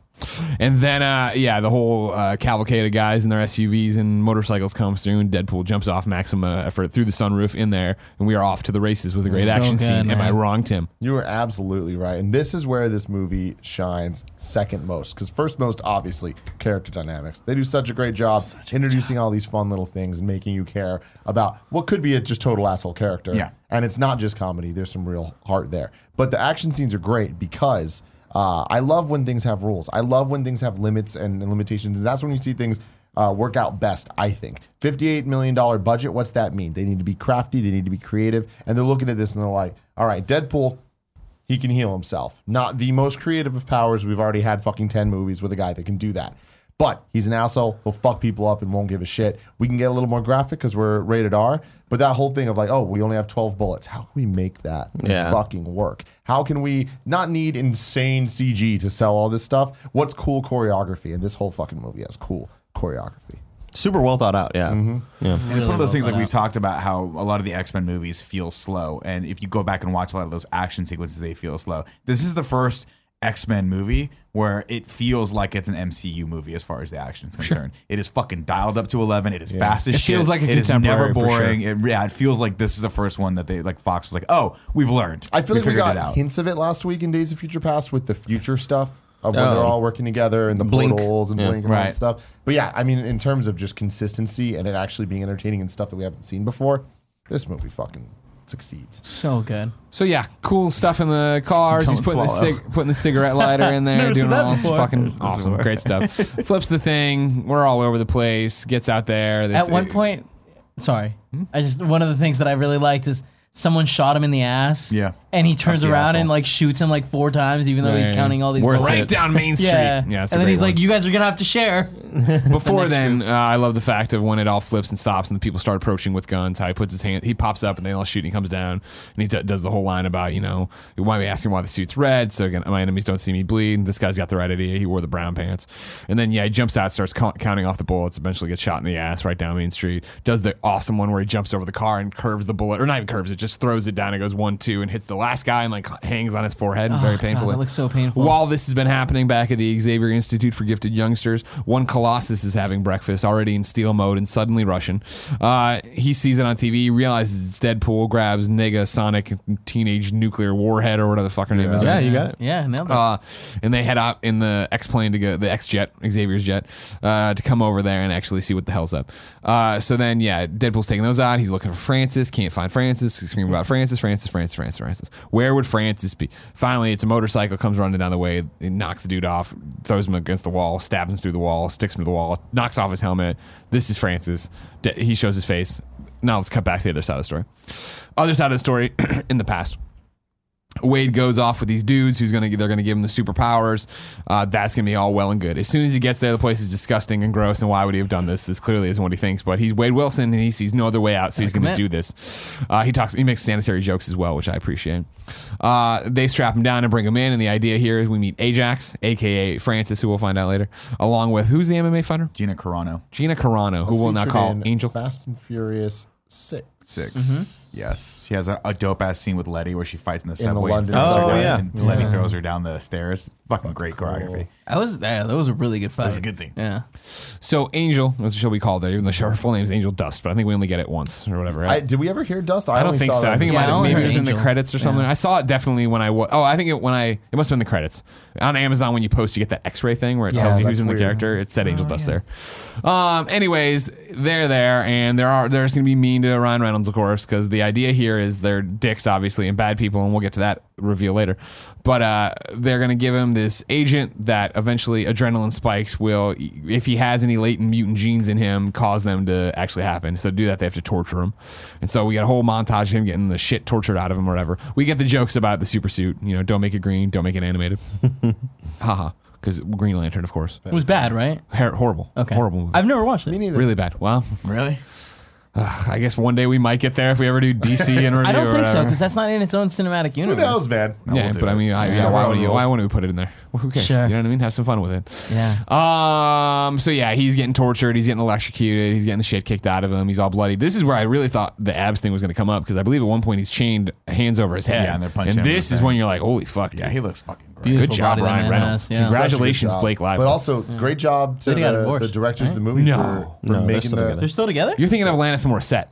[SPEAKER 2] And then, uh, yeah, the whole uh, cavalcade of guys in their SUVs and motorcycles comes through, and Deadpool jumps off Maxima effort through the sunroof in there, and we are off to the races with a great
[SPEAKER 5] So
[SPEAKER 2] action
[SPEAKER 5] good,
[SPEAKER 2] scene. Am I
[SPEAKER 5] man.
[SPEAKER 2] wrong, Tim?
[SPEAKER 1] You are absolutely right. And this is where this movie shines second most. Because first most, obviously, character dynamics. They do such a great job introducing all these fun little things and making you care about what could be a just total asshole character.
[SPEAKER 3] Yeah.
[SPEAKER 1] And it's not just comedy, there's some real heart there. But the action scenes are great because uh, I love when things have rules. I love when things have limits and limitations. And that's when you see things uh, work out best, I think. $58 million budget, what's that mean? They need to be crafty, they need to be creative. And they're looking at this and they're like, all right, Deadpool, he can heal himself. Not the most creative of powers. We've already had fucking 10 movies with a guy that can do that. But he's an asshole. He'll fuck people up and won't give a shit. We can get a little more graphic because we're rated R. But that whole thing of like, oh, we only have 12 bullets. How can we make that
[SPEAKER 4] Yeah.
[SPEAKER 1] fucking work? How can we not need insane CG to sell all this stuff? What's cool choreography? And this whole fucking movie has cool choreography.
[SPEAKER 4] super well thought out. Yeah,
[SPEAKER 2] Mm-hmm.
[SPEAKER 4] yeah.
[SPEAKER 3] And it's one of those things like we've talked about how a lot of the X Men movies feel slow, and if you go back and watch a lot of those action sequences, they feel slow. This is the first X Men movie where it feels like it's an MCU movie as far as the action is concerned. It is fucking dialed up to eleven. It is fast as
[SPEAKER 2] It
[SPEAKER 3] shit.
[SPEAKER 2] feels like a
[SPEAKER 3] it is never
[SPEAKER 2] contemporary, for sure.
[SPEAKER 3] boring. It, yeah, it feels like this is the first one that they like Fox was like, oh, we've learned.
[SPEAKER 1] I feel like we
[SPEAKER 3] figured
[SPEAKER 1] got
[SPEAKER 3] it out.
[SPEAKER 1] hints of it last week in Days of Future Past with the future stuff of when
[SPEAKER 4] Oh.
[SPEAKER 1] they're all working together and the
[SPEAKER 4] Blink.
[SPEAKER 1] portals and
[SPEAKER 4] Yeah.
[SPEAKER 1] blink and all that
[SPEAKER 3] Right.
[SPEAKER 1] stuff. But yeah, I mean, in terms of just consistency and it actually being entertaining and stuff that we haven't seen before, this movie fucking succeeds.
[SPEAKER 5] So good.
[SPEAKER 2] So yeah, cool stuff in the cars.
[SPEAKER 3] Don't
[SPEAKER 2] He's putting the,
[SPEAKER 3] swallow.
[SPEAKER 2] cig- putting the cigarette lighter in there,
[SPEAKER 5] <laughs> Never
[SPEAKER 2] doing
[SPEAKER 5] seen that
[SPEAKER 2] all this
[SPEAKER 5] before.
[SPEAKER 2] fucking awesome, great
[SPEAKER 5] <laughs>
[SPEAKER 2] stuff. Flips the thing. We're all over the place. Gets out there. That's-
[SPEAKER 5] At one point, sorry, I just one of the things that I really liked is someone shot him in the ass.
[SPEAKER 3] Yeah.
[SPEAKER 5] and he turns
[SPEAKER 3] Up the
[SPEAKER 5] around
[SPEAKER 3] asshole.
[SPEAKER 5] and like shoots him like four times, even though
[SPEAKER 2] Yeah, yeah,
[SPEAKER 5] he's counting
[SPEAKER 2] yeah.
[SPEAKER 5] all these.
[SPEAKER 3] Worth
[SPEAKER 5] bullets.
[SPEAKER 2] right down Main Street.
[SPEAKER 5] Yeah,
[SPEAKER 2] that's a
[SPEAKER 5] and then
[SPEAKER 2] great
[SPEAKER 5] he's
[SPEAKER 2] one.
[SPEAKER 5] like, "You guys are gonna have to share."
[SPEAKER 2] <laughs> Before then, uh, I love the fact of when it all flips and stops, and the people start approaching with guns. How he puts his hand, he pops up, and they all shoot, and he comes down, and he d- does the whole line about you know why are we asking why the suit's red, so again, my enemies don't see me bleed. And this guy's got the right idea. He wore the brown pants, and then yeah, he jumps out, starts co- counting off the bullets. Eventually, gets shot in the ass right down Main Street. Does the awesome one where he jumps over the car and curves the bullet, or not even curves it, just throws it down. and goes one two and hits the last guy and like hangs on his forehead and very
[SPEAKER 5] Oh, God,
[SPEAKER 2] painfully.
[SPEAKER 5] that looks so painful.
[SPEAKER 2] While this has been happening back at the Xavier Institute for Gifted Youngsters, one Colossus is having breakfast already in steel mode and suddenly Russian. Uh, he sees it on TV, realizes it's Deadpool, grabs Nega Sonic Teenage Nuclear Warhead or whatever the fuck her name is.
[SPEAKER 4] Yeah, you got it.
[SPEAKER 5] Yeah, nailed it.
[SPEAKER 2] Uh, and they head up in the X plane to go, the X jet, Xavier's jet, uh, to come over there and actually see what the hell's up. Uh, so then, yeah, Deadpool's taking those out. He's looking for Francis, can't find Francis. He's screaming about Francis, Francis, Francis, Francis, Francis. Where would Francis be? Finally, it's a motorcycle comes running down the way, it knocks the dude off, throws him against the wall, stabs him through the wall, sticks him to the wall, knocks off his helmet. This is Francis. De- he shows his face. Now let's cut back to the other side of the story. Other side of the story <clears throat> in the past. Wade goes off with these dudes who's gonna they're gonna give him the superpowers. Uh, that's gonna be all well and good. As soon as he gets there, the place is disgusting and gross. And why would he have done this? This clearly isn't what he thinks. But he's Wade Wilson, and he sees no other way out, so he's gonna
[SPEAKER 5] commit.
[SPEAKER 2] do this. Uh, he talks. He makes sanitary jokes as well, which I appreciate. Uh, they strap him down and bring him in. And the idea here is we meet Ajax, aka Francis, who we'll find out later, along with who's the MMA fighter
[SPEAKER 3] Gina Carano.
[SPEAKER 2] Gina Carano, who we'll now
[SPEAKER 1] Featured
[SPEAKER 2] call
[SPEAKER 1] in
[SPEAKER 2] Angel.
[SPEAKER 1] Fast and Furious Six.
[SPEAKER 3] 6
[SPEAKER 2] Mm-hmm.
[SPEAKER 3] Yes, she has a, a dope ass scene with Letty where she fights in the subway.
[SPEAKER 1] London
[SPEAKER 3] and throws her
[SPEAKER 4] subway.
[SPEAKER 3] down,
[SPEAKER 4] Oh, yeah.
[SPEAKER 3] and Letty throws her down the stairs. Fucking great choreography.
[SPEAKER 5] I was there. That was a really good fight. That
[SPEAKER 3] was a good scene.
[SPEAKER 5] Yeah.
[SPEAKER 2] So Angel, as she'll be called there, even though her full name is Angel Dust, but I think we only get it once or whatever. Right?
[SPEAKER 1] I, did we ever hear Dust?
[SPEAKER 2] I don't
[SPEAKER 1] only
[SPEAKER 2] think
[SPEAKER 1] saw
[SPEAKER 2] so.
[SPEAKER 1] that
[SPEAKER 2] I think it
[SPEAKER 1] this
[SPEAKER 2] might
[SPEAKER 5] Yeah, I
[SPEAKER 2] have,
[SPEAKER 5] only
[SPEAKER 2] maybe
[SPEAKER 5] heard
[SPEAKER 2] it was in the
[SPEAKER 5] Angel.
[SPEAKER 2] credits or something. I saw it definitely when I was. Oh, I think it when I it must have been the credits on Amazon when you post you get that X-ray thing where it
[SPEAKER 1] Yeah,
[SPEAKER 2] tells you who's
[SPEAKER 1] that's
[SPEAKER 2] in the
[SPEAKER 1] weird.
[SPEAKER 2] character. It said Angel Dust there. Um. Anyways, they're there and there are there's gonna be mean to Ryan Reynolds of course because the idea here is they're dicks obviously and bad people and we'll get to that reveal later. But uh, they're gonna give him this agent that eventually adrenaline spikes will, if he has any latent mutant genes in him, cause them to actually happen. So to do that, they have to torture him. And so we got a whole montage of him getting the shit tortured out of him or whatever. We get the jokes about the super suit. You know, don't make it green, don't make it animated. <laughs> Haha. Because Green Lantern, of course.
[SPEAKER 5] It was bad, right?
[SPEAKER 2] Her- horrible.
[SPEAKER 5] Okay.
[SPEAKER 2] Horrible movie.
[SPEAKER 5] I've never watched
[SPEAKER 1] Me
[SPEAKER 5] it.
[SPEAKER 1] neither.
[SPEAKER 2] Really bad. Well,
[SPEAKER 3] Really?
[SPEAKER 2] I guess one day we might get there if we ever do DC
[SPEAKER 5] <laughs>
[SPEAKER 2] in review.
[SPEAKER 5] I don't
[SPEAKER 2] or
[SPEAKER 5] think so
[SPEAKER 2] whatever.
[SPEAKER 5] because that's not in its own cinematic
[SPEAKER 1] Who
[SPEAKER 5] universe.
[SPEAKER 1] knows, man?
[SPEAKER 2] yeah,
[SPEAKER 3] we'll do
[SPEAKER 2] but I
[SPEAKER 3] it.
[SPEAKER 2] mean, I, yeah,
[SPEAKER 3] Yeah,
[SPEAKER 2] why
[SPEAKER 3] road
[SPEAKER 2] would you?
[SPEAKER 3] rules.
[SPEAKER 2] Why wouldn't we put it in there? Well, who cares?
[SPEAKER 5] Sure.
[SPEAKER 2] You know what I mean? Have some fun with it.
[SPEAKER 5] Yeah.
[SPEAKER 2] Um. So yeah, he's getting tortured. He's getting electrocuted. He's getting the shit kicked out of him. He's all bloody. This is where I really thought the abs thing was going to come up because I believe at one point he's chained hands over his head.
[SPEAKER 3] Yeah, and they're punching him in
[SPEAKER 2] this
[SPEAKER 3] the
[SPEAKER 2] is
[SPEAKER 3] thing.
[SPEAKER 2] when you're like, holy fuck, dude.
[SPEAKER 3] Yeah, he looks fucking great.
[SPEAKER 5] Beautiful
[SPEAKER 2] Good job,
[SPEAKER 5] body that
[SPEAKER 2] Ryan
[SPEAKER 5] man
[SPEAKER 2] Reynolds.
[SPEAKER 5] has, yeah.
[SPEAKER 2] Congratulations,
[SPEAKER 1] Such a good job.
[SPEAKER 2] Blake Lively.
[SPEAKER 1] But also, great job to
[SPEAKER 5] They got
[SPEAKER 1] the,
[SPEAKER 5] divorced,
[SPEAKER 1] the directors of the
[SPEAKER 5] right?
[SPEAKER 1] movie
[SPEAKER 2] No.
[SPEAKER 1] for, for
[SPEAKER 4] No, they're
[SPEAKER 1] making
[SPEAKER 4] still
[SPEAKER 1] the,
[SPEAKER 4] together.
[SPEAKER 5] They're still together?
[SPEAKER 2] you're thinking of Alanis Morissette.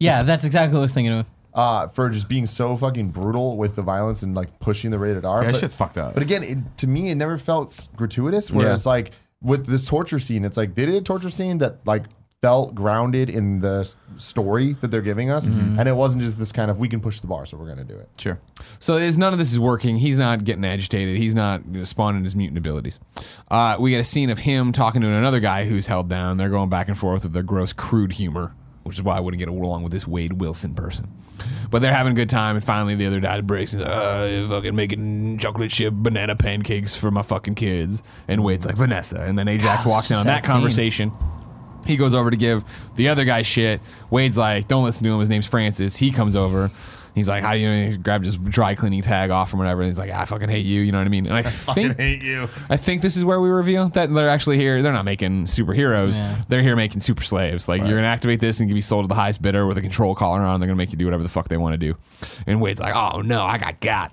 [SPEAKER 5] Yeah, that's exactly what I was thinking of.
[SPEAKER 1] uh, for just being so fucking brutal with the violence and like pushing the rated R.
[SPEAKER 3] Yeah, that
[SPEAKER 1] But-
[SPEAKER 3] shit's fucked up.
[SPEAKER 1] But again, it, to me, it never felt gratuitous. Where
[SPEAKER 2] Yeah.
[SPEAKER 1] it's like with this torture scene, it's like they did a torture scene that like felt grounded in the s- story that they're giving us,
[SPEAKER 3] Mm-hmm.
[SPEAKER 1] and it wasn't just this kind of we can push the bar, so we're gonna do it.
[SPEAKER 3] Sure.
[SPEAKER 2] So there's none of this is working. He's not getting agitated. He's not you know, spawning his mutant abilities. Uh, we get a scene of him talking to another guy who's held down. They're going back and forth with their gross, crude humor, which is why I wouldn't get along with this Wade Wilson person. But they're having a good time, and finally the other guy breaks. And, uh, fucking making chocolate chip banana pancakes for my fucking kids. And Wade's like Vanessa, and then Ajax
[SPEAKER 5] Gosh,
[SPEAKER 2] walks in on
[SPEAKER 5] Ah, sad
[SPEAKER 2] that
[SPEAKER 5] scene.
[SPEAKER 2] conversation. He goes over to give the other guy shit. Wade's like, don't listen to him. His name's Francis. He comes over. He's like, how do you know? He grabbed his dry cleaning tag off from whatever. And he's like, I fucking hate you. You know what I mean? And I, think
[SPEAKER 1] you.
[SPEAKER 2] I think this is where we reveal that they're actually here. They're not making superheroes.
[SPEAKER 5] Yeah.
[SPEAKER 2] They're here making super slaves. Like you're gonna activate this and be sold to the highest bidder with a control collar on. They're gonna make you do whatever the fuck they want to do. And Wade's like, oh no, I got got.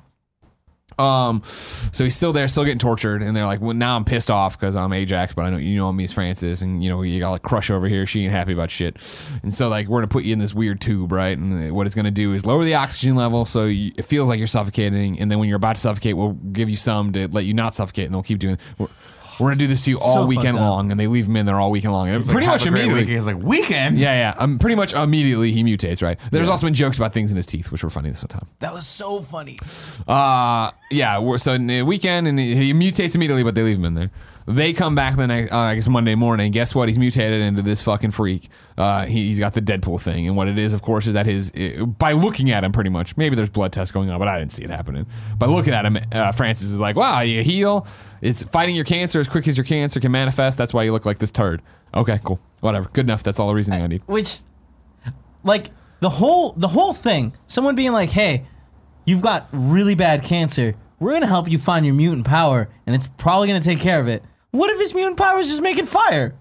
[SPEAKER 2] Um, so he's still there, still getting tortured, and they're like, "Well, now I'm pissed off because I'm Ajax, but I know you know me as Francis, and you know you got like crush over here. She ain't happy about shit, and so like we're gonna put you in this weird tube, right? And what it's gonna do is lower the oxygen level, so you, it feels like you're suffocating, and then when you're about to suffocate, we'll give you some to let you not suffocate, and they'll keep doing. We're, we're gonna do this to you all
[SPEAKER 5] fucked
[SPEAKER 2] weekend
[SPEAKER 5] up.
[SPEAKER 2] long, and they leave him in there all weekend long, and pretty much immediately.
[SPEAKER 3] He's like, weekend?
[SPEAKER 2] Yeah, yeah. Um, pretty much immediately he mutates, right? There's also been jokes about things in his teeth, which were funny this whole time.
[SPEAKER 5] That was so funny.
[SPEAKER 2] Uh, yeah. We're, so in the weekend, and he he mutates immediately, but they leave him in there. They come back the next, uh, I guess Monday morning. Guess what? He's mutated into this fucking freak. Uh, he, he's got the Deadpool thing, and what it is, of course, is that his by looking at him, pretty much. Maybe there's blood tests going on, but I didn't see it happening. By looking at him, uh, Francis is like, "Wow, you heal. It's fighting your cancer as quick as your cancer can manifest. That's why you look like this turd." Okay, cool, whatever, good enough. That's all the reasoning I need.
[SPEAKER 5] Which, like, the whole the whole thing, someone being like, "Hey, you've got really bad cancer. We're gonna help you find your mutant power, and it's probably gonna take care of it." What if his mutant power is just making fire?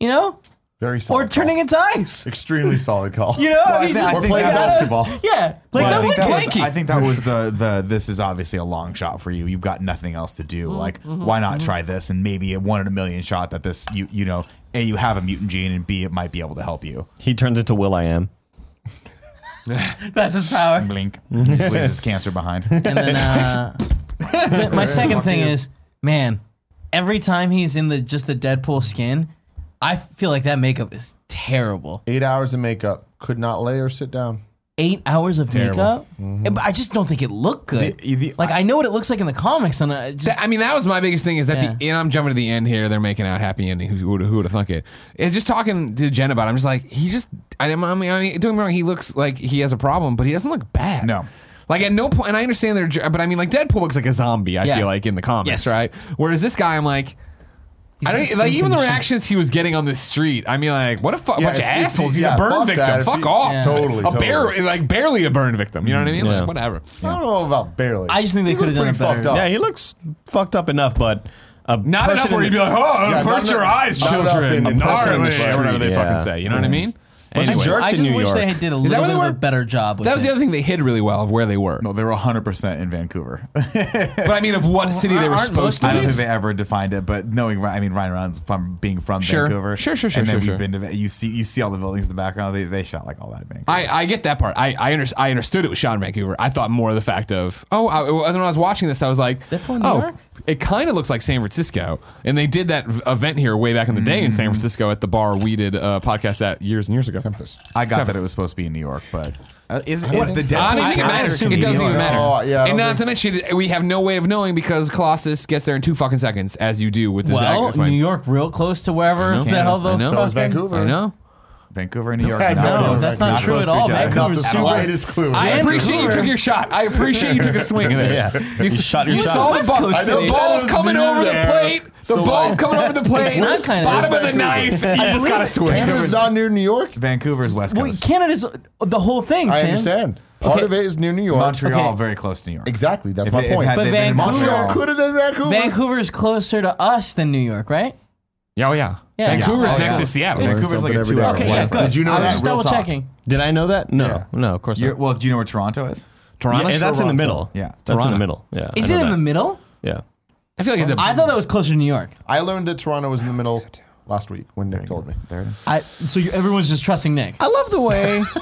[SPEAKER 5] You know,
[SPEAKER 1] Very solid.
[SPEAKER 5] or turning
[SPEAKER 1] call.
[SPEAKER 5] its eyes.
[SPEAKER 1] Extremely
[SPEAKER 5] <laughs>
[SPEAKER 1] solid call.
[SPEAKER 5] You know,
[SPEAKER 3] Well, I
[SPEAKER 5] he
[SPEAKER 3] thi- I
[SPEAKER 5] just-
[SPEAKER 1] or
[SPEAKER 3] think
[SPEAKER 1] playing
[SPEAKER 3] that-
[SPEAKER 1] basketball.
[SPEAKER 5] <laughs> yeah, like
[SPEAKER 3] I
[SPEAKER 5] that
[SPEAKER 3] think
[SPEAKER 5] would
[SPEAKER 3] that, was,
[SPEAKER 5] cranky.
[SPEAKER 3] I think that was the the this is obviously a long shot for you. You've got nothing else to do.
[SPEAKER 5] Mm-hmm.
[SPEAKER 3] like, why
[SPEAKER 2] Mm-hmm.
[SPEAKER 3] not try this and maybe a one in a million shot that this you you know a you have a mutant gene and b it might be able to help you.
[SPEAKER 4] He turns into Will I Am.
[SPEAKER 5] <laughs> That's
[SPEAKER 3] <laughs>
[SPEAKER 5] his power.
[SPEAKER 3] Blink,
[SPEAKER 2] Mm-hmm.
[SPEAKER 3] leaves his cancer
[SPEAKER 2] <laughs>
[SPEAKER 3] behind.
[SPEAKER 5] And then uh, th- my second thing is, man, every time he's in the just the Deadpool skin, I feel like that makeup is terrible.
[SPEAKER 1] Eight hours of makeup. Could not lay or sit down.
[SPEAKER 5] Eight hours of
[SPEAKER 2] Terrible.
[SPEAKER 5] makeup, And- but I just don't think it looked good.
[SPEAKER 3] The- the-
[SPEAKER 5] like I know what it looks like in the comics, and I just
[SPEAKER 2] That- I mean, that was my biggest thing is that the
[SPEAKER 5] Yeah.
[SPEAKER 2] and I'm jumping to the end here. They're making out happy ending. Who would who would have thunk it? And just talking to Jen about, it, I'm just like he just. I, didn't- I mean, I mean, don't get me wrong. He looks like he has a problem, but he doesn't look bad.
[SPEAKER 3] No.
[SPEAKER 2] Like at no point, and I understand they're, dr- but I mean, like Deadpool looks like a zombie. I
[SPEAKER 5] Yeah.
[SPEAKER 2] feel like in the comics,
[SPEAKER 5] Yes.
[SPEAKER 2] right? Whereas this guy, I'm like, I
[SPEAKER 5] got
[SPEAKER 2] don't e, like even the
[SPEAKER 5] stinking shit.
[SPEAKER 2] reactions he was getting on the street. I mean, like what a fu- bunch
[SPEAKER 1] if-
[SPEAKER 2] of
[SPEAKER 1] if-
[SPEAKER 2] assholes. He's
[SPEAKER 1] yeah,
[SPEAKER 2] a burn
[SPEAKER 1] fuck
[SPEAKER 2] victim.
[SPEAKER 1] that. If
[SPEAKER 2] Fuck
[SPEAKER 1] you-
[SPEAKER 2] off.
[SPEAKER 5] Yeah.
[SPEAKER 1] Totally,
[SPEAKER 2] A
[SPEAKER 1] totally.
[SPEAKER 2] bare- like barely a burn victim. You know what I mean?
[SPEAKER 4] Yeah.
[SPEAKER 2] Like whatever.
[SPEAKER 1] I don't know about barely.
[SPEAKER 5] I just think they
[SPEAKER 1] He
[SPEAKER 5] could have
[SPEAKER 1] looked
[SPEAKER 5] done it
[SPEAKER 1] pretty
[SPEAKER 5] better.
[SPEAKER 1] fucked up.
[SPEAKER 4] Yeah, he looks fucked up enough, but a
[SPEAKER 2] Oh. Not
[SPEAKER 4] person
[SPEAKER 2] enough where
[SPEAKER 4] in
[SPEAKER 2] you'd be
[SPEAKER 4] the-
[SPEAKER 2] like, oh,
[SPEAKER 1] Yeah,
[SPEAKER 2] avert
[SPEAKER 1] not
[SPEAKER 2] your
[SPEAKER 1] enough-
[SPEAKER 2] eyes,
[SPEAKER 1] not enough
[SPEAKER 2] children.
[SPEAKER 1] in the person in the
[SPEAKER 2] gnarly," or whatever they
[SPEAKER 4] street,
[SPEAKER 2] fucking
[SPEAKER 4] yeah.
[SPEAKER 2] say. You know what I mean?
[SPEAKER 4] Bunch of
[SPEAKER 2] Anyways.
[SPEAKER 4] jerks
[SPEAKER 5] I
[SPEAKER 4] in
[SPEAKER 5] just
[SPEAKER 4] New
[SPEAKER 5] wish
[SPEAKER 4] York.
[SPEAKER 5] they had did a
[SPEAKER 2] Is that
[SPEAKER 5] little
[SPEAKER 2] where
[SPEAKER 5] bit
[SPEAKER 2] they
[SPEAKER 5] of
[SPEAKER 2] were?
[SPEAKER 5] a better job. With
[SPEAKER 2] That was
[SPEAKER 5] it.
[SPEAKER 2] the other thing they hid really well of where they were.
[SPEAKER 3] No, they were 100 percent in Vancouver. <laughs>
[SPEAKER 2] But I mean, of what city they were
[SPEAKER 5] aren't
[SPEAKER 2] supposed
[SPEAKER 5] most
[SPEAKER 2] to
[SPEAKER 3] I don't
[SPEAKER 2] be.
[SPEAKER 3] think they ever defined it, but knowing Ry- I mean Ryan Reynolds from being from
[SPEAKER 2] Sure.
[SPEAKER 3] Vancouver,
[SPEAKER 2] Sure, sure, sure,
[SPEAKER 3] and then
[SPEAKER 2] sure,
[SPEAKER 3] we've
[SPEAKER 2] sure.
[SPEAKER 3] been to Va- you see you see all the buildings in the background. They, they shot like all that in Vancouver.
[SPEAKER 2] I, I get that part. I I, under, I understood it was shot in Vancouver. I thought more of the fact of oh, I, when I was watching this, I was like,
[SPEAKER 5] Deadpool in New
[SPEAKER 2] oh,
[SPEAKER 5] York?
[SPEAKER 2] it kind of looks like San Francisco, and they did that v- event here way back in the day in San Francisco at the bar we did a podcast at years and years ago. Tempest.
[SPEAKER 3] I got
[SPEAKER 2] Travis.
[SPEAKER 3] that it was supposed to be in New York, but uh, is, is
[SPEAKER 1] don't
[SPEAKER 3] the
[SPEAKER 1] think so.
[SPEAKER 3] Deadpool
[SPEAKER 2] I don't even think it
[SPEAKER 3] character
[SPEAKER 2] matters.
[SPEAKER 3] can
[SPEAKER 2] It
[SPEAKER 3] be
[SPEAKER 2] doesn't
[SPEAKER 3] New
[SPEAKER 2] even
[SPEAKER 3] York?
[SPEAKER 2] matter.
[SPEAKER 1] Oh, yeah, I
[SPEAKER 2] and
[SPEAKER 1] don't
[SPEAKER 2] not
[SPEAKER 1] think-
[SPEAKER 2] to mention, we have no way of knowing because Colossus gets there in two fucking seconds, as you do with the
[SPEAKER 5] well,
[SPEAKER 2] Zach- like-
[SPEAKER 5] New York, real close to
[SPEAKER 2] I
[SPEAKER 5] wherever
[SPEAKER 2] know.
[SPEAKER 5] the hell
[SPEAKER 2] I know.
[SPEAKER 5] those
[SPEAKER 2] So
[SPEAKER 1] is
[SPEAKER 5] fucking-
[SPEAKER 1] Vancouver.
[SPEAKER 2] I know.
[SPEAKER 3] Vancouver and New York.
[SPEAKER 1] Yeah,
[SPEAKER 3] not
[SPEAKER 1] no,
[SPEAKER 3] close.
[SPEAKER 1] that's not
[SPEAKER 3] Not
[SPEAKER 5] true
[SPEAKER 3] close
[SPEAKER 5] at
[SPEAKER 3] to
[SPEAKER 5] all.
[SPEAKER 3] each other.
[SPEAKER 5] Vancouver-
[SPEAKER 1] Not the
[SPEAKER 5] Vancouver's super-
[SPEAKER 1] slightest clue.
[SPEAKER 2] I
[SPEAKER 5] Yeah.
[SPEAKER 2] appreciate you took your shot. I appreciate you took a swing at it. You, s-
[SPEAKER 4] shot your
[SPEAKER 2] you
[SPEAKER 4] shot.
[SPEAKER 2] saw the ball.
[SPEAKER 1] I know
[SPEAKER 2] The
[SPEAKER 1] balls
[SPEAKER 2] ball's coming
[SPEAKER 1] near
[SPEAKER 2] over the
[SPEAKER 1] there.
[SPEAKER 2] plate. The
[SPEAKER 1] So,
[SPEAKER 2] ball's
[SPEAKER 1] like,
[SPEAKER 2] coming over the plate.
[SPEAKER 5] not kinda-
[SPEAKER 2] Bottom of the
[SPEAKER 1] Vancouver.
[SPEAKER 2] knife. You just gotta swing.
[SPEAKER 1] Canada's not near New York.
[SPEAKER 3] Vancouver's west
[SPEAKER 5] Well,
[SPEAKER 3] coast.
[SPEAKER 5] Canada's the whole thing.
[SPEAKER 1] I
[SPEAKER 5] Tim.
[SPEAKER 1] understand. Part
[SPEAKER 5] Okay.
[SPEAKER 1] of it is near New York.
[SPEAKER 3] Montreal,
[SPEAKER 5] Okay.
[SPEAKER 3] very close to New York.
[SPEAKER 1] Exactly. That's
[SPEAKER 3] If
[SPEAKER 1] my
[SPEAKER 3] it- if
[SPEAKER 1] point.
[SPEAKER 3] had they
[SPEAKER 5] But
[SPEAKER 3] been in
[SPEAKER 5] Vancouver-
[SPEAKER 1] Montreal could have been Vancouver.
[SPEAKER 5] Vancouver is closer to us than New York, right?
[SPEAKER 2] Yeah, oh yeah.
[SPEAKER 5] Yeah.
[SPEAKER 2] Vancouver's
[SPEAKER 5] Yeah.
[SPEAKER 2] next
[SPEAKER 5] Yeah.
[SPEAKER 2] to Seattle.
[SPEAKER 1] Learn
[SPEAKER 3] Vancouver's like
[SPEAKER 1] something
[SPEAKER 3] a
[SPEAKER 1] every
[SPEAKER 3] two
[SPEAKER 1] day.
[SPEAKER 3] hour
[SPEAKER 5] Okay,
[SPEAKER 3] flight.
[SPEAKER 5] yeah,
[SPEAKER 1] Wow.
[SPEAKER 5] good.
[SPEAKER 1] Did you know
[SPEAKER 5] I
[SPEAKER 1] that?
[SPEAKER 5] was just
[SPEAKER 1] Real
[SPEAKER 5] double
[SPEAKER 1] talk.
[SPEAKER 5] checking.
[SPEAKER 4] Did I know that? No,
[SPEAKER 1] Yeah.
[SPEAKER 4] no, of course
[SPEAKER 3] You're-
[SPEAKER 4] not.
[SPEAKER 3] well, do you know where Toronto is?
[SPEAKER 2] Toronto.
[SPEAKER 4] Yeah, that's in the middle.
[SPEAKER 3] Yeah.
[SPEAKER 4] that's in
[SPEAKER 2] Toronto.
[SPEAKER 4] the middle. Yeah, I
[SPEAKER 5] Is
[SPEAKER 4] know
[SPEAKER 5] it in
[SPEAKER 4] that.
[SPEAKER 5] the middle?
[SPEAKER 4] Yeah,
[SPEAKER 2] I feel like it's a
[SPEAKER 5] I thought that was closer to New York.
[SPEAKER 1] I learned that Toronto was in the middle last week when Nick told me.
[SPEAKER 3] There it is.
[SPEAKER 5] I so you, everyone's just trusting Nick.
[SPEAKER 4] I love the way. <laughs>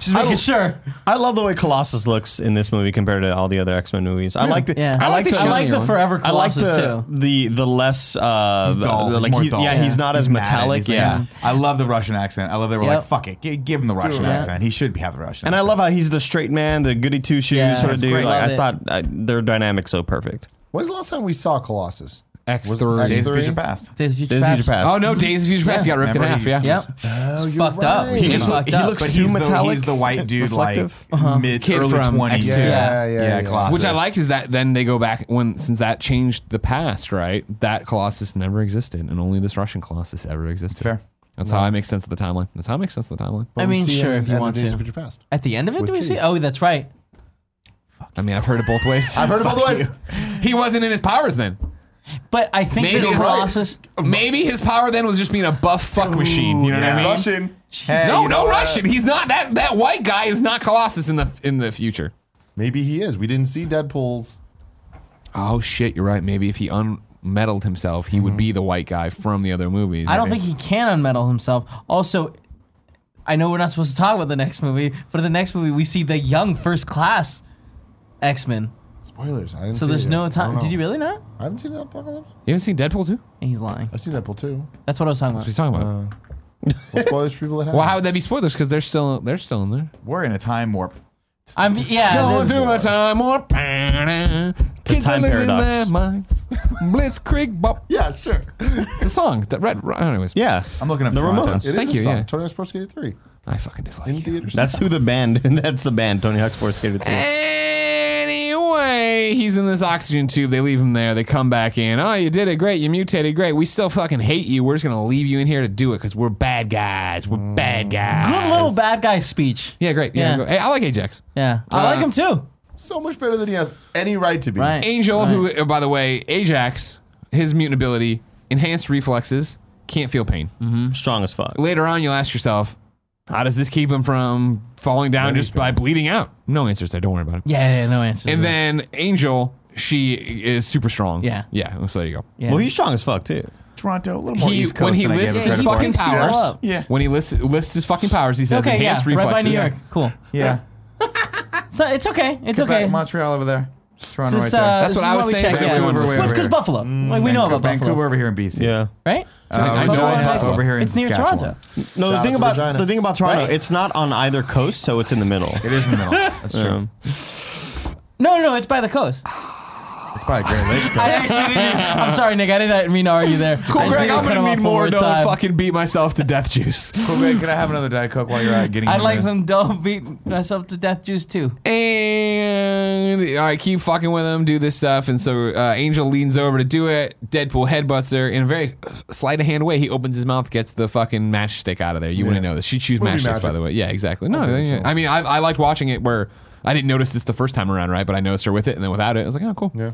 [SPEAKER 5] Just making sure.
[SPEAKER 4] I love the way Colossus looks in this movie compared to all the other X Men movies. I like the.
[SPEAKER 5] Hmm. Yeah,
[SPEAKER 4] I like
[SPEAKER 5] I
[SPEAKER 4] the.
[SPEAKER 5] like the
[SPEAKER 2] one.
[SPEAKER 5] Forever
[SPEAKER 4] I like
[SPEAKER 5] Colossus
[SPEAKER 4] the,
[SPEAKER 5] too.
[SPEAKER 4] the the less uh
[SPEAKER 3] He's
[SPEAKER 4] the-
[SPEAKER 3] dull. He's
[SPEAKER 4] like
[SPEAKER 3] more
[SPEAKER 4] he-
[SPEAKER 3] dull.
[SPEAKER 4] yeah, he's not as
[SPEAKER 3] He's mad.
[SPEAKER 4] metallic
[SPEAKER 3] He's like,
[SPEAKER 4] yeah
[SPEAKER 3] I love the Russian accent. I love that we're like,
[SPEAKER 5] Yep.
[SPEAKER 3] fuck it, gi- give him the Russian
[SPEAKER 5] Yeah.
[SPEAKER 3] accent. He should have the Russian.
[SPEAKER 4] and I
[SPEAKER 3] accent.
[SPEAKER 4] love how he's the straight man the goody two shoes
[SPEAKER 5] Yeah,
[SPEAKER 4] sort of
[SPEAKER 5] that's
[SPEAKER 4] dude
[SPEAKER 5] great.
[SPEAKER 4] like, I
[SPEAKER 5] Love
[SPEAKER 4] thought I, their dynamic's so perfect
[SPEAKER 1] When's the last time we saw Colossus?
[SPEAKER 2] X
[SPEAKER 1] Was
[SPEAKER 2] three.
[SPEAKER 1] it
[SPEAKER 3] Days of
[SPEAKER 1] Three.
[SPEAKER 3] Future Past.
[SPEAKER 5] Days of Future
[SPEAKER 4] Days of
[SPEAKER 5] Past.
[SPEAKER 4] Future Past.
[SPEAKER 2] Oh no, Days of Future Past
[SPEAKER 5] Yeah.
[SPEAKER 2] got ripped in
[SPEAKER 3] Remember
[SPEAKER 2] half.
[SPEAKER 3] he's-
[SPEAKER 2] Yeah.
[SPEAKER 5] Yep.
[SPEAKER 1] Oh,
[SPEAKER 5] It's
[SPEAKER 1] you're
[SPEAKER 5] fucked up.
[SPEAKER 1] right. He
[SPEAKER 5] He just
[SPEAKER 4] just-
[SPEAKER 5] fucked
[SPEAKER 4] he
[SPEAKER 5] up.
[SPEAKER 4] looks
[SPEAKER 3] But
[SPEAKER 4] too
[SPEAKER 3] he's the,
[SPEAKER 4] metallic,
[SPEAKER 3] he's the white dude, like
[SPEAKER 4] reflective.
[SPEAKER 5] Uh-huh.
[SPEAKER 3] mid
[SPEAKER 2] Kid
[SPEAKER 3] early
[SPEAKER 2] from
[SPEAKER 3] twenties.
[SPEAKER 2] X2.
[SPEAKER 1] Yeah, yeah, yeah.
[SPEAKER 3] Colossus.
[SPEAKER 2] Which I like is that then they go back when since that changed the past, right? That Colossus never existed, and only this Russian Colossus ever existed.
[SPEAKER 3] Fair.
[SPEAKER 2] That's how I make sense of the timeline. That's how I make sense of the timeline.
[SPEAKER 1] But
[SPEAKER 5] I
[SPEAKER 1] we
[SPEAKER 5] mean,
[SPEAKER 1] see him
[SPEAKER 5] sure,
[SPEAKER 1] in
[SPEAKER 5] if you
[SPEAKER 1] End of
[SPEAKER 5] want
[SPEAKER 1] Days
[SPEAKER 5] to.
[SPEAKER 1] of Future Past.
[SPEAKER 5] At the end of it,
[SPEAKER 1] With
[SPEAKER 5] do we
[SPEAKER 1] Keith.
[SPEAKER 5] see? Oh, that's right.
[SPEAKER 2] I mean, I've heard it both ways.
[SPEAKER 1] I've heard about the ways.
[SPEAKER 2] he wasn't in his powers then.
[SPEAKER 5] But I think
[SPEAKER 2] Maybe
[SPEAKER 5] this
[SPEAKER 2] it's
[SPEAKER 5] Colossus.
[SPEAKER 2] Maybe his power then was just being a buff fuck machine. You know what I mean?
[SPEAKER 1] Russian.
[SPEAKER 3] Hey,
[SPEAKER 2] No,
[SPEAKER 3] you know
[SPEAKER 2] no
[SPEAKER 3] what?
[SPEAKER 2] Russian. He's not that. That white guy is not Colossus in the in the future.
[SPEAKER 1] Maybe he is. We didn't see Deadpool's.
[SPEAKER 2] Oh shit, you're right. Maybe if he unmetalled himself, he would be the white guy from the other movies.
[SPEAKER 5] I don't think he can unmetal himself. Also, I know we're not supposed to talk about the next movie, but in the next movie we see the young first class X Men.
[SPEAKER 1] Spoilers. I didn't
[SPEAKER 5] So
[SPEAKER 1] see
[SPEAKER 5] there's
[SPEAKER 1] it yet. I
[SPEAKER 5] no
[SPEAKER 1] don't
[SPEAKER 5] time.
[SPEAKER 1] know.
[SPEAKER 5] Did you really not?
[SPEAKER 1] I haven't seen that apocalypse.
[SPEAKER 2] You haven't seen Deadpool too?
[SPEAKER 5] He's lying.
[SPEAKER 1] I've seen Deadpool too.
[SPEAKER 5] That's what I was talking
[SPEAKER 2] What are you
[SPEAKER 5] about.
[SPEAKER 2] talking about?
[SPEAKER 1] Well, spoilers for
[SPEAKER 5] <laughs>
[SPEAKER 1] people that have.
[SPEAKER 2] Well, how would that be spoilers? Because they're still they're still in there.
[SPEAKER 3] We're in a time warp.
[SPEAKER 5] I'm yeah.
[SPEAKER 2] Going
[SPEAKER 5] the-
[SPEAKER 2] through a time warp. Kids
[SPEAKER 4] time
[SPEAKER 2] are losing their
[SPEAKER 4] paradox.
[SPEAKER 2] minds. Blitzkrieg bop.
[SPEAKER 1] Yeah, sure.
[SPEAKER 2] It's a song. That red. Anyways,
[SPEAKER 4] yeah
[SPEAKER 3] I'm looking up
[SPEAKER 4] the
[SPEAKER 3] Toronto.
[SPEAKER 4] Ramones
[SPEAKER 1] It is
[SPEAKER 2] Thank
[SPEAKER 1] a
[SPEAKER 2] you,
[SPEAKER 1] song.
[SPEAKER 2] yeah.
[SPEAKER 1] Tony Hawk's Pro Skater 3
[SPEAKER 2] I fucking dislike
[SPEAKER 1] in
[SPEAKER 2] you.
[SPEAKER 1] theaters.
[SPEAKER 4] that's who the band <laughs> that's the band Tony Hawk's Pro Skater 3
[SPEAKER 5] Eh.
[SPEAKER 2] Anyway, he's in this oxygen tube. They leave him there. They come back in. Oh, you did it great. You mutated great. We still fucking hate you. We're just gonna leave you in here to do it because we're bad guys. We're bad guys.
[SPEAKER 5] Mm. Good little bad guy speech.
[SPEAKER 2] Yeah, great. Yeah,
[SPEAKER 5] Yeah.
[SPEAKER 2] go- Hey, I like Ajax.
[SPEAKER 5] Yeah. I like
[SPEAKER 2] Uh,
[SPEAKER 5] him too.
[SPEAKER 1] so much better than he has any right to be.
[SPEAKER 5] Right.
[SPEAKER 2] Angel,
[SPEAKER 5] Right.
[SPEAKER 2] who, uh, by the way, Ajax, his mutant ability, enhanced reflexes, Can't feel pain.
[SPEAKER 4] Strong as fuck.
[SPEAKER 2] Later on, you'll ask yourself, how does this keep him from falling down just by bleeding out? No answers there. Don't worry about it.
[SPEAKER 5] Yeah, yeah, no answer.
[SPEAKER 2] And then Angel, she is super strong.
[SPEAKER 5] Yeah.
[SPEAKER 2] Yeah. So there you go.
[SPEAKER 5] yeah.
[SPEAKER 4] Well, he's strong as fuck too.
[SPEAKER 3] Toronto, a little more
[SPEAKER 2] He,
[SPEAKER 3] East Coast
[SPEAKER 2] when he
[SPEAKER 3] than I gave
[SPEAKER 2] lists
[SPEAKER 3] it
[SPEAKER 2] his
[SPEAKER 3] credit for.
[SPEAKER 2] fucking
[SPEAKER 5] Yeah.
[SPEAKER 2] powers,
[SPEAKER 3] Yeah.
[SPEAKER 2] when he lists, lists his fucking powers, he says
[SPEAKER 5] okay, yeah,
[SPEAKER 2] enhanced
[SPEAKER 5] right by
[SPEAKER 2] reflexes.
[SPEAKER 5] New York. Cool.
[SPEAKER 3] Yeah.
[SPEAKER 5] So it's okay. It's
[SPEAKER 3] Back
[SPEAKER 5] okay.
[SPEAKER 3] in Montreal over there. Toronto
[SPEAKER 5] This is,
[SPEAKER 3] right there.
[SPEAKER 5] uh,
[SPEAKER 2] That's
[SPEAKER 5] this
[SPEAKER 2] what
[SPEAKER 5] is
[SPEAKER 2] I was
[SPEAKER 5] why we
[SPEAKER 2] saying.
[SPEAKER 5] check, yeah.
[SPEAKER 2] Vancouver, Mm,
[SPEAKER 3] where
[SPEAKER 5] Well, it's
[SPEAKER 3] we're
[SPEAKER 5] because
[SPEAKER 3] at.
[SPEAKER 5] Buffalo. Like we know about
[SPEAKER 3] Vancouver,
[SPEAKER 5] Buffalo,
[SPEAKER 3] over here in BC.
[SPEAKER 4] Yeah.
[SPEAKER 5] right?
[SPEAKER 3] Uh,
[SPEAKER 2] Buffalo,
[SPEAKER 3] Regina Half
[SPEAKER 2] Buffalo.
[SPEAKER 3] over here in
[SPEAKER 5] It's near
[SPEAKER 3] Saskatchewan.
[SPEAKER 5] Toronto.
[SPEAKER 4] No, the
[SPEAKER 1] Shout
[SPEAKER 4] thing
[SPEAKER 1] out to
[SPEAKER 4] about
[SPEAKER 1] Regina.
[SPEAKER 4] the thing about Toronto,
[SPEAKER 5] Right.
[SPEAKER 4] it's not on either coast, so it's in the middle. Um,
[SPEAKER 3] It is in the middle. That's true.
[SPEAKER 4] Yeah.
[SPEAKER 5] No, no, no. It's by
[SPEAKER 2] <laughs>
[SPEAKER 5] the coast.
[SPEAKER 3] It's probably Great
[SPEAKER 5] <laughs>
[SPEAKER 3] Lakes.
[SPEAKER 5] I actually didn't. I'm sorry, Nick. I didn't mean to argue there. I
[SPEAKER 2] Cool,
[SPEAKER 5] just
[SPEAKER 2] Greg.
[SPEAKER 5] need to
[SPEAKER 2] I'm
[SPEAKER 5] cut
[SPEAKER 2] gonna
[SPEAKER 5] him off
[SPEAKER 2] need
[SPEAKER 5] one
[SPEAKER 2] more. Don't
[SPEAKER 5] time.
[SPEAKER 2] fucking beat myself to death juice.
[SPEAKER 3] cool, Greg. Can I have another Diet Coke while you're out getting
[SPEAKER 5] I'd
[SPEAKER 3] into
[SPEAKER 5] like
[SPEAKER 3] this?
[SPEAKER 5] some dope beat myself to death juice too.
[SPEAKER 2] And all right, keep fucking with him. Do this stuff. And so uh, Angel leans over to do it. Deadpool headbutts her in a very sleight of hand way. He opens his mouth, gets the fucking matchstick out of there. You wouldn't know this. She chews
[SPEAKER 1] Movie
[SPEAKER 2] matchsticks, by
[SPEAKER 1] magic.
[SPEAKER 2] the way. Yeah, exactly. No, yeah. I mean, I, I liked watching it where I didn't notice this the first time around, right? But I noticed her with it, and then without it, I was like, oh, cool.
[SPEAKER 1] Yeah.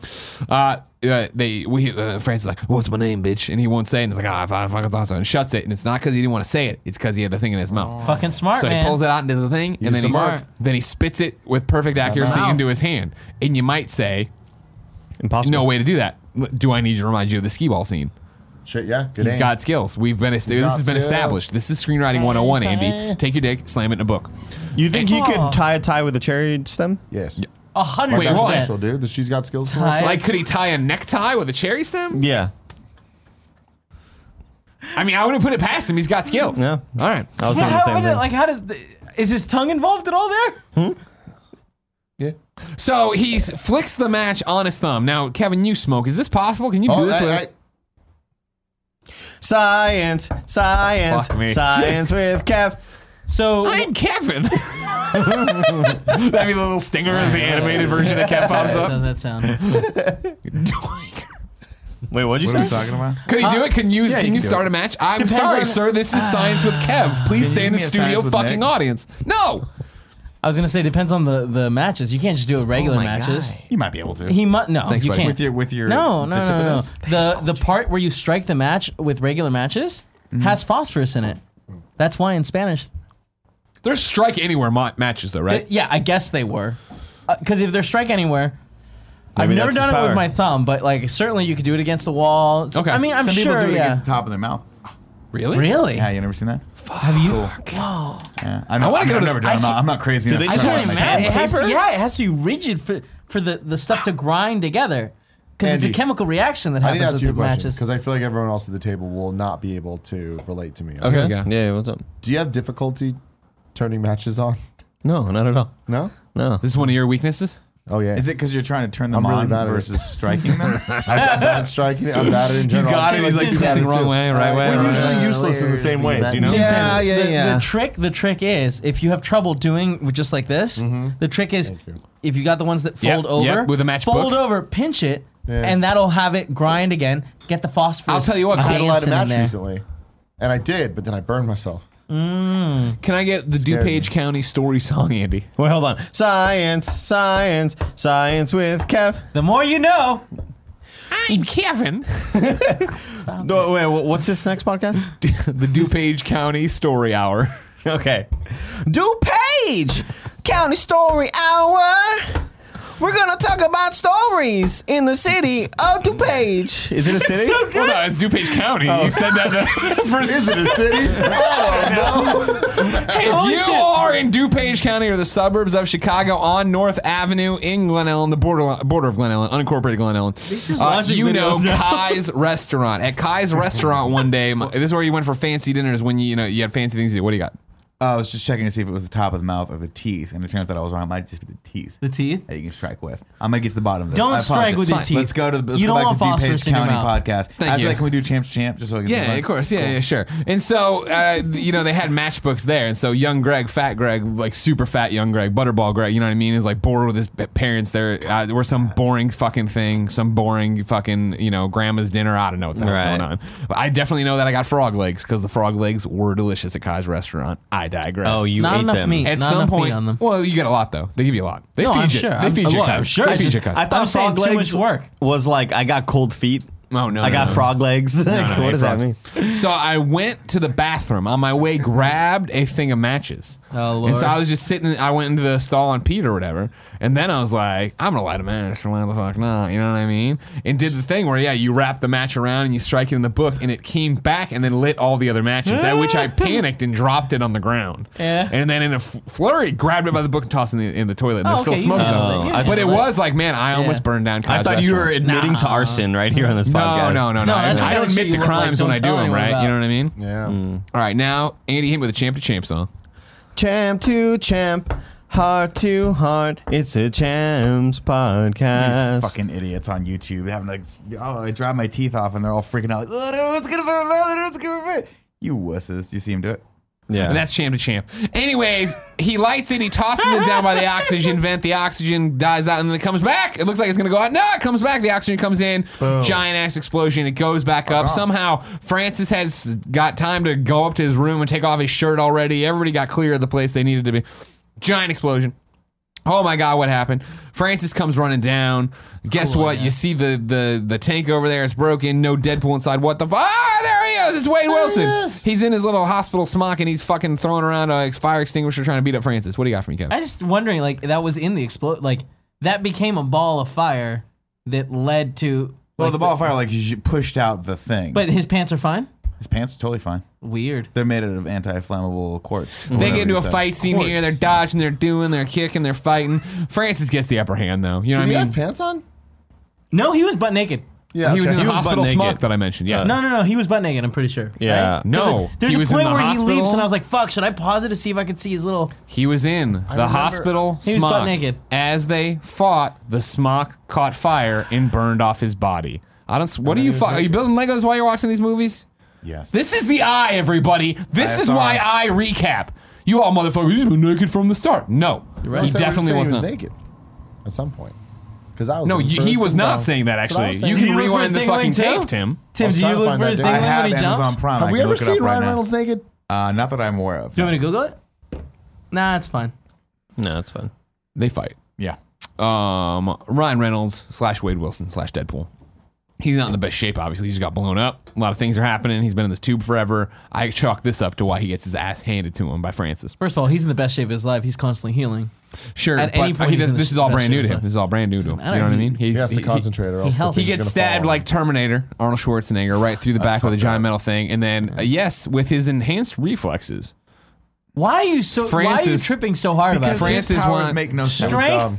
[SPEAKER 2] Uh, uh, they we uh, Francis is like, what's my name, bitch? And he won't say, it. and it's like, ah, I fucking thought so, and shuts it. And it's not because he didn't want to say it; it's because he had the thing in his mouth.
[SPEAKER 5] Fucking smart
[SPEAKER 2] So
[SPEAKER 5] man.
[SPEAKER 2] he pulls it out into the thing, and then he
[SPEAKER 5] smart.
[SPEAKER 2] then he spits it with perfect accuracy
[SPEAKER 5] mouth.
[SPEAKER 2] into his hand. And you might say,
[SPEAKER 4] Impossible.
[SPEAKER 2] no way to do that. Do I need to remind you of the skee ball scene?
[SPEAKER 1] Shit, yeah. Good
[SPEAKER 2] He's
[SPEAKER 1] aim.
[SPEAKER 2] got skills. We've been this
[SPEAKER 1] got
[SPEAKER 2] has been
[SPEAKER 1] skills.
[SPEAKER 2] established. This is screenwriting 101, Andy. Take your dick, slam it in a book.
[SPEAKER 4] You think you
[SPEAKER 5] Aw.
[SPEAKER 4] could tie a tie with a cherry stem?
[SPEAKER 1] yes.
[SPEAKER 5] A hundred
[SPEAKER 2] Wait, what?
[SPEAKER 5] percent.
[SPEAKER 1] Commercial, dude. The she's got skills.
[SPEAKER 5] Tie-
[SPEAKER 1] commercial.
[SPEAKER 2] Like, could he tie a necktie with a cherry stem?
[SPEAKER 4] Yeah.
[SPEAKER 2] I mean, I wouldn't put it past him. He's got skills.
[SPEAKER 4] Yeah.
[SPEAKER 2] All right.
[SPEAKER 4] I was
[SPEAKER 5] Yeah,
[SPEAKER 4] thinking the
[SPEAKER 5] how
[SPEAKER 4] same
[SPEAKER 5] would
[SPEAKER 4] thing.
[SPEAKER 5] it, like how does the, is his tongue involved at all there?
[SPEAKER 1] Yeah.
[SPEAKER 2] So he s- flicks the match on his thumb. Now, Kevin, you smoke. Is this possible? Can you do
[SPEAKER 1] Oh,
[SPEAKER 2] this?
[SPEAKER 1] I-
[SPEAKER 2] with
[SPEAKER 1] I-
[SPEAKER 4] science, science,
[SPEAKER 2] Fuck me.
[SPEAKER 4] science with Kev.
[SPEAKER 5] So
[SPEAKER 2] I'm Kevin. <laughs> That'd be the little stinger of the animated version that Kev pops
[SPEAKER 5] so
[SPEAKER 2] up.
[SPEAKER 5] does that sound?
[SPEAKER 4] Wait, what'd you
[SPEAKER 3] What are we
[SPEAKER 4] say?
[SPEAKER 3] talking about?
[SPEAKER 2] Could he do it? <laughs> Can you
[SPEAKER 3] yeah, you
[SPEAKER 2] can you
[SPEAKER 3] can do
[SPEAKER 2] start
[SPEAKER 3] it.
[SPEAKER 2] a match? I'm
[SPEAKER 5] Depends
[SPEAKER 2] sorry,
[SPEAKER 5] on-
[SPEAKER 2] sir. This is science with Kev. Please stay in the
[SPEAKER 3] give me a
[SPEAKER 2] studio,
[SPEAKER 3] Science with
[SPEAKER 2] fucking
[SPEAKER 3] Nick?
[SPEAKER 2] audience. No.
[SPEAKER 5] I was gonna say depends on the the matches. You can't just do it regular
[SPEAKER 2] Oh my
[SPEAKER 5] matches.
[SPEAKER 2] God.
[SPEAKER 3] You might be able to.
[SPEAKER 5] He must no,
[SPEAKER 2] Thanks,
[SPEAKER 5] you
[SPEAKER 2] buddy.
[SPEAKER 5] can't.
[SPEAKER 3] with your with your
[SPEAKER 5] no, no,
[SPEAKER 3] the
[SPEAKER 5] no,
[SPEAKER 3] tip of
[SPEAKER 5] no, no.
[SPEAKER 3] this?
[SPEAKER 5] The the part where you strike the match with regular matches
[SPEAKER 3] Mm-hmm.
[SPEAKER 5] has phosphorus in it. That's why in Spanish,
[SPEAKER 2] There's strike anywhere ma- matches though, right?
[SPEAKER 5] th- yeah, I guess they were, because if there's strike anywhere. I've
[SPEAKER 3] Maybe
[SPEAKER 5] never
[SPEAKER 3] that's
[SPEAKER 5] done
[SPEAKER 3] his
[SPEAKER 5] it with
[SPEAKER 3] power.
[SPEAKER 5] my thumb, but like certainly you could do it against the wall.
[SPEAKER 2] Okay.
[SPEAKER 5] I mean, I'm
[SPEAKER 3] Some
[SPEAKER 5] sure.
[SPEAKER 3] people do it
[SPEAKER 5] yeah.
[SPEAKER 3] against the top of their mouth.
[SPEAKER 2] really?
[SPEAKER 5] really?
[SPEAKER 3] Yeah, you never seen that?
[SPEAKER 5] Have you?
[SPEAKER 3] Yeah. I'm
[SPEAKER 2] wanna
[SPEAKER 3] not, I mean,
[SPEAKER 2] go
[SPEAKER 3] I've
[SPEAKER 2] to-
[SPEAKER 3] never done. it. I'm not, I'm not crazy
[SPEAKER 4] Do
[SPEAKER 3] enough.
[SPEAKER 4] they
[SPEAKER 3] to
[SPEAKER 5] I
[SPEAKER 4] try
[SPEAKER 3] try it
[SPEAKER 5] can't
[SPEAKER 4] Like
[SPEAKER 5] imagine. It has to,
[SPEAKER 4] sandpaper?
[SPEAKER 5] yeah, it has to be rigid for, for the, the stuff to grind together. Because it's a
[SPEAKER 1] Andy,
[SPEAKER 5] chemical reaction that
[SPEAKER 1] I need to
[SPEAKER 5] happens
[SPEAKER 1] ask you
[SPEAKER 5] with
[SPEAKER 1] a
[SPEAKER 5] the
[SPEAKER 1] question
[SPEAKER 5] matches.
[SPEAKER 1] because I feel like everyone else at the table will not be able to relate to me.
[SPEAKER 2] Okay.
[SPEAKER 4] Yeah. yeah, what's up?
[SPEAKER 1] Do you have difficulty turning matches on?
[SPEAKER 4] No, not at all.
[SPEAKER 1] No.
[SPEAKER 4] No.
[SPEAKER 2] This is one of your weaknesses.
[SPEAKER 1] Oh yeah.
[SPEAKER 3] <laughs> Is it because you're trying to turn them
[SPEAKER 1] I'm really
[SPEAKER 3] on
[SPEAKER 1] bad at it.
[SPEAKER 3] versus striking them?
[SPEAKER 1] I'm bad
[SPEAKER 2] <laughs>
[SPEAKER 1] striking it. I'm bad at it in general.
[SPEAKER 5] got it. He's, like, twisting
[SPEAKER 2] wrong way, right way.
[SPEAKER 1] We're
[SPEAKER 2] right
[SPEAKER 1] usually
[SPEAKER 2] way.
[SPEAKER 1] useless in the same ways, you know.
[SPEAKER 4] Yeah.
[SPEAKER 5] Sometimes the,
[SPEAKER 4] yeah.
[SPEAKER 5] The trick, the trick is if you have trouble doing with just like this,
[SPEAKER 4] Mm-hmm.
[SPEAKER 5] the trick is if you got the ones that
[SPEAKER 2] Yep,
[SPEAKER 5] fold over
[SPEAKER 2] yep, with a matchbook.
[SPEAKER 5] fold over, pinch it, and that'll have it grind again. Get the phosphorus.
[SPEAKER 2] I'll tell you what,
[SPEAKER 1] I had a lot of
[SPEAKER 5] dancing in
[SPEAKER 1] match
[SPEAKER 5] there.
[SPEAKER 1] recently, and I did, but then I burned myself.
[SPEAKER 2] Can I get the
[SPEAKER 1] Scared
[SPEAKER 2] DuPage County story song, Andy?
[SPEAKER 4] Wait, hold on. Science, science, science with Kev.
[SPEAKER 5] The more you know.
[SPEAKER 2] I'm Kevin.
[SPEAKER 4] No, wait, wha- what's this next podcast?
[SPEAKER 2] <laughs>
[SPEAKER 4] <laughs>
[SPEAKER 2] the DuPage County Story Hour.
[SPEAKER 4] Okay. DuPage <laughs> County Story Hour. We're gonna talk about stories in the city of DuPage. Is it a city?
[SPEAKER 2] Well, no, it's DuPage County. You said that the first.
[SPEAKER 1] Is it a city?
[SPEAKER 5] <laughs>
[SPEAKER 2] If
[SPEAKER 5] Holy
[SPEAKER 2] you
[SPEAKER 5] shit.
[SPEAKER 2] are in DuPage County or the suburbs of Chicago on North Avenue in Glen Ellen, the border, border of Glen Ellen, unincorporated Glen Ellen,
[SPEAKER 5] just
[SPEAKER 2] uh,
[SPEAKER 5] watching
[SPEAKER 2] you know
[SPEAKER 5] videos <laughs> now.
[SPEAKER 2] Kai's restaurant. At Kai's restaurant one day, my- this is where you went for fancy dinners when you, you know you had fancy things to do. What do you got?
[SPEAKER 3] Uh, I was just checking to see if it was the top of the mouth or the teeth, and it turns out I was wrong. It might just be the teeth
[SPEAKER 5] The teeth.
[SPEAKER 3] that you can strike with. I'm gonna get to the bottom of this.
[SPEAKER 5] Don't
[SPEAKER 3] I
[SPEAKER 5] strike
[SPEAKER 3] apologize.
[SPEAKER 5] with your
[SPEAKER 3] Fine.
[SPEAKER 5] teeth.
[SPEAKER 3] Let's go to the let's
[SPEAKER 5] You
[SPEAKER 3] go
[SPEAKER 5] don't
[SPEAKER 3] back
[SPEAKER 5] want
[SPEAKER 3] to
[SPEAKER 5] phosphorus
[SPEAKER 3] DuPage
[SPEAKER 5] in your
[SPEAKER 3] County
[SPEAKER 5] mouth.
[SPEAKER 3] podcast.
[SPEAKER 2] Thank
[SPEAKER 3] After
[SPEAKER 2] you.
[SPEAKER 3] that, can we do champs champ just so I can
[SPEAKER 2] Yeah,
[SPEAKER 3] see
[SPEAKER 2] of course. Yeah, yeah, sure. And so, uh, you know, they had matchbooks there. And so young Greg, fat Greg, like super fat young Greg, butterball Greg, you know what I mean, is like bored with his p- parents. There uh, were some boring fucking thing, some boring fucking, you know, grandma's dinner. I don't know what the hell's
[SPEAKER 4] Right.
[SPEAKER 2] going on. But I definitely know that I got frog legs because the frog legs were delicious at Kai's restaurant. I digress.
[SPEAKER 4] Oh, you
[SPEAKER 5] Not
[SPEAKER 4] ate
[SPEAKER 5] enough
[SPEAKER 4] them.
[SPEAKER 5] meat.
[SPEAKER 2] At
[SPEAKER 5] Not
[SPEAKER 2] some
[SPEAKER 5] enough meat
[SPEAKER 2] point,
[SPEAKER 5] on them.
[SPEAKER 2] well, you get a lot though. They give you a lot. They
[SPEAKER 5] No,
[SPEAKER 2] feed
[SPEAKER 5] I'm
[SPEAKER 2] you.
[SPEAKER 5] sure.
[SPEAKER 2] They
[SPEAKER 5] I'm-
[SPEAKER 2] feed you.
[SPEAKER 5] well, I'm
[SPEAKER 2] Cuz.
[SPEAKER 5] sure.
[SPEAKER 2] They
[SPEAKER 5] I
[SPEAKER 2] feed you.
[SPEAKER 5] just-
[SPEAKER 2] Cuz.
[SPEAKER 4] I thought
[SPEAKER 5] I'm saying
[SPEAKER 4] frog
[SPEAKER 5] too much
[SPEAKER 4] legs
[SPEAKER 5] work.
[SPEAKER 4] was like I got cold feet
[SPEAKER 2] Oh no!
[SPEAKER 6] I got
[SPEAKER 2] no.
[SPEAKER 6] frog
[SPEAKER 4] <laughs>
[SPEAKER 6] legs.
[SPEAKER 2] No, no,
[SPEAKER 6] Like,
[SPEAKER 2] I
[SPEAKER 6] what does
[SPEAKER 2] frogs.
[SPEAKER 6] that mean?
[SPEAKER 2] So I went to the bathroom. On my way, grabbed a thing of matches.
[SPEAKER 5] Oh, Lord.
[SPEAKER 2] And so I was just sitting. I went into the stall on Pete or whatever, and then I was like, "I'm gonna light a match. Why the fuck not? You know what I mean?" And did the thing where yeah, you wrap the match around and you strike it in the book, and it came back and then lit all the other matches. at
[SPEAKER 6] <laughs>
[SPEAKER 2] which I panicked and dropped it on the ground.
[SPEAKER 5] Yeah.
[SPEAKER 2] And then in a f- flurry, grabbed it by the book and tossed it in the, in the toilet. And
[SPEAKER 5] Oh,
[SPEAKER 2] there's
[SPEAKER 5] okay,
[SPEAKER 2] still
[SPEAKER 5] you
[SPEAKER 2] smoke.
[SPEAKER 5] handled
[SPEAKER 2] on it.
[SPEAKER 5] it. You
[SPEAKER 2] but it
[SPEAKER 5] handled it.
[SPEAKER 2] was like, man, I
[SPEAKER 5] Yeah.
[SPEAKER 2] almost burned down.
[SPEAKER 6] I
[SPEAKER 2] Kai's
[SPEAKER 6] thought you were
[SPEAKER 2] restaurant.
[SPEAKER 6] admitting to arson right here on this
[SPEAKER 2] No,
[SPEAKER 6] podcast.
[SPEAKER 2] no, no, no.
[SPEAKER 5] No, that's the
[SPEAKER 2] I, I
[SPEAKER 5] kind
[SPEAKER 2] don't
[SPEAKER 5] of shit
[SPEAKER 2] admit
[SPEAKER 5] you
[SPEAKER 2] the
[SPEAKER 5] look like,
[SPEAKER 2] crimes when
[SPEAKER 5] don't
[SPEAKER 2] I do
[SPEAKER 5] tell
[SPEAKER 2] them,
[SPEAKER 5] anyone
[SPEAKER 2] right?
[SPEAKER 5] about.
[SPEAKER 2] You know what I mean?
[SPEAKER 1] Yeah.
[SPEAKER 2] All right, now Andy hit me with a champ to champ song.
[SPEAKER 6] Champ to champ, heart to heart. It's a champs podcast.
[SPEAKER 3] These fucking idiots on YouTube having like, oh, I drive my teeth off and they're all freaking out. Like, oh, no, it's gonna burn my mouth, it's gonna burn. You wusses. You see him do it?
[SPEAKER 6] yeah.
[SPEAKER 2] And that's champ to champ. Anyways, he lights it, he tosses it down by the oxygen vent. The oxygen dies out, and then it comes back. It looks like it's gonna go out. No, it comes back. The oxygen comes in. Giant ass explosion. It goes back up. Somehow Francis has got time to go up to his room and take off his shirt already. Everybody got clear of the place they needed to be. Giant explosion. Oh my God! What happened? Francis comes running down. Guess what? You see the the the tank over there. It's broken. No Deadpool inside. What the fuck? Ah, there he is. It's Wade Wilson. He's in his little hospital smock and he's fucking throwing around a ex- fire extinguisher trying to beat up Francis. What do you got for me, Kevin?
[SPEAKER 5] I just wondering, like that was in the explode, like that became a ball of fire that led to.
[SPEAKER 3] Well,
[SPEAKER 5] like,
[SPEAKER 3] the ball of fire like zzz, pushed out the thing.
[SPEAKER 5] But his pants are fine.
[SPEAKER 3] his pants are totally fine.
[SPEAKER 5] Weird.
[SPEAKER 3] They're made out of anti-flammable quartz.
[SPEAKER 2] They get into a fight scene here. They're dodging. They're doing. They're kicking. They're fighting. Francis gets the upper hand though. You know
[SPEAKER 1] Do you
[SPEAKER 2] what I
[SPEAKER 1] have
[SPEAKER 2] mean?
[SPEAKER 1] pants on?
[SPEAKER 5] No, he was butt naked.
[SPEAKER 1] Yeah.
[SPEAKER 2] He was in
[SPEAKER 1] okay.
[SPEAKER 2] the
[SPEAKER 6] was
[SPEAKER 2] hospital
[SPEAKER 6] butt
[SPEAKER 2] smock
[SPEAKER 6] naked. Uh,
[SPEAKER 2] that I mentioned. Yeah.
[SPEAKER 5] No, no, no. He was butt naked. I'm pretty sure.
[SPEAKER 6] Yeah.
[SPEAKER 5] Right?
[SPEAKER 2] No,
[SPEAKER 5] 'Cause, like, there's
[SPEAKER 2] he
[SPEAKER 5] a
[SPEAKER 2] was in
[SPEAKER 5] point
[SPEAKER 2] the
[SPEAKER 5] where he
[SPEAKER 2] hospital.
[SPEAKER 5] leaps, and I was like, "Fuck!" Should I pause it to see if I could see his little?
[SPEAKER 2] He was in the hospital
[SPEAKER 5] He was
[SPEAKER 2] smock.
[SPEAKER 5] butt naked.
[SPEAKER 2] As they fought, the smock caught fire and burned off his body. I don't. s- What are you? Fu- are you building Legos while you're watching these movies?
[SPEAKER 3] Yes.
[SPEAKER 2] This is the eye, everybody. This
[SPEAKER 3] I
[SPEAKER 2] is
[SPEAKER 3] saw
[SPEAKER 2] why
[SPEAKER 3] it.
[SPEAKER 2] I recap. You all motherfuckers, he's been naked from the start. No,
[SPEAKER 1] I
[SPEAKER 2] he
[SPEAKER 1] said we were
[SPEAKER 2] definitely
[SPEAKER 1] saying
[SPEAKER 2] was
[SPEAKER 1] he was
[SPEAKER 2] not.
[SPEAKER 1] naked at some point. Because I was
[SPEAKER 2] No,
[SPEAKER 1] in
[SPEAKER 2] you, he
[SPEAKER 1] first
[SPEAKER 2] was
[SPEAKER 1] and
[SPEAKER 2] not
[SPEAKER 1] found-
[SPEAKER 2] saying that.
[SPEAKER 1] That's what I
[SPEAKER 2] Actually,
[SPEAKER 1] was
[SPEAKER 2] you
[SPEAKER 1] saying.
[SPEAKER 2] can
[SPEAKER 5] You look for his
[SPEAKER 2] rewind the
[SPEAKER 5] thing away
[SPEAKER 2] fucking
[SPEAKER 5] too?
[SPEAKER 2] tape, Tim.
[SPEAKER 5] Tim,
[SPEAKER 1] was
[SPEAKER 5] do
[SPEAKER 1] trying
[SPEAKER 5] you
[SPEAKER 1] to
[SPEAKER 5] look
[SPEAKER 1] find
[SPEAKER 5] for
[SPEAKER 1] that
[SPEAKER 5] his
[SPEAKER 1] dude.
[SPEAKER 5] thing
[SPEAKER 1] I
[SPEAKER 5] when
[SPEAKER 3] I have
[SPEAKER 5] he jumps?
[SPEAKER 3] Amazon Prime. I
[SPEAKER 1] Have we
[SPEAKER 3] can
[SPEAKER 1] ever
[SPEAKER 3] look it up
[SPEAKER 1] seen
[SPEAKER 3] right
[SPEAKER 1] Ryan
[SPEAKER 3] now.
[SPEAKER 1] Reynolds naked?
[SPEAKER 3] Uh, not that I'm aware of.
[SPEAKER 5] Do you want me to Google it? Nah, it's fine.
[SPEAKER 6] no, it's fine.
[SPEAKER 2] They fight.
[SPEAKER 3] Yeah.
[SPEAKER 2] um, Ryan Reynolds slash Wade Wilson slash Deadpool. He's not in the best shape, obviously. He just got blown up. A lot of things are happening. He's been in this tube forever. I chalk this up to why he gets his ass handed to him by Francis.
[SPEAKER 5] First of all, he's in the best shape of his life. He's constantly healing.
[SPEAKER 2] Sure,
[SPEAKER 5] At
[SPEAKER 2] but
[SPEAKER 5] any point,
[SPEAKER 2] he
[SPEAKER 5] he's
[SPEAKER 2] does-
[SPEAKER 5] in the
[SPEAKER 2] this is all
[SPEAKER 5] best
[SPEAKER 2] brand new to
[SPEAKER 5] shape.
[SPEAKER 2] him. This is all brand new to him. You know
[SPEAKER 5] matter.
[SPEAKER 2] what I mean? He's,
[SPEAKER 1] He has to concentrate or else the
[SPEAKER 5] healthy.
[SPEAKER 2] he
[SPEAKER 5] He's
[SPEAKER 1] thing's
[SPEAKER 2] gets
[SPEAKER 1] gonna
[SPEAKER 2] stabbed
[SPEAKER 1] fall on
[SPEAKER 2] like Terminator, Arnold Schwarzenegger, right through the back with a giant metal thing, and then uh, yes, with his enhanced reflexes.
[SPEAKER 5] Why are you so? why are you
[SPEAKER 2] Francis-
[SPEAKER 5] tripping so hard about
[SPEAKER 3] Because
[SPEAKER 5] it?
[SPEAKER 2] Francis
[SPEAKER 3] his powers
[SPEAKER 2] want-
[SPEAKER 3] make no sense.
[SPEAKER 5] Strength
[SPEAKER 3] Um,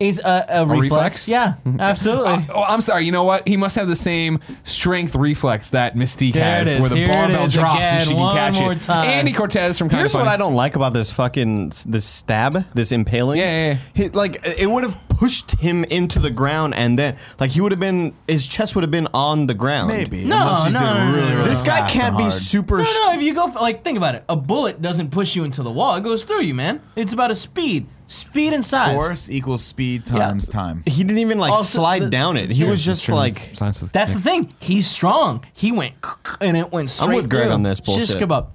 [SPEAKER 5] is a, a,
[SPEAKER 2] reflex?
[SPEAKER 5] reflex. Yeah, <laughs>
[SPEAKER 2] <laughs>
[SPEAKER 5] absolutely.
[SPEAKER 2] Uh, oh, I'm sorry. You know what? He must have the same strength reflex that Mystique
[SPEAKER 5] There it
[SPEAKER 2] has,
[SPEAKER 5] is.
[SPEAKER 2] where the
[SPEAKER 5] Here it
[SPEAKER 2] barbell
[SPEAKER 5] is
[SPEAKER 2] drops
[SPEAKER 5] again.
[SPEAKER 2] and she can
[SPEAKER 5] One
[SPEAKER 2] catch
[SPEAKER 5] more
[SPEAKER 2] it.
[SPEAKER 5] time.
[SPEAKER 2] Andy Cortez from kind
[SPEAKER 6] Here's
[SPEAKER 2] of
[SPEAKER 6] what I don't like about this fucking this stab, this impaling.
[SPEAKER 2] Yeah, yeah, yeah.
[SPEAKER 6] He- like it would have pushed him into the ground, and then like he would have been his chest would have been on the ground.
[SPEAKER 3] Maybe.
[SPEAKER 5] No,
[SPEAKER 3] unless you
[SPEAKER 5] no,
[SPEAKER 3] did
[SPEAKER 5] no, no,
[SPEAKER 3] really,
[SPEAKER 5] no, no.
[SPEAKER 3] really
[SPEAKER 6] this guy
[SPEAKER 3] fast
[SPEAKER 6] can't
[SPEAKER 3] and
[SPEAKER 6] be
[SPEAKER 3] hard.
[SPEAKER 6] super.
[SPEAKER 5] No, no. If you go, for, like, think about it. A bullet doesn't push you into the wall; it goes through you, man. It's about a speed, speed and size.
[SPEAKER 3] Force equals speed times time.
[SPEAKER 6] He didn't even like
[SPEAKER 5] Also,
[SPEAKER 6] slide
[SPEAKER 5] the-
[SPEAKER 6] down it. He
[SPEAKER 5] Sure,
[SPEAKER 6] was just like
[SPEAKER 2] Science with
[SPEAKER 5] That's the thing. He's strong. He went and it went straight.
[SPEAKER 6] with Greg
[SPEAKER 5] through.
[SPEAKER 6] on this
[SPEAKER 5] Shish
[SPEAKER 6] bullshit.
[SPEAKER 5] kebab.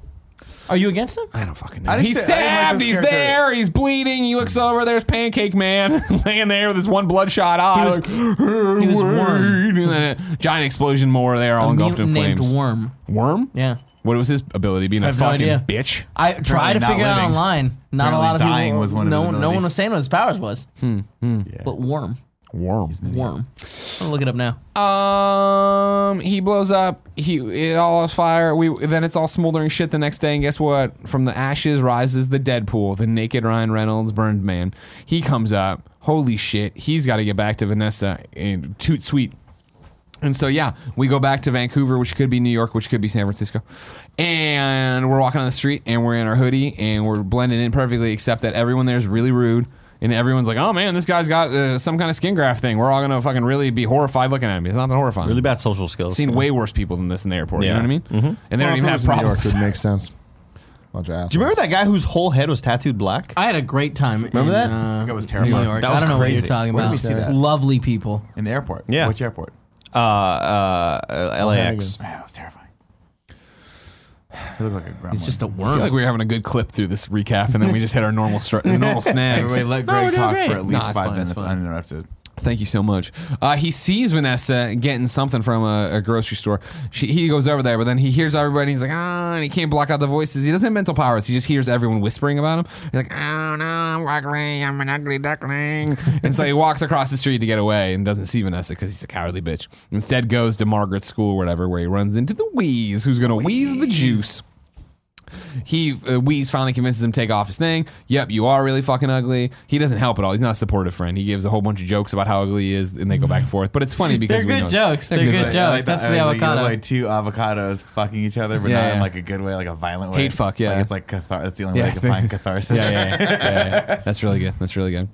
[SPEAKER 5] Are you against him?
[SPEAKER 2] I don't fucking know.
[SPEAKER 3] I just
[SPEAKER 2] He's
[SPEAKER 3] said- I didn't like
[SPEAKER 2] stabbed.
[SPEAKER 3] this
[SPEAKER 2] he's
[SPEAKER 3] character.
[SPEAKER 2] there. He's bleeding. He looks over. There's Pancake Man <laughs> laying there with his one bloodshot eye.
[SPEAKER 5] was-
[SPEAKER 2] like,
[SPEAKER 5] He was worm.
[SPEAKER 2] "Wait," and then a giant explosion more there, all engulfed in
[SPEAKER 5] named
[SPEAKER 2] flames.
[SPEAKER 5] worm.
[SPEAKER 2] Worm?
[SPEAKER 5] Yeah.
[SPEAKER 2] What was his ability? Being a
[SPEAKER 5] have no
[SPEAKER 2] fucking
[SPEAKER 5] idea.
[SPEAKER 2] bitch.
[SPEAKER 5] I tried to
[SPEAKER 3] not
[SPEAKER 5] figure it out
[SPEAKER 3] living.
[SPEAKER 5] online. Not
[SPEAKER 3] Apparently
[SPEAKER 5] a lot of
[SPEAKER 3] dying
[SPEAKER 5] people.
[SPEAKER 3] was one of
[SPEAKER 5] no,
[SPEAKER 3] his
[SPEAKER 5] no one
[SPEAKER 3] abilities.
[SPEAKER 5] was saying what his powers was.
[SPEAKER 6] Hmm,
[SPEAKER 5] But worm,
[SPEAKER 2] Worm.
[SPEAKER 5] worm. I'm gonna look it up now.
[SPEAKER 2] Um, he blows up. He it all is fire. We then it's all smoldering shit the next day, and guess what? From the ashes rises the Deadpool, the naked Ryan Reynolds burned man. He comes up. Holy shit! He's got to get back to Vanessa and toot sweet. And so yeah, we go back to Vancouver, which could be New York, which could be San Francisco, and we're walking on the street, and we're in our hoodie, and we're blending in perfectly, except that everyone there is really rude. And everyone's like, "Oh man, this guy's got uh, some kind of skin graft thing. We're all gonna fucking really be horrified looking at him. It's not that horrifying.
[SPEAKER 6] really bad social skills.
[SPEAKER 2] Seen way worse people than this in the airport. You
[SPEAKER 6] Yeah.
[SPEAKER 2] know what I mean? Mm-hmm. And they
[SPEAKER 1] Well,
[SPEAKER 2] don't
[SPEAKER 1] if
[SPEAKER 2] even
[SPEAKER 1] it
[SPEAKER 2] have
[SPEAKER 1] was in New York,
[SPEAKER 2] problems.
[SPEAKER 1] It makes sense. Bunch of assholes.
[SPEAKER 6] Do you remember that guy whose whole head was tattooed black?
[SPEAKER 5] I had a great time.
[SPEAKER 6] Remember
[SPEAKER 5] in,
[SPEAKER 6] that?
[SPEAKER 5] Uh,
[SPEAKER 3] That was
[SPEAKER 5] New
[SPEAKER 3] terrifying.
[SPEAKER 5] York.
[SPEAKER 6] That was
[SPEAKER 5] I don't know what
[SPEAKER 6] crazy.
[SPEAKER 5] you're talking
[SPEAKER 3] Where did
[SPEAKER 5] about.
[SPEAKER 3] we see that?
[SPEAKER 5] Lovely people.
[SPEAKER 3] In the airport.
[SPEAKER 6] Yeah.
[SPEAKER 3] Which airport?
[SPEAKER 6] Uh, uh, uh, LAX.
[SPEAKER 3] Man, that was terrifying. <sighs> He looked like a gremlin.
[SPEAKER 5] It's just a
[SPEAKER 2] I
[SPEAKER 5] worm.
[SPEAKER 2] feel <laughs> like we were having a good clip through this recap, and then we just had our normal str- normal snags.
[SPEAKER 3] Everybody let Greg
[SPEAKER 5] doing
[SPEAKER 3] talk
[SPEAKER 5] great.
[SPEAKER 3] for at
[SPEAKER 2] it's
[SPEAKER 3] least five
[SPEAKER 2] fine, it's
[SPEAKER 3] minutes
[SPEAKER 2] fine.
[SPEAKER 3] uninterrupted.
[SPEAKER 2] Thank you so much. Uh, he sees Vanessa getting something from a, a grocery store. She, he goes over there, but then he hears everybody. He's like, ah, and he can't block out the voices. He doesn't have mental powers. He just hears everyone whispering about him. He's like, oh no, I'm ugly. I'm an ugly duckling. and so he walks across the street to get away and doesn't see Vanessa because he's a cowardly bitch. Instead, goes to Margaret's school or whatever, where he runs into the wheeze, who's gonna wheeze the juice. He uh, Wheeze finally convinces him to take off his thing. Yep, you are really fucking ugly. He doesn't help at all. He's not a supportive friend. He gives a whole bunch of jokes about how ugly he is, and they go back and forth. But it's funny because
[SPEAKER 5] <laughs> They're
[SPEAKER 2] we
[SPEAKER 5] good
[SPEAKER 2] know-
[SPEAKER 5] jokes. They're good jokes. That's the
[SPEAKER 3] I was
[SPEAKER 5] avocado.
[SPEAKER 3] Like, you're like two avocados fucking each other, but
[SPEAKER 2] Yeah,
[SPEAKER 3] not in
[SPEAKER 2] yeah.
[SPEAKER 3] like a good way, like a violent way.
[SPEAKER 2] Hate fuck, yeah.
[SPEAKER 3] Like, it's like cathar- That's the only
[SPEAKER 2] Yeah, <laughs>
[SPEAKER 3] way I can
[SPEAKER 2] they-
[SPEAKER 3] find catharsis.
[SPEAKER 2] Yeah,
[SPEAKER 3] <laughs>
[SPEAKER 2] yeah, yeah, yeah, yeah. That's really good. That's really good.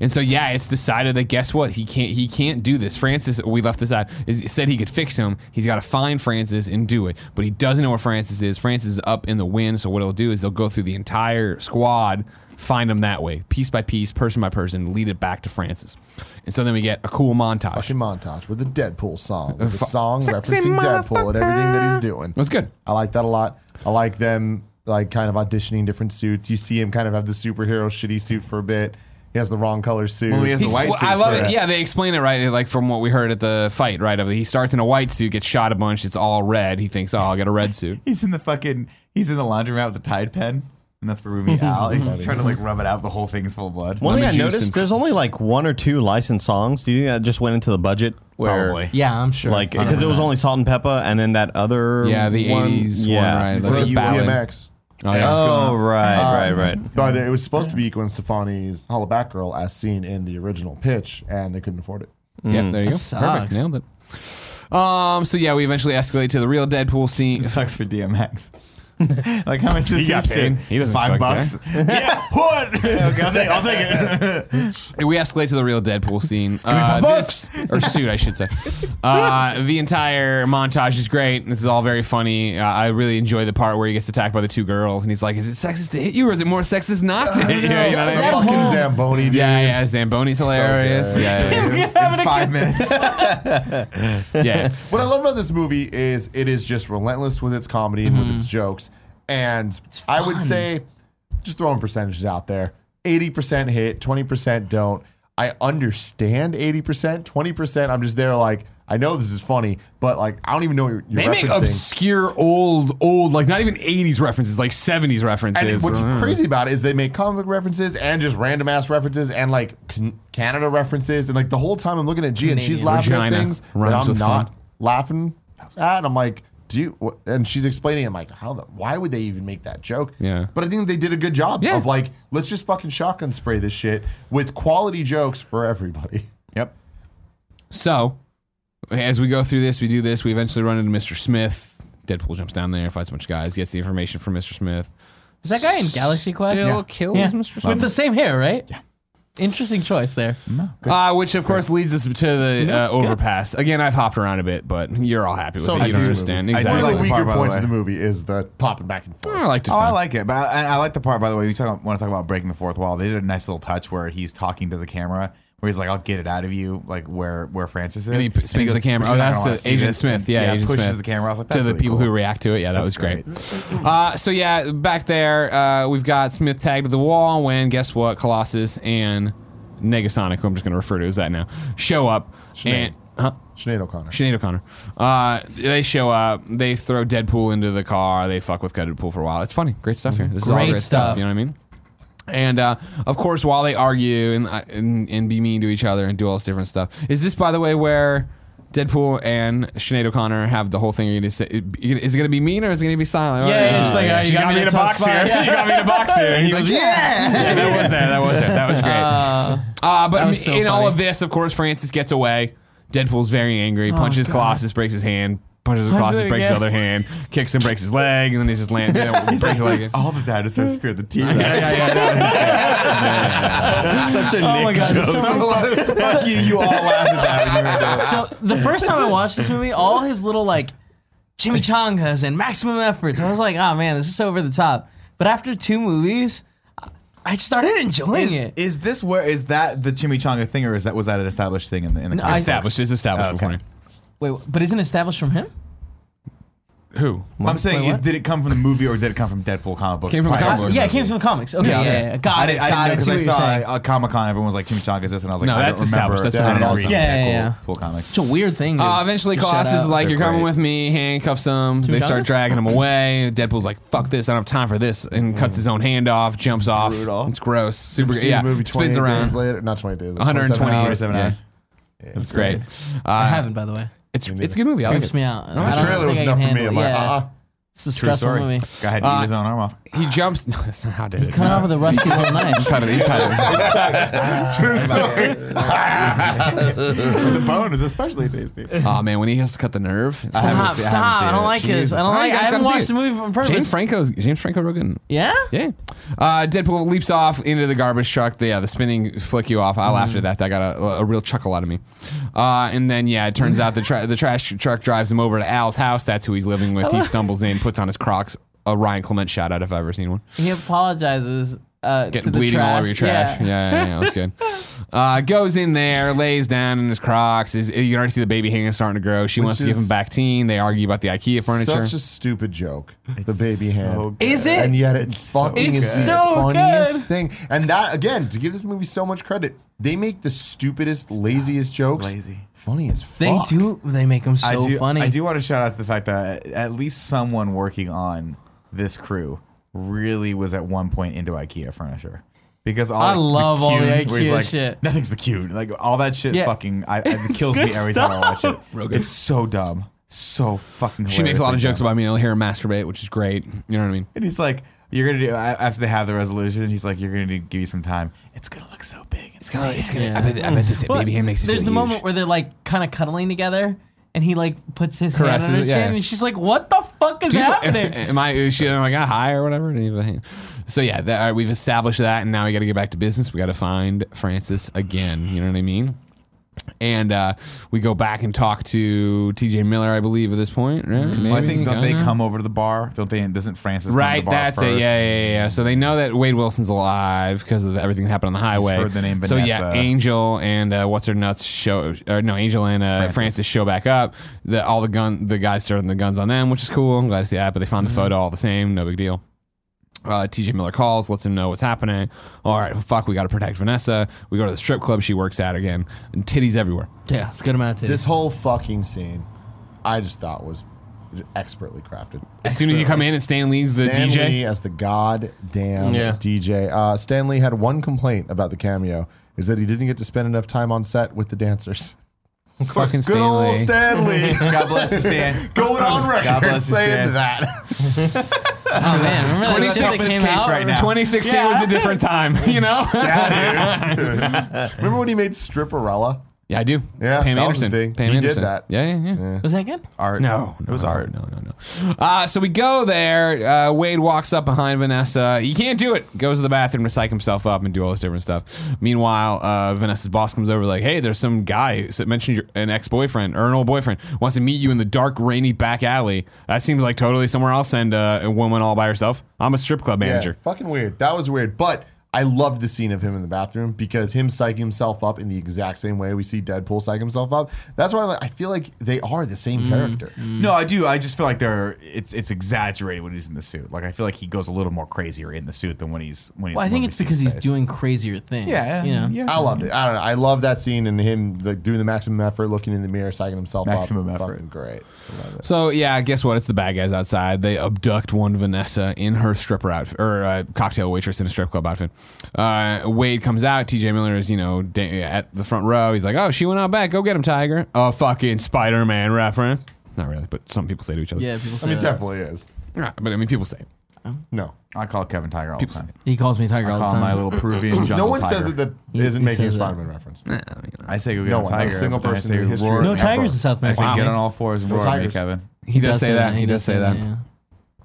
[SPEAKER 2] And so yeah, it's decided that guess what? He can't he can't do this. Francis, we left this out, is, said he could fix him. He's got to find Francis and do it. But he doesn't know where Francis is. Francis is up in the wind, so what he'll do is they'll go through the entire squad, find him that way, piece by piece, person by person, lead it back to Francis. And so then we get a cool montage.
[SPEAKER 1] Fucking montage with the Deadpool song. With the
[SPEAKER 2] Uh, fu-
[SPEAKER 1] song
[SPEAKER 2] Sexy
[SPEAKER 1] referencing Deadpool and everything that he's doing.
[SPEAKER 2] That's good.
[SPEAKER 1] I like that a lot. I like them like kind of auditioning different suits. You see him kind of have the superhero shitty suit for a bit. He has the wrong color suit.
[SPEAKER 3] Well, he has the
[SPEAKER 2] He's-
[SPEAKER 3] white
[SPEAKER 2] well,
[SPEAKER 3] suit
[SPEAKER 2] I love it.
[SPEAKER 3] first.
[SPEAKER 2] Yeah, they explain it right, like from what we heard at the fight. Right, of he starts in a white suit, gets shot a bunch. It's all red. He thinks, "Oh, I'll get a red suit."
[SPEAKER 3] He's in the fucking. He's in the laundromat with the Tide pen, and that's for
[SPEAKER 2] <laughs>
[SPEAKER 3] Ruby Al. He's just trying to like rub it out. The whole thing's full of blood.
[SPEAKER 6] One thing I
[SPEAKER 3] <laughs>
[SPEAKER 2] Lemon juice
[SPEAKER 6] noticed,
[SPEAKER 2] and-
[SPEAKER 6] there's only like one or two licensed songs. Do you think that just went into the budget? Where,
[SPEAKER 3] Probably.
[SPEAKER 5] Yeah, I'm sure.
[SPEAKER 6] Like, because it was only Salt and Pepper, and then that other
[SPEAKER 2] Yeah, the
[SPEAKER 6] one,
[SPEAKER 2] '80s
[SPEAKER 6] yeah.
[SPEAKER 2] one, right?
[SPEAKER 1] Throws
[SPEAKER 2] Like the ballad.
[SPEAKER 1] DMX.
[SPEAKER 2] Oh, yeah.
[SPEAKER 6] Oh, right, right, <laughs>
[SPEAKER 1] Um,
[SPEAKER 6] right.
[SPEAKER 1] But it was supposed to be Gwen Stefani's Holla Back Girl as seen in the original pitch, and they couldn't afford it.
[SPEAKER 2] yeah, there you go. Perfect,
[SPEAKER 5] sucks.
[SPEAKER 2] nailed it. Um, so yeah, we eventually escalate to the real Deadpool scene. <laughs>
[SPEAKER 3] It sucks
[SPEAKER 6] <laughs>
[SPEAKER 3] for DMX. like how much does he,
[SPEAKER 2] got
[SPEAKER 3] pay?
[SPEAKER 2] paid. He doesn't
[SPEAKER 3] Five
[SPEAKER 2] fuck
[SPEAKER 3] bucks. <laughs> yeah. What? okay, I'll take. I'll take <laughs> it.
[SPEAKER 2] We escalate to the real Deadpool scene. Uh, this, <laughs> or suit, I should say. Uh, the entire montage is great. This is all very funny. Uh, I really enjoy the part where he gets attacked by the two girls, and he's like, "Is it sexist to hit you, or is it more sexist not to hit you?" You know what I mean?
[SPEAKER 1] The fucking Zamboni, dude.
[SPEAKER 2] Yeah, yeah, Zamboni's hilarious.
[SPEAKER 1] good.
[SPEAKER 2] yeah, yeah,
[SPEAKER 3] In five minutes.
[SPEAKER 2] yeah. yeah.
[SPEAKER 1] What I love about this movie is it is just relentless with its comedy and with
[SPEAKER 2] Mm-hmm.
[SPEAKER 1] its jokes. And I would say, just throwing percentages out there 80% hit, 20% don't. I understand 80%, 20%. I'm just there like, I know this is funny, but like, I don't even know what you're, you're
[SPEAKER 2] <laughs> They make
[SPEAKER 1] referencing.
[SPEAKER 2] obscure old, old, like not even 80s references, like 70s
[SPEAKER 1] and
[SPEAKER 2] references. Mm-hmm.
[SPEAKER 1] what's crazy about it is they make comic book references and just random ass references and like can- Canada references and like the whole time I'm looking at G and she's
[SPEAKER 5] Canadian.
[SPEAKER 1] laughing
[SPEAKER 2] Regina
[SPEAKER 1] at things that
[SPEAKER 2] rhymes
[SPEAKER 1] I'm
[SPEAKER 2] with
[SPEAKER 1] not
[SPEAKER 2] fun.
[SPEAKER 1] laughing at. And I'm like, do you? What? And she's explaining. I'm like, how the? Why would they even make that joke?
[SPEAKER 2] Yeah.
[SPEAKER 1] But I think they did a good job
[SPEAKER 2] Yeah.
[SPEAKER 1] of like, let's just fucking shotgun spray this shit with quality jokes for everybody.
[SPEAKER 3] yep.
[SPEAKER 2] So, as we go through this, we do this. We eventually run into Mr. Smith. Deadpool jumps down there, fights a bunch of guys, gets the information from Mr. Smith.
[SPEAKER 5] is that guy in Galaxy Quest?
[SPEAKER 2] Still kills Mr.
[SPEAKER 5] With
[SPEAKER 2] Smith.
[SPEAKER 5] the same hair, right? Yeah. Interesting choice there.
[SPEAKER 2] Uh, which, of course, leads us to the uh, overpass. Again, I've hopped around a bit, but you're all happy with
[SPEAKER 1] So
[SPEAKER 2] it. You
[SPEAKER 1] I
[SPEAKER 2] don't
[SPEAKER 1] do-
[SPEAKER 2] understand.
[SPEAKER 3] I do
[SPEAKER 1] One
[SPEAKER 2] Exactly.
[SPEAKER 1] of
[SPEAKER 3] like
[SPEAKER 1] the
[SPEAKER 3] the part,
[SPEAKER 1] weaker
[SPEAKER 3] by the
[SPEAKER 1] points
[SPEAKER 3] way.
[SPEAKER 1] of the movie is the popping back and forth.
[SPEAKER 2] I like to
[SPEAKER 3] Oh, I
[SPEAKER 2] fight.
[SPEAKER 3] like it, but I, and I like the part by the way. You talk want to talk about breaking the fourth wall? They did a nice little touch where he's talking to the camera, where he's like, "I'll get it out of you," like where where Francis is.
[SPEAKER 2] And he p- spins the
[SPEAKER 3] goes,
[SPEAKER 2] camera.
[SPEAKER 3] "We're
[SPEAKER 2] Oh,
[SPEAKER 3] just not gonna
[SPEAKER 2] that's
[SPEAKER 3] wanna
[SPEAKER 2] the
[SPEAKER 3] see
[SPEAKER 2] Agent
[SPEAKER 3] this."
[SPEAKER 2] Smith. Yeah,
[SPEAKER 3] yeah
[SPEAKER 2] Agent
[SPEAKER 3] pushes
[SPEAKER 2] Smith
[SPEAKER 3] the camera. I was like,
[SPEAKER 2] to
[SPEAKER 3] "That's
[SPEAKER 2] the
[SPEAKER 3] really
[SPEAKER 2] people
[SPEAKER 3] cool."
[SPEAKER 2] who react to it. Yeah, that
[SPEAKER 3] That's
[SPEAKER 2] was great. uh, so yeah, back there uh, we've got Smith tagged to the wall when guess what? Colossus and Negasonic, who I'm just going to refer to as that now, show up and. Huh?
[SPEAKER 1] Sinead O'Connor.
[SPEAKER 2] Sinead O'Connor. Uh, they show up. They throw Deadpool into the car. They fuck with Deadpool for a while. It's funny. Great stuff here. This is all
[SPEAKER 5] Great
[SPEAKER 2] great stuff.
[SPEAKER 5] stuff.
[SPEAKER 2] You know what I mean? And uh, of course, while they argue and, uh, and and be mean to each other and do all this different stuff, is this by the way where Deadpool and Sinead O'Connor have the whole thing? Are you gonna say, is it going to be mean or is it going to be silent?
[SPEAKER 5] Yeah, yeah, it's like, uh,
[SPEAKER 2] She
[SPEAKER 5] you got me in a
[SPEAKER 2] tough
[SPEAKER 5] box
[SPEAKER 2] spot.
[SPEAKER 5] here.
[SPEAKER 2] you got me in a box
[SPEAKER 5] <laughs>
[SPEAKER 2] here. And he's like, yeah. yeah, that was it. That was it. That was great. Uh, but
[SPEAKER 5] That was so
[SPEAKER 2] in all
[SPEAKER 5] funny.
[SPEAKER 2] of this, of course, Francis gets away. Deadpool's very angry, punches Colossus, breaks his hand, punches Colossus,
[SPEAKER 5] it
[SPEAKER 2] breaks his
[SPEAKER 5] again.
[SPEAKER 2] other hand, kicks him, breaks his leg, and then he's just landing. he's breaks his leg.
[SPEAKER 3] All the dinosaurs fear the T Rex.
[SPEAKER 6] That's such
[SPEAKER 3] <laughs> Oh
[SPEAKER 6] a Nick joke.
[SPEAKER 2] <laughs>
[SPEAKER 3] Fuck you, you all laughed at that. when you were there.
[SPEAKER 5] So the first time I watched this movie, all his little like chimichangas and maximum efforts, I was like, oh man, this is so over the top. But after two movies, I- I started enjoying
[SPEAKER 3] Is,
[SPEAKER 5] it.
[SPEAKER 3] is this where is that the chimichanga thing, or is that was that an established thing in the in the?
[SPEAKER 5] I-
[SPEAKER 2] Established. It's established
[SPEAKER 3] Okay.
[SPEAKER 2] before him.
[SPEAKER 5] Wait, but isn't it established from him?
[SPEAKER 2] Who?
[SPEAKER 3] I'm saying is did it come from the movie or did it come from Deadpool comic book?
[SPEAKER 2] Came from the
[SPEAKER 3] prior?
[SPEAKER 2] comic book.
[SPEAKER 5] yeah, it came from the comics. Okay, yeah,
[SPEAKER 3] okay.
[SPEAKER 5] yeah, yeah. got
[SPEAKER 3] I
[SPEAKER 5] it.
[SPEAKER 3] didn't, I didn't
[SPEAKER 5] got
[SPEAKER 3] know
[SPEAKER 5] it.
[SPEAKER 3] because
[SPEAKER 5] See
[SPEAKER 3] I
[SPEAKER 5] what you're saying.
[SPEAKER 3] saw a Comic Con. Everyone was like chimichangas this, and I was like,
[SPEAKER 2] No,
[SPEAKER 3] I
[SPEAKER 2] that's
[SPEAKER 3] don't remember.
[SPEAKER 2] established. That's
[SPEAKER 3] I
[SPEAKER 2] been
[SPEAKER 3] don't know.
[SPEAKER 2] agreed.
[SPEAKER 3] It's
[SPEAKER 5] Yeah,
[SPEAKER 3] cool-
[SPEAKER 5] yeah, yeah.
[SPEAKER 3] cool comics.
[SPEAKER 5] It's a weird thing. Dude.
[SPEAKER 2] Uh, eventually,
[SPEAKER 5] Just
[SPEAKER 2] Colossus
[SPEAKER 5] shout
[SPEAKER 2] is
[SPEAKER 5] out.
[SPEAKER 2] like,
[SPEAKER 3] They're
[SPEAKER 2] "You're coming
[SPEAKER 3] great.
[SPEAKER 2] with me." Handcuffs him. They start
[SPEAKER 6] Chimichangas?
[SPEAKER 2] dragging him away. Deadpool's like, "Fuck this! I don't have time for this," and cuts his own hand off. Jumps off.
[SPEAKER 3] brutal.
[SPEAKER 2] It's gross. Super.
[SPEAKER 1] See
[SPEAKER 2] Yeah.
[SPEAKER 1] the movie
[SPEAKER 2] Spins
[SPEAKER 1] 28
[SPEAKER 2] around.
[SPEAKER 1] days later. Not 20 days. Later,
[SPEAKER 2] 120
[SPEAKER 1] hours.
[SPEAKER 3] 27
[SPEAKER 2] Yeah.
[SPEAKER 3] hours.
[SPEAKER 2] It's great.
[SPEAKER 5] I
[SPEAKER 2] Uh,
[SPEAKER 5] haven't, by the way.
[SPEAKER 2] it's it's a good movie. I like
[SPEAKER 5] Creeps
[SPEAKER 2] it.
[SPEAKER 5] me out. I
[SPEAKER 1] The
[SPEAKER 5] don't
[SPEAKER 1] trailer
[SPEAKER 5] think
[SPEAKER 1] was
[SPEAKER 5] I can
[SPEAKER 1] enough for me.
[SPEAKER 5] handle
[SPEAKER 1] I'm
[SPEAKER 5] it.
[SPEAKER 1] like,
[SPEAKER 5] yeah.
[SPEAKER 1] uh-uh.
[SPEAKER 5] It's a
[SPEAKER 3] True
[SPEAKER 5] stressful
[SPEAKER 3] story.
[SPEAKER 5] movie.
[SPEAKER 3] Guy had to eat his own arm off.
[SPEAKER 5] <laughs>
[SPEAKER 2] He jumps. <laughs> No, that's not how I did it.
[SPEAKER 5] Coming off with a rusty little knife.
[SPEAKER 2] Cut it, he <laughs> cut it.
[SPEAKER 3] the bone is especially tasty.
[SPEAKER 2] oh man, when he has to cut the nerve. it's-
[SPEAKER 3] haven't
[SPEAKER 5] Stop,
[SPEAKER 3] seen- I haven't
[SPEAKER 5] stop. I
[SPEAKER 3] seen
[SPEAKER 5] don't
[SPEAKER 3] it.
[SPEAKER 5] like this. I
[SPEAKER 2] Jesus.
[SPEAKER 5] don't
[SPEAKER 2] Oh, you
[SPEAKER 5] like I
[SPEAKER 2] guys gotta
[SPEAKER 5] haven't
[SPEAKER 2] see
[SPEAKER 5] watched
[SPEAKER 2] it.
[SPEAKER 5] the movie on purpose.
[SPEAKER 2] James Franco's James Franco real good.
[SPEAKER 5] Yeah?
[SPEAKER 2] Yeah. Uh, Deadpool leaps off into the garbage truck. Yeah, the spinning flick you
[SPEAKER 5] Mm-hmm.
[SPEAKER 2] off. I laughed at that. That got a, a real chuckle out of me. Uh, and then, yeah, it
[SPEAKER 5] Mm.
[SPEAKER 2] turns out the, tra- the trash truck drives him over to Al's house. That's who he's living with.
[SPEAKER 5] <laughs>
[SPEAKER 2] He stumbles in, puts on his Crocs. A Ryan Clement shout out if I've ever seen one.
[SPEAKER 5] He apologizes. Uh, to
[SPEAKER 2] Getting
[SPEAKER 5] the
[SPEAKER 2] bleeding
[SPEAKER 5] trash.
[SPEAKER 2] all over your trash. Yeah,
[SPEAKER 5] Yeah.
[SPEAKER 2] yeah, yeah, that's good. Uh, goes in there, lays down in his Crocs. Is you can already see the baby hanging starting to grow. She wants to give
[SPEAKER 1] is
[SPEAKER 2] him back teen. They argue about the IKEA furniture.
[SPEAKER 1] Such a stupid joke. The baby
[SPEAKER 3] so
[SPEAKER 1] hand.
[SPEAKER 3] good.
[SPEAKER 5] Is it?
[SPEAKER 1] And yet it's fucking
[SPEAKER 5] good.
[SPEAKER 1] is the
[SPEAKER 5] So
[SPEAKER 1] funniest
[SPEAKER 5] good.
[SPEAKER 1] thing. And that again, to give this movie so much credit, they make the stupidest, laziest jokes
[SPEAKER 3] Lazy.
[SPEAKER 1] funny as fuck.
[SPEAKER 5] They do. They make them so
[SPEAKER 3] I do,
[SPEAKER 5] funny.
[SPEAKER 3] I do want to shout out to the fact that at least someone working on this crew really was at one point into IKEA furniture. Because all
[SPEAKER 5] I love all the
[SPEAKER 3] cute- where he's
[SPEAKER 5] IKEA
[SPEAKER 3] like,
[SPEAKER 5] shit.
[SPEAKER 3] Nothing's the cute. Like all that shit
[SPEAKER 5] Yeah.
[SPEAKER 3] fucking I,
[SPEAKER 5] <laughs>
[SPEAKER 3] it kills me
[SPEAKER 5] good
[SPEAKER 3] every time I watch it. It's so dumb. So fucking
[SPEAKER 2] she makes a lot of
[SPEAKER 3] hilariously
[SPEAKER 2] jokes
[SPEAKER 3] dumb.
[SPEAKER 2] about me. I'll hear her masturbate, which is great. You know what I mean?
[SPEAKER 3] And he's like, You're gonna do after they have the resolution, he's like, You're gonna need, give you some time. It's gonna look so big. It's gonna
[SPEAKER 2] It's gonna.
[SPEAKER 5] Yeah.
[SPEAKER 2] I, bet, I bet this
[SPEAKER 5] Well,
[SPEAKER 2] baby hand makes it.
[SPEAKER 5] There's
[SPEAKER 2] feel
[SPEAKER 5] the
[SPEAKER 2] huge.
[SPEAKER 5] moment where they're like kind of cuddling together, and he like puts his
[SPEAKER 2] Caresses
[SPEAKER 5] hand on her
[SPEAKER 2] it, yeah.
[SPEAKER 5] chin, and she's like, "What the fuck is
[SPEAKER 2] Do you- <laughs>
[SPEAKER 5] happening?"
[SPEAKER 2] Am I? Is she am I got high or whatever? Do you have a hand? So yeah, that, all right, we've established that, and now we got to get back to business. We got to find Francis again. You know what I mean? And uh, we go back and talk to T.J. Miller, I believe, at this point. Right?
[SPEAKER 3] Mm-hmm. Well, I think
[SPEAKER 2] Maybe,
[SPEAKER 3] don't they
[SPEAKER 2] kinda.
[SPEAKER 3] come over to the bar? Don't they? Doesn't Francis
[SPEAKER 2] Mm-hmm. Right,
[SPEAKER 3] Come to the bar
[SPEAKER 2] that's
[SPEAKER 3] first?
[SPEAKER 2] it. Yeah, yeah, yeah, yeah. So they know that Wade Wilson's alive because of everything that happened on the highway.
[SPEAKER 3] heard the name
[SPEAKER 2] so yeah,
[SPEAKER 3] Vanessa.
[SPEAKER 2] Angel and uh, what's her nuts show? Or no, Angel and uh, Francis. show back up. The, all the gun, the guys starting the guns on them, which is cool. I'm glad to see that. But they
[SPEAKER 3] Mm-hmm.
[SPEAKER 2] found the photo all the same. No big deal. Uh, TJ Miller calls, lets him know what's happening. All right, fuck, we got to protect Vanessa. We go to the strip club she works at again. And titties everywhere.
[SPEAKER 5] Yeah, it's a good amount of
[SPEAKER 1] This whole fucking scene, I just thought was expertly crafted.
[SPEAKER 2] As soon as you come in and Stan Lee's the
[SPEAKER 1] Stan
[SPEAKER 2] DJ.
[SPEAKER 1] Lee as the goddamn
[SPEAKER 6] Yeah.
[SPEAKER 1] DJ. Uh, Stan Lee had one complaint about the cameo: is that he didn't get to spend enough time on set with the dancers.
[SPEAKER 2] Fucking
[SPEAKER 1] Good
[SPEAKER 2] Stan
[SPEAKER 1] old
[SPEAKER 2] Lee.
[SPEAKER 1] Stan Lee <laughs>
[SPEAKER 3] God bless you, Stan.
[SPEAKER 1] going on record
[SPEAKER 3] God bless you,
[SPEAKER 1] saying
[SPEAKER 3] Stan.
[SPEAKER 1] that.
[SPEAKER 5] Oh man, remember that shit that
[SPEAKER 3] 26
[SPEAKER 5] came
[SPEAKER 3] case
[SPEAKER 5] out?
[SPEAKER 3] right now.
[SPEAKER 2] 2016 was a different time, <laughs> you know?
[SPEAKER 1] Remember when he made Stripperella?
[SPEAKER 2] Yeah, I do.
[SPEAKER 1] Yeah,
[SPEAKER 2] Pam
[SPEAKER 1] that was the
[SPEAKER 2] Anderson.
[SPEAKER 1] thing.
[SPEAKER 2] Pam
[SPEAKER 1] He did
[SPEAKER 2] Anderson.
[SPEAKER 1] that.
[SPEAKER 2] Yeah, yeah, yeah.
[SPEAKER 5] Was that good?
[SPEAKER 3] Art.
[SPEAKER 2] No,
[SPEAKER 3] it was
[SPEAKER 2] no,
[SPEAKER 3] art.
[SPEAKER 2] No, no, no. Uh, so we go there. Uh, Wade walks up behind Vanessa. He can't do it. Goes to the bathroom to psych himself up and do all this different stuff. Meanwhile, uh, Vanessa's boss comes over like, "Hey, there's some guy that mentioned your, an ex-boyfriend or an old boyfriend wants to meet you in the dark, rainy back alley. That seems like totally somewhere I'll send uh, a woman all by herself. I'm a strip club
[SPEAKER 1] Yeah,
[SPEAKER 2] manager.
[SPEAKER 1] fucking weird. That was weird, but. I loved the scene of him in the bathroom because him psyching himself up in the exact same way we see Deadpool psych himself up. That's why I'm like, I feel like they are the same character.
[SPEAKER 3] No, I do. I just feel like they're it's it's exaggerated when he's in the suit. Like I feel like he goes a little more crazier in the suit than when he's when. he-
[SPEAKER 5] Well, I think
[SPEAKER 3] when we
[SPEAKER 5] it's
[SPEAKER 3] see
[SPEAKER 5] because
[SPEAKER 3] his
[SPEAKER 5] he's
[SPEAKER 3] face.
[SPEAKER 5] doing crazier things.
[SPEAKER 3] Yeah,
[SPEAKER 5] you
[SPEAKER 2] Mm-hmm.
[SPEAKER 5] know?
[SPEAKER 3] yeah.
[SPEAKER 1] I loved it. I don't know. I love that scene and him like doing the maximum effort, looking in the mirror, psyching himself
[SPEAKER 3] Maximum
[SPEAKER 1] up.
[SPEAKER 3] effort.
[SPEAKER 1] Fucking great. I love it.
[SPEAKER 2] So yeah, guess what? It's the bad guys outside. They abduct one Vanessa in her stripper outfit or uh, cocktail waitress in a strip club outfit. Uh, Wade comes out. T.J. Miller is you know da- at the front row. He's like, "Oh, she went out back. Go get him, Tiger." A fucking Spider-Man reference. Not really, but some people say to each other.
[SPEAKER 5] Yeah, people say
[SPEAKER 1] I mean,
[SPEAKER 5] that.
[SPEAKER 1] definitely is.
[SPEAKER 2] Yeah, but I mean, people say. it.
[SPEAKER 1] No.
[SPEAKER 3] I call Kevin Tiger all the time.
[SPEAKER 5] He calls me Tiger
[SPEAKER 3] I
[SPEAKER 5] all the
[SPEAKER 3] call him
[SPEAKER 5] time.
[SPEAKER 3] my little Peruvian jungle.
[SPEAKER 1] no one
[SPEAKER 3] tiger.
[SPEAKER 1] says it that
[SPEAKER 5] He-
[SPEAKER 1] isn't
[SPEAKER 5] he
[SPEAKER 1] making a
[SPEAKER 5] says that.
[SPEAKER 1] Spider Man reference.
[SPEAKER 3] I say go get
[SPEAKER 1] No
[SPEAKER 3] a
[SPEAKER 1] one, not a
[SPEAKER 3] tiger.
[SPEAKER 1] single
[SPEAKER 3] but then I
[SPEAKER 1] person
[SPEAKER 3] say
[SPEAKER 1] in the history
[SPEAKER 3] roar
[SPEAKER 1] of-
[SPEAKER 3] at
[SPEAKER 1] No
[SPEAKER 3] me. I
[SPEAKER 5] tigers in
[SPEAKER 3] roar-
[SPEAKER 5] South
[SPEAKER 3] I say
[SPEAKER 5] America.
[SPEAKER 3] get
[SPEAKER 5] Wow.
[SPEAKER 3] on all fours and roar at me,
[SPEAKER 1] tigers.
[SPEAKER 3] Kevin.
[SPEAKER 2] He, does, say that. He, does say that.
[SPEAKER 5] yeah.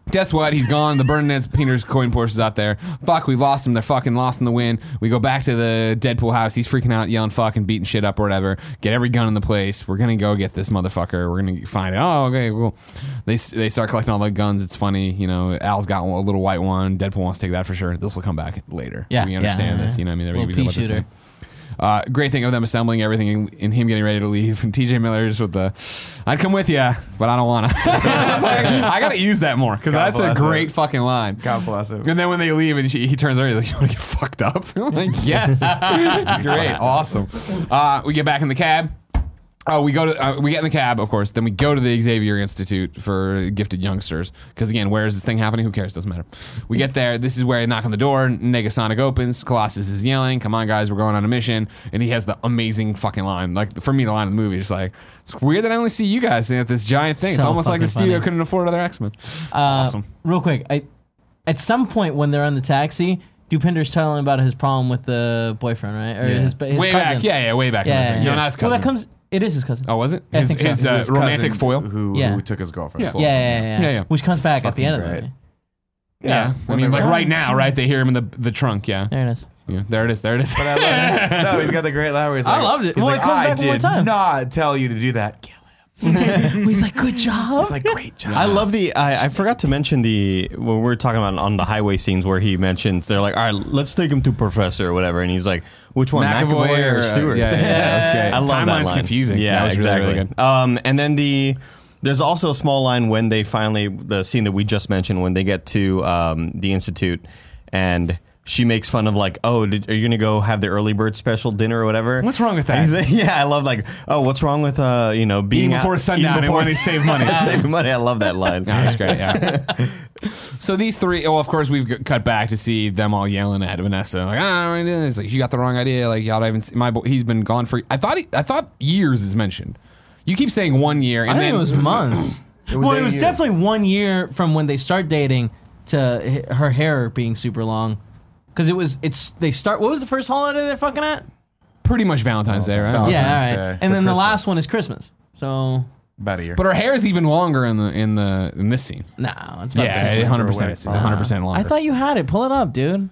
[SPEAKER 2] Guess what? He's gone. The burden that's Peter's coin Porsche is out there. Fuck, we've lost him. They're fucking lost in the wind. We go back to the Deadpool house. He's freaking out, yelling, fucking, beating shit up or whatever. Get every gun in the place. We're gonna go get this motherfucker. We're gonna find it. Oh, okay, cool. They they start collecting all the guns. It's funny, you know. Al's got a little white one. Deadpool wants to take that for sure. This will come back later.
[SPEAKER 5] Yeah,
[SPEAKER 2] we
[SPEAKER 5] yeah,
[SPEAKER 2] understand
[SPEAKER 5] yeah,
[SPEAKER 2] this.
[SPEAKER 5] yeah.
[SPEAKER 2] You know, what I mean, they're
[SPEAKER 5] Little
[SPEAKER 2] gonna be
[SPEAKER 5] pea
[SPEAKER 2] about this
[SPEAKER 5] shooter.
[SPEAKER 2] thing. Uh, great thing of them assembling everything and, and him getting ready to leave. <laughs> And TJ Miller's with the, I'd come with you, but I don't
[SPEAKER 3] <laughs>
[SPEAKER 2] want to. <laughs> I got to use that more because
[SPEAKER 3] God
[SPEAKER 2] that's a
[SPEAKER 3] bless
[SPEAKER 2] great
[SPEAKER 3] him.
[SPEAKER 2] fucking line.
[SPEAKER 3] God bless him.
[SPEAKER 2] And then when they leave and she, he turns around, he's like, You want to get fucked up? <laughs> I'm like,
[SPEAKER 5] <laughs>
[SPEAKER 2] Yes. Great. Awesome. Uh, we get back in the cab. Oh, we go to uh, we get in the cab, of course. Then we go to the Xavier Institute for gifted youngsters. Because again, where is this thing happening? Who cares? Doesn't matter. We get there. This is where I knock on the door. Negasonic opens. Colossus is yelling, "Come on, guys, we're going on a mission!" And he has the amazing fucking line. Like for me, the line of the movie is just like, "It's weird that I only see you guys at this giant thing. it's
[SPEAKER 5] So
[SPEAKER 2] almost like the
[SPEAKER 5] fucking
[SPEAKER 2] studio
[SPEAKER 5] funny.
[SPEAKER 2] couldn't afford other X Men." awesome.
[SPEAKER 5] Uh, Real quick, I at some point when they're on the taxi, Dupinder's telling him about his problem with the boyfriend, right? Or his, his
[SPEAKER 2] way
[SPEAKER 5] cousin.
[SPEAKER 2] back, yeah, yeah, way back. in the
[SPEAKER 5] Yeah,
[SPEAKER 2] thing.
[SPEAKER 5] yeah.
[SPEAKER 2] No, not his cousin.
[SPEAKER 5] Well, that comes. It is his cousin.
[SPEAKER 2] Oh, was it?
[SPEAKER 5] I
[SPEAKER 2] his
[SPEAKER 5] think so.
[SPEAKER 2] his,
[SPEAKER 5] It's
[SPEAKER 2] uh,
[SPEAKER 3] His cousin
[SPEAKER 2] romantic foil.
[SPEAKER 3] who,
[SPEAKER 5] Yeah.
[SPEAKER 3] who took his girlfriend.
[SPEAKER 2] Yeah.
[SPEAKER 5] yeah, yeah, yeah, yeah,
[SPEAKER 2] Yeah, yeah.
[SPEAKER 5] Which comes back at the end of
[SPEAKER 3] great.
[SPEAKER 5] the movie.
[SPEAKER 2] Yeah, I
[SPEAKER 3] When
[SPEAKER 2] mean,
[SPEAKER 3] they
[SPEAKER 2] like
[SPEAKER 3] were-
[SPEAKER 2] right now, right? They hear him in the the trunk. Yeah,
[SPEAKER 5] There
[SPEAKER 2] <laughs>
[SPEAKER 5] it is.
[SPEAKER 2] yeah. There it is. There it is.
[SPEAKER 3] I love <laughs> it. No, he's got the great Lowry. He's
[SPEAKER 5] I
[SPEAKER 3] like-
[SPEAKER 5] loved it.
[SPEAKER 3] He's
[SPEAKER 5] Well, it
[SPEAKER 3] like,
[SPEAKER 5] comes
[SPEAKER 3] I
[SPEAKER 5] back one more
[SPEAKER 3] did
[SPEAKER 5] time."
[SPEAKER 3] not tell you to do that. Kill him.
[SPEAKER 5] He's like, good job.
[SPEAKER 3] It's like great job.
[SPEAKER 6] I love the. I, I forgot to mention the when we were talking about on the highway scenes where he mentions they're like, all right, let's take him to Professor or whatever, and he's like, which one, McAvoy, or,
[SPEAKER 2] uh,
[SPEAKER 6] Stewart?
[SPEAKER 2] Yeah, yeah, yeah, that's great.
[SPEAKER 6] <laughs> I love that
[SPEAKER 2] Timeline's
[SPEAKER 6] line.
[SPEAKER 2] confusing.
[SPEAKER 6] Yeah,
[SPEAKER 2] that was really,
[SPEAKER 6] exactly.
[SPEAKER 2] Really, good.
[SPEAKER 6] Um, and then the there's also a small line when they finally the scene that we just mentioned when they get to um, the institute and. She makes fun of like, oh, did, are you gonna go have the early bird special dinner or whatever?
[SPEAKER 2] What's wrong with that?
[SPEAKER 6] And he's like- <laughs> yeah, I love like, oh, what's wrong with uh, you know, being
[SPEAKER 2] Eating
[SPEAKER 6] out-
[SPEAKER 2] before sundown
[SPEAKER 6] eating
[SPEAKER 2] and wanting to
[SPEAKER 6] <laughs>
[SPEAKER 2] save money.
[SPEAKER 6] saving money. I love that line.
[SPEAKER 2] <laughs> No, that's great. Yeah.
[SPEAKER 5] <laughs>
[SPEAKER 2] so these three, well, of course, we've g- cut back to see them all yelling at Vanessa, like, ah, it's like you got the wrong idea. Like y'all don't even see, my boy. He's been gone for. I thought he, I thought years is mentioned. You keep saying one year, and
[SPEAKER 5] I
[SPEAKER 2] then
[SPEAKER 5] think it
[SPEAKER 2] <laughs>
[SPEAKER 5] was months.
[SPEAKER 1] was
[SPEAKER 5] well,
[SPEAKER 1] eight
[SPEAKER 5] it was
[SPEAKER 1] years.
[SPEAKER 5] definitely one year from when they start dating to h- her hair being super long. Because it was, it's they start. What was the first holiday they're fucking at?
[SPEAKER 2] pretty much Valentine's
[SPEAKER 5] Oh,
[SPEAKER 2] Day, right?
[SPEAKER 3] Valentine's
[SPEAKER 5] yeah, all
[SPEAKER 3] Day
[SPEAKER 5] right.
[SPEAKER 3] to
[SPEAKER 5] And then the
[SPEAKER 3] Christmas.
[SPEAKER 5] last one is Christmas. So
[SPEAKER 3] about a year.
[SPEAKER 2] But her hair is even longer in the in the in this scene.
[SPEAKER 5] nah, it's about
[SPEAKER 2] Yeah,
[SPEAKER 5] six
[SPEAKER 2] it
[SPEAKER 5] months.
[SPEAKER 2] 100%. It's 100% longer.
[SPEAKER 5] I thought you had it. Pull it up, dude.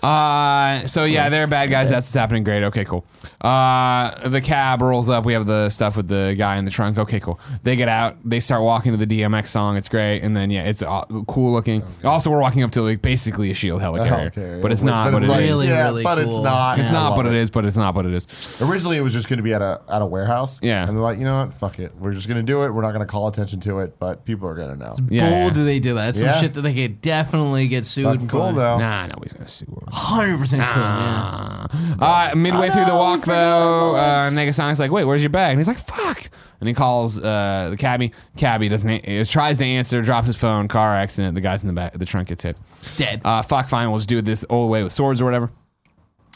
[SPEAKER 2] Uh, so yeah, they're bad guys. That's what's happening. Great. Okay, cool. Uh, the cab rolls up. We have the stuff with the guy in the trunk. Okay, cool. They get out. They start walking to the DMX song. It's great. And then yeah, it's uh, cool looking. Also, we're walking up to like basically a shield helicarrier,
[SPEAKER 1] helicarrier.
[SPEAKER 2] but it's not.
[SPEAKER 1] Oh, But
[SPEAKER 2] But,
[SPEAKER 1] it's
[SPEAKER 2] it
[SPEAKER 1] like-
[SPEAKER 2] is.
[SPEAKER 5] Really,
[SPEAKER 1] Yeah,
[SPEAKER 5] really
[SPEAKER 1] but it's
[SPEAKER 5] cool.
[SPEAKER 1] not.
[SPEAKER 2] It's
[SPEAKER 1] Yeah. I
[SPEAKER 2] not,
[SPEAKER 1] love
[SPEAKER 2] but it
[SPEAKER 1] it.
[SPEAKER 2] is. But it's not, but it is.
[SPEAKER 1] Originally, it was just going to be at a at a warehouse.
[SPEAKER 2] Yeah.
[SPEAKER 1] and they're like, you know what? Fuck it. We're just going to do it. We're not going to call attention to it, but people are going to know.
[SPEAKER 2] Yeah.
[SPEAKER 5] Bold
[SPEAKER 2] yeah.
[SPEAKER 5] that they do that. That's
[SPEAKER 1] Yeah.
[SPEAKER 5] some shit that they could definitely get sued
[SPEAKER 1] Fucking
[SPEAKER 5] for.
[SPEAKER 1] cool though.
[SPEAKER 2] Nah, nobody's gonna sue her.
[SPEAKER 5] Hundred percent cool. Yeah.
[SPEAKER 2] Uh, midway through the walk, though, uh, Negasonic's like, "Wait, where's your bag?" And he's like, "Fuck!" And he calls uh, the cabbie. Cabbie doesn't a- tries to answer, drops his phone. Car accident. The guy's in the back. The trunk gets hit.
[SPEAKER 5] Dead.
[SPEAKER 2] Uh, fuck, fine. We'll just do it this old way with swords or whatever.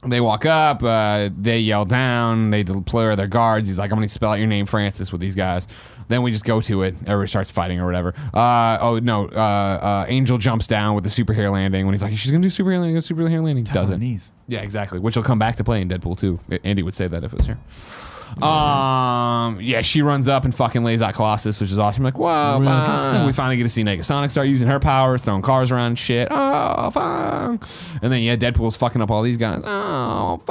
[SPEAKER 2] They walk up. Uh, they yell down. They deploy their guards. He's like, "I'm gonna spell out your name, Francis, with these guys." Then we just go to it. Everybody starts fighting or whatever. Uh, oh no! Uh, uh, Angel jumps down with the superhero landing. When he's like, "She's gonna do superhero landing, superhero landing," doesn't.
[SPEAKER 3] Knees.
[SPEAKER 2] Yeah, exactly. Which will come back to play in Deadpool 2. A- Andy would say that if it was here. Um, yeah, she runs up and fucking lays out Colossus, which is awesome. like, whoa,
[SPEAKER 5] Really good
[SPEAKER 2] fuck.
[SPEAKER 5] stuff.
[SPEAKER 2] we finally get to see Negasonic start using her powers, throwing cars around and shit. Oh, fuck. And then, yeah, Deadpool's fucking up all these guys. Oh,
[SPEAKER 5] The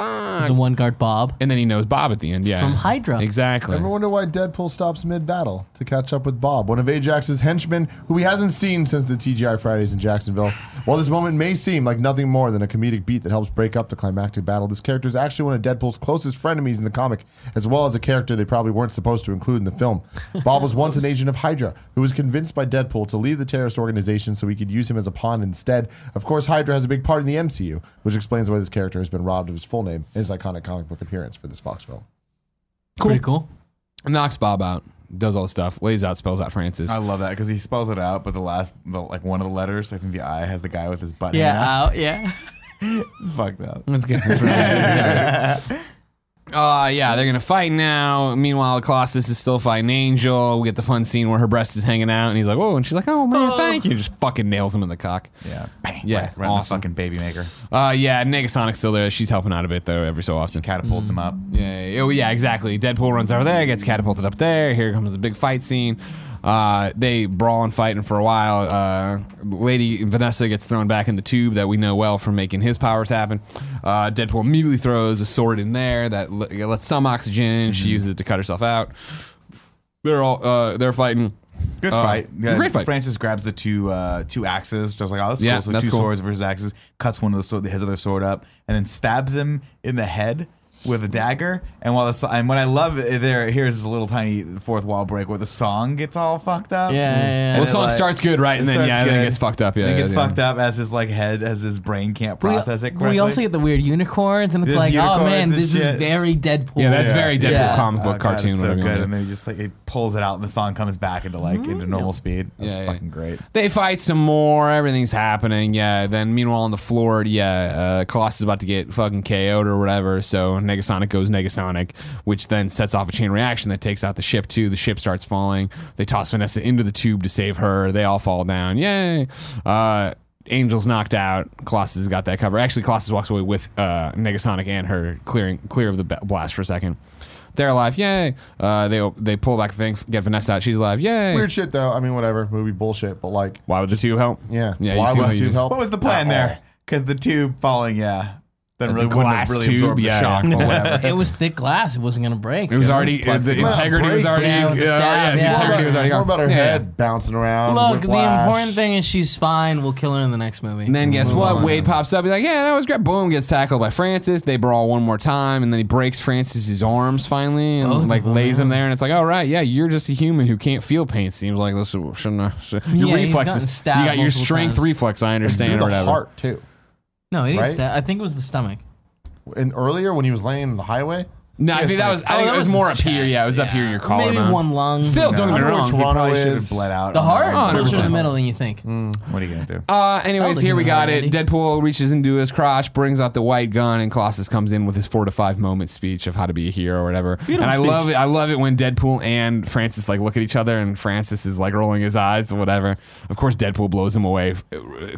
[SPEAKER 2] fuck.
[SPEAKER 5] one guard Bob.
[SPEAKER 2] And then he knows Bob at the end, yeah.
[SPEAKER 5] From Hydra.
[SPEAKER 2] Exactly.
[SPEAKER 1] Ever wonder why Deadpool stops mid-battle to catch up with Bob, one of Ajax's henchmen, who he hasn't seen since the TGI Fridays in Jacksonville? While this moment may seem like nothing more than a comedic beat that helps break up the climactic battle, this character is actually one of Deadpool's closest frenemies in the comic, as well as a character they probably weren't supposed to include in the film. Bob was once an agent of Hydra, who was convinced by Deadpool to leave the terrorist organization so he could use him as a pawn instead. Of course, Hydra has a big part in the MCU, which explains why this character has been robbed of his full name and his iconic comic book appearance for this Fox film.
[SPEAKER 2] Cool.
[SPEAKER 5] Pretty cool.
[SPEAKER 2] Knocks Bob out, does all the stuff, lays out, spells out Francis.
[SPEAKER 3] I love that because he spells it out, but the last, the, like one of the letters, I think the I has the guy with his butt. hanging out.
[SPEAKER 5] Yeah. uh, Out. <laughs> Yeah.
[SPEAKER 3] it's fucked up.
[SPEAKER 2] That's good. That's right. Uh, yeah, they're gonna fight now. Meanwhile, Colossus is still fighting Angel. We get the fun scene where her breast is hanging out, and he's like, "Oh," and she's like, "Oh man, thank you." Just fucking nails him in the cock.
[SPEAKER 3] Yeah. Bang.
[SPEAKER 2] Yeah,
[SPEAKER 3] Right, right in
[SPEAKER 2] awesome.
[SPEAKER 3] the fucking baby maker.
[SPEAKER 2] Uh, yeah, Negasonic's still there. She's helping out a bit though, every so often.
[SPEAKER 3] Catapults him up.
[SPEAKER 5] Mm-hmm.
[SPEAKER 2] Yeah, oh yeah, exactly. Deadpool runs over there, gets catapulted up there. Here comes the big fight scene. Uh, they brawl and fighting for a while. Uh, Lady Vanessa gets thrown back in the tube that we know well from making his powers happen. Uh, Deadpool immediately throws a sword in there that le-
[SPEAKER 3] Mm-hmm.
[SPEAKER 2] lets some oxygen. in. She uses it to cut herself out. They're all uh, they're fighting.
[SPEAKER 3] Good fight. Yeah,
[SPEAKER 2] great fight.
[SPEAKER 3] Francis grabs the two uh, two axes. Just like, oh, this is
[SPEAKER 2] Yeah,
[SPEAKER 3] cool. So
[SPEAKER 2] that's
[SPEAKER 3] two
[SPEAKER 2] cool.
[SPEAKER 3] swords versus axes. Cuts one of the sword, his other sword up, and then stabs him in the head with a dagger. And while the so- and what I love i- there here's a little tiny fourth wall break where the song gets all fucked up.
[SPEAKER 5] Yeah, yeah,
[SPEAKER 2] Mm.
[SPEAKER 5] yeah.
[SPEAKER 2] Well,
[SPEAKER 3] And
[SPEAKER 2] the
[SPEAKER 3] it,
[SPEAKER 2] song
[SPEAKER 3] like-
[SPEAKER 2] starts good, right? And
[SPEAKER 3] it
[SPEAKER 2] then
[SPEAKER 3] starts
[SPEAKER 2] yeah, and then it
[SPEAKER 3] good.
[SPEAKER 2] gets fucked up. Yeah,
[SPEAKER 3] And it
[SPEAKER 2] yeah,
[SPEAKER 3] gets
[SPEAKER 2] yeah.
[SPEAKER 3] fucked up as his like head, as his brain can't process it correctly.
[SPEAKER 5] We also get the weird unicorns, and it's
[SPEAKER 3] There's
[SPEAKER 5] like, oh
[SPEAKER 3] unicorns
[SPEAKER 5] man,
[SPEAKER 3] and
[SPEAKER 5] this
[SPEAKER 3] shit.
[SPEAKER 5] is very Deadpool.
[SPEAKER 2] Yeah, that's very Deadpool
[SPEAKER 5] Yeah.
[SPEAKER 2] comic book
[SPEAKER 3] Oh, God,
[SPEAKER 2] cartoon.
[SPEAKER 3] it's so
[SPEAKER 2] whatever you wanna
[SPEAKER 3] good.
[SPEAKER 2] do.
[SPEAKER 3] And then he just like it pulls it out, and the song comes back into like into normal speed. That's
[SPEAKER 2] Yeah, yeah.
[SPEAKER 3] fucking great.
[SPEAKER 2] They fight some more. Everything's happening. Yeah. Then, meanwhile, on the floor, yeah, uh, Colossus is about to get fucking KO'd or whatever. So Negasonic goes Negasonic, which then sets off a chain reaction that takes out the ship too. The ship starts falling. They toss Vanessa into the tube to save her. They all fall down. Yay. Uh, Angel's knocked out. Colossus has got that cover. Actually, Colossus walks away with uh, Negasonic and her, clearing clear of the ba- blast for a second. They're alive. Yay. Uh, they they pull back the thing, get Vanessa out. She's alive.
[SPEAKER 1] <laughs>
[SPEAKER 2] Yay.
[SPEAKER 1] Weird shit though. I mean, whatever. Movie bullshit, but like,
[SPEAKER 2] Why would the tube help?
[SPEAKER 1] yeah.
[SPEAKER 2] Yeah. you
[SPEAKER 1] Why
[SPEAKER 2] see
[SPEAKER 1] would
[SPEAKER 2] how
[SPEAKER 1] the
[SPEAKER 2] you-
[SPEAKER 1] tube help?
[SPEAKER 3] What was the plan
[SPEAKER 1] at all?
[SPEAKER 3] there? Because the tube falling, yeah, then really wouldn't
[SPEAKER 2] glass
[SPEAKER 3] have really
[SPEAKER 2] tube,
[SPEAKER 3] absorbed
[SPEAKER 2] yeah.
[SPEAKER 3] the shock. Or whatever.
[SPEAKER 5] It was thick glass. It wasn't gonna break.
[SPEAKER 2] It was already
[SPEAKER 3] Plexiglass.
[SPEAKER 2] the
[SPEAKER 3] Well,
[SPEAKER 2] integrity was
[SPEAKER 1] break,
[SPEAKER 2] already
[SPEAKER 5] yeah, with the
[SPEAKER 2] yeah,
[SPEAKER 5] stab,
[SPEAKER 2] yeah,
[SPEAKER 5] yeah.
[SPEAKER 2] the integrity
[SPEAKER 1] It's
[SPEAKER 2] was already
[SPEAKER 1] more
[SPEAKER 2] gone.
[SPEAKER 1] about her
[SPEAKER 2] Yeah.
[SPEAKER 1] head bouncing around.
[SPEAKER 5] Look, the
[SPEAKER 1] whiplash.
[SPEAKER 5] important thing is she's fine. We'll kill her in the next movie.
[SPEAKER 2] And then guess
[SPEAKER 5] Move
[SPEAKER 2] what?
[SPEAKER 5] on.
[SPEAKER 2] Wade pops up. He's like, "Yeah, that was great." Boom, gets tackled by Francis. They brawl one more time, and then he breaks Francis's arms finally, and
[SPEAKER 5] Both of
[SPEAKER 2] like
[SPEAKER 5] them,
[SPEAKER 2] lays him there. And it's like, "All right, yeah, you're just a human who can't feel pain." Seems like this shouldn't. I- should- your
[SPEAKER 5] Yeah, he's gotten
[SPEAKER 2] reflexes. You
[SPEAKER 5] stabbed
[SPEAKER 2] got your
[SPEAKER 5] multiple
[SPEAKER 2] strength
[SPEAKER 5] times.
[SPEAKER 2] reflex. I
[SPEAKER 1] through
[SPEAKER 2] understand
[SPEAKER 1] the
[SPEAKER 2] or whatever.
[SPEAKER 1] heart too.
[SPEAKER 5] No, it is
[SPEAKER 1] Right?
[SPEAKER 5] that. I think it was the stomach. Oh,
[SPEAKER 1] And earlier when he was laying in the highway,
[SPEAKER 2] No, I think that was. I
[SPEAKER 5] Oh,
[SPEAKER 2] think
[SPEAKER 5] that
[SPEAKER 2] it was
[SPEAKER 5] was
[SPEAKER 2] more up
[SPEAKER 5] his
[SPEAKER 2] here.
[SPEAKER 5] chest,
[SPEAKER 2] Yeah, it was up here in your collarbone.
[SPEAKER 5] Maybe one lung.
[SPEAKER 2] Still, don't
[SPEAKER 3] I
[SPEAKER 2] get
[SPEAKER 3] don't
[SPEAKER 2] me
[SPEAKER 3] know
[SPEAKER 2] wrong.
[SPEAKER 3] which He probably
[SPEAKER 1] Toronto
[SPEAKER 3] should
[SPEAKER 1] is-
[SPEAKER 3] have bled out.
[SPEAKER 5] The
[SPEAKER 3] on that
[SPEAKER 5] heart
[SPEAKER 3] one.
[SPEAKER 5] closer to the
[SPEAKER 2] 100%.
[SPEAKER 5] middle than you think.
[SPEAKER 2] Mm.
[SPEAKER 5] <laughs>
[SPEAKER 3] What are you gonna do?
[SPEAKER 2] Uh, anyways,
[SPEAKER 5] I'll
[SPEAKER 2] here we
[SPEAKER 5] give him
[SPEAKER 2] got
[SPEAKER 5] that,
[SPEAKER 2] it.
[SPEAKER 5] Andy.
[SPEAKER 2] Deadpool reaches into his crotch, brings out the white gun, and Colossus comes in with his four to five moment speech of how to be a hero or whatever. and I love it. I love it when Deadpool and Francis like look at each other, and Francis is like rolling his eyes or whatever. Of course, Deadpool blows him away.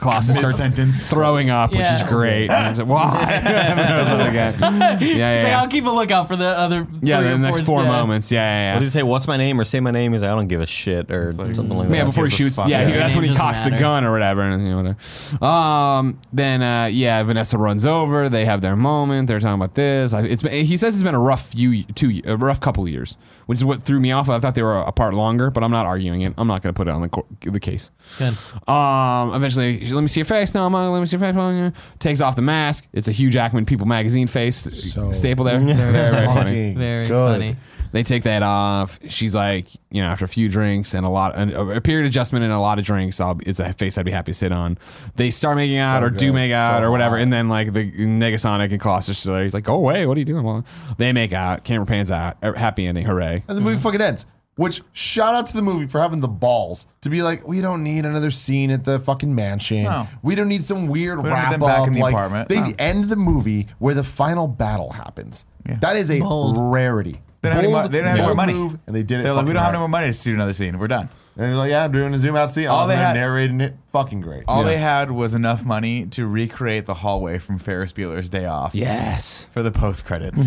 [SPEAKER 2] Colossus starts
[SPEAKER 3] Mid-sentence.
[SPEAKER 2] throwing up, which
[SPEAKER 5] Yeah.
[SPEAKER 2] is great. And he's like, Why? <laughs> yeah,
[SPEAKER 5] <laughs>
[SPEAKER 2] yeah,
[SPEAKER 5] He's like,
[SPEAKER 2] yeah.
[SPEAKER 5] I'll keep a lookout for the other.
[SPEAKER 2] yeah
[SPEAKER 5] three or
[SPEAKER 2] the next four
[SPEAKER 5] yeah.
[SPEAKER 2] moments. Yeah, yeah, yeah.
[SPEAKER 6] What did he say? What's my name? Or say my name? He's like, I don't give a shit, or something like that.
[SPEAKER 2] Yeah, before he
[SPEAKER 3] gives a
[SPEAKER 2] shoots.
[SPEAKER 3] fuck?
[SPEAKER 2] Yeah, he-
[SPEAKER 5] Yeah.
[SPEAKER 2] that's when he
[SPEAKER 5] It doesn't
[SPEAKER 2] cocks the
[SPEAKER 5] matter.
[SPEAKER 2] gun or whatever. And, you know, whatever. Um, then uh, yeah, Vanessa runs over. They have their moment. They're talking about this. I, it's been, he says it's been a rough few, two, a rough couple of years, which is what threw me off. I thought they were apart longer, but I'm not arguing it. I'm not going to put it on the cor- the case.
[SPEAKER 5] Good.
[SPEAKER 2] Um, eventually, let me see your face. No, I'm not. Let me see your face. Uh, Takes off the mask. It's a Hugh Jackman People magazine face
[SPEAKER 1] So-
[SPEAKER 2] staple there.
[SPEAKER 1] <laughs>
[SPEAKER 2] Very, very funny.
[SPEAKER 1] fucking
[SPEAKER 5] Very
[SPEAKER 1] good.
[SPEAKER 5] funny.
[SPEAKER 2] They take that off. She's like, you know, after a few drinks and a lot, and a period adjustment and a lot of drinks, I'll, it's a face I'd be happy to sit on. They start making out or do
[SPEAKER 1] good.
[SPEAKER 2] make out
[SPEAKER 1] So
[SPEAKER 2] or whatever,
[SPEAKER 1] hot.
[SPEAKER 2] and then like the Negasonic and Colossus, are there. he's like, go away, what are you doing? Well, they make out. Camera pans out. Er, Happy ending, hooray!
[SPEAKER 1] And the
[SPEAKER 3] Mm-hmm.
[SPEAKER 1] movie fucking ends. Which shout out to the movie for having the balls to be like, we don't need another scene at the fucking mansion.
[SPEAKER 3] No.
[SPEAKER 1] We don't need some weird
[SPEAKER 3] don't need
[SPEAKER 1] wrap
[SPEAKER 3] them
[SPEAKER 1] up.
[SPEAKER 3] back in the
[SPEAKER 1] like,
[SPEAKER 3] apartment.
[SPEAKER 1] They
[SPEAKER 3] No.
[SPEAKER 1] end the movie where the final battle happens. That is a
[SPEAKER 5] Bold.
[SPEAKER 1] rarity.
[SPEAKER 3] They don't have any, mo-
[SPEAKER 1] Bold,
[SPEAKER 3] they don't have any more
[SPEAKER 1] bold
[SPEAKER 3] money.
[SPEAKER 1] move, and they did it.
[SPEAKER 3] They're like, we
[SPEAKER 1] fucking
[SPEAKER 3] don't have
[SPEAKER 1] right.
[SPEAKER 3] any more money to shoot another scene. We're done.
[SPEAKER 1] And they're like, yeah, I'm doing a zoom out scene.
[SPEAKER 3] All
[SPEAKER 1] All they
[SPEAKER 3] they
[SPEAKER 1] had
[SPEAKER 3] had-
[SPEAKER 1] narrating it, fucking great.
[SPEAKER 3] All
[SPEAKER 1] Yeah.
[SPEAKER 3] they had was enough money to recreate the hallway from Ferris Bueller's Day Off
[SPEAKER 2] Yes,
[SPEAKER 3] for the post credits,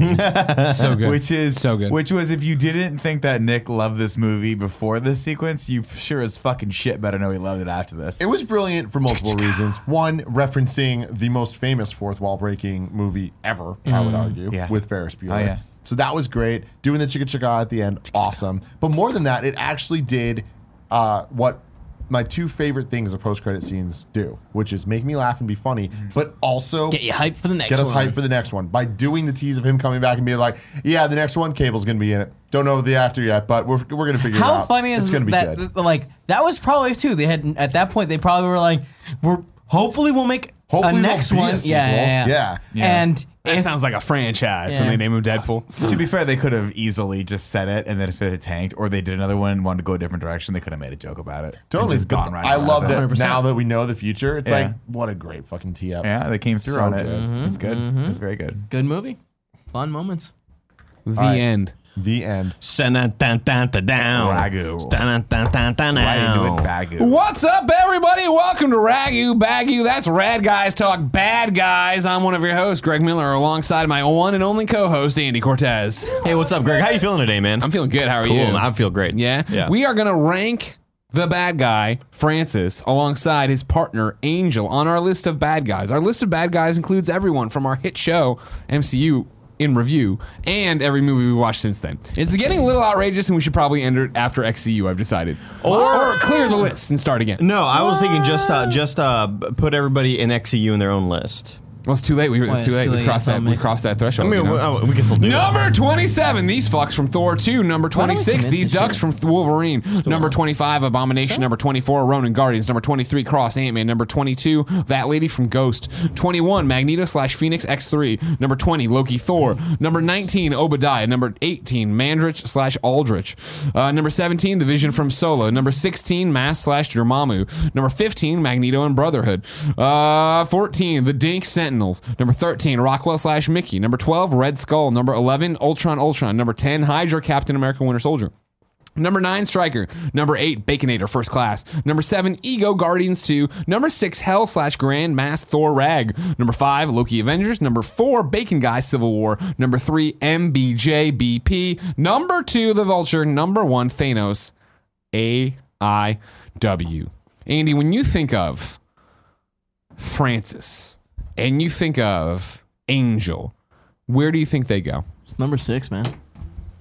[SPEAKER 2] so good.
[SPEAKER 3] which is
[SPEAKER 2] so good.
[SPEAKER 3] Which was if you didn't think that Nick loved this movie before this sequence, you sure as fucking shit better know he loved it after this.
[SPEAKER 1] It was brilliant for multiple reasons. One, referencing the most famous fourth wall breaking movie ever, I
[SPEAKER 5] Mm.
[SPEAKER 1] would argue,
[SPEAKER 3] Yeah.
[SPEAKER 1] with Ferris Bueller.
[SPEAKER 3] Oh, yeah.
[SPEAKER 1] So that was great. Doing the chicka chicka at the end, awesome. But more than that, it actually did uh, what my two favorite things of post credit scenes do, which is make me laugh and be funny, but also
[SPEAKER 5] Mm-hmm. Get you hyped for the next
[SPEAKER 1] get us
[SPEAKER 5] one.
[SPEAKER 1] hyped for the next one by doing the tease of him coming back and being like, yeah, the next one, Cable's going to be in it. Don't know the actor yet, but we're, we're going to figure it out.
[SPEAKER 5] How funny is
[SPEAKER 1] it's gonna be
[SPEAKER 5] that?
[SPEAKER 1] good.
[SPEAKER 5] Like that was probably too. They had at that point they probably were like, we're hopefully we'll make
[SPEAKER 1] Hopefully
[SPEAKER 5] a
[SPEAKER 1] there'll
[SPEAKER 5] next
[SPEAKER 1] be a
[SPEAKER 5] one.
[SPEAKER 1] sequel.
[SPEAKER 5] yeah, yeah,
[SPEAKER 1] Yeah.
[SPEAKER 5] yeah,
[SPEAKER 3] Yeah.
[SPEAKER 5] And
[SPEAKER 2] that
[SPEAKER 5] if-
[SPEAKER 2] sounds like a franchise when
[SPEAKER 5] Yeah.
[SPEAKER 2] they name him Deadpool.
[SPEAKER 3] to be fair, they could have easily just said it, and then if it had tanked, or they did another one and wanted to go a different direction, they could have made a joke about it. and
[SPEAKER 1] Totally.
[SPEAKER 3] just
[SPEAKER 1] but
[SPEAKER 3] gone right
[SPEAKER 1] I
[SPEAKER 3] out of
[SPEAKER 1] love
[SPEAKER 3] it.
[SPEAKER 1] that now that we know the future. It's
[SPEAKER 3] Yeah.
[SPEAKER 1] like, what a great fucking tee up.
[SPEAKER 3] Yeah, they came through
[SPEAKER 1] So
[SPEAKER 3] on it.
[SPEAKER 1] good.
[SPEAKER 3] It was good. It was very good.
[SPEAKER 5] good movie, fun moments.
[SPEAKER 2] the
[SPEAKER 1] right.
[SPEAKER 2] end.
[SPEAKER 1] The end.
[SPEAKER 6] Down.
[SPEAKER 3] Ragu. Right into
[SPEAKER 6] Down.
[SPEAKER 3] it, Bagu.
[SPEAKER 2] What's up, everybody? Welcome to Ragu Bagu. That's Rad Guys Talk Bad Guys. I'm one of your hosts, Greg Miller, alongside my one and only co-host, Andy Cortez.
[SPEAKER 6] Hey, what's up, Greg? How you feeling today, man?
[SPEAKER 2] I'm feeling good. How are
[SPEAKER 6] cool.
[SPEAKER 2] you?
[SPEAKER 6] I feel great.
[SPEAKER 2] yeah?
[SPEAKER 6] Yeah.
[SPEAKER 2] We are going to rank the bad guy, Francis, alongside his partner, Angel, on our list of bad guys. Our list of bad guys includes everyone from our hit show, MCU in review and every movie we watched since then. It's getting a little outrageous, and we should probably end it after XCU. I've decided, or, or clear the list and start again.
[SPEAKER 6] No, I was thinking just uh, just uh, put everybody in XEU in their own list.
[SPEAKER 2] Well, it's too late. We, it's
[SPEAKER 5] it's
[SPEAKER 2] too late.
[SPEAKER 5] too
[SPEAKER 2] We
[SPEAKER 5] late.
[SPEAKER 2] crossed
[SPEAKER 5] It's all
[SPEAKER 2] that. We
[SPEAKER 5] mixed.
[SPEAKER 2] crossed that threshold.
[SPEAKER 6] I mean,
[SPEAKER 2] you know?
[SPEAKER 6] we, oh, we can still do that.
[SPEAKER 2] Number 27, these fucks from Thor 2. Number
[SPEAKER 5] don't we
[SPEAKER 2] 26,
[SPEAKER 5] commit
[SPEAKER 2] these
[SPEAKER 5] this
[SPEAKER 2] ducks
[SPEAKER 5] shit?
[SPEAKER 2] from Th- Wolverine. Number 25, Abomination. Number 24, Ronan Guardians. Number 23, Cross Ant Man. Number 22, That Lady from Ghost. 21, Magneto slash Phoenix X3. Number 20, Loki Thor. Number 19, Obadiah. Number 18, Mandrich slash Aldrich. Uh, number 17, The Vision from Solo. Number 16, Mass slash Dormammu. Number 15, Magneto and Brotherhood. Uh, 14, The Dink Sentinels. Number 13, Rockwell slash Mickey. Number 12, Red Skull. Number 11, Ultron Ultron. Number 10, Hydra Captain America Winter Soldier. Number nine, Striker. Number eight, Baconator, First Class. Number seven, Ego Guardians 2. Number six, Hell slash Grand Mass Thor Rag. Number five, Loki Avengers. Number four, Bacon Guy Civil War. Number three, MBJBP. Number two, The Vulture. Number one, Thanos. A I W. Andy, when you think of Francis and you think of Angel, where do you think they go?
[SPEAKER 5] It's number six, man.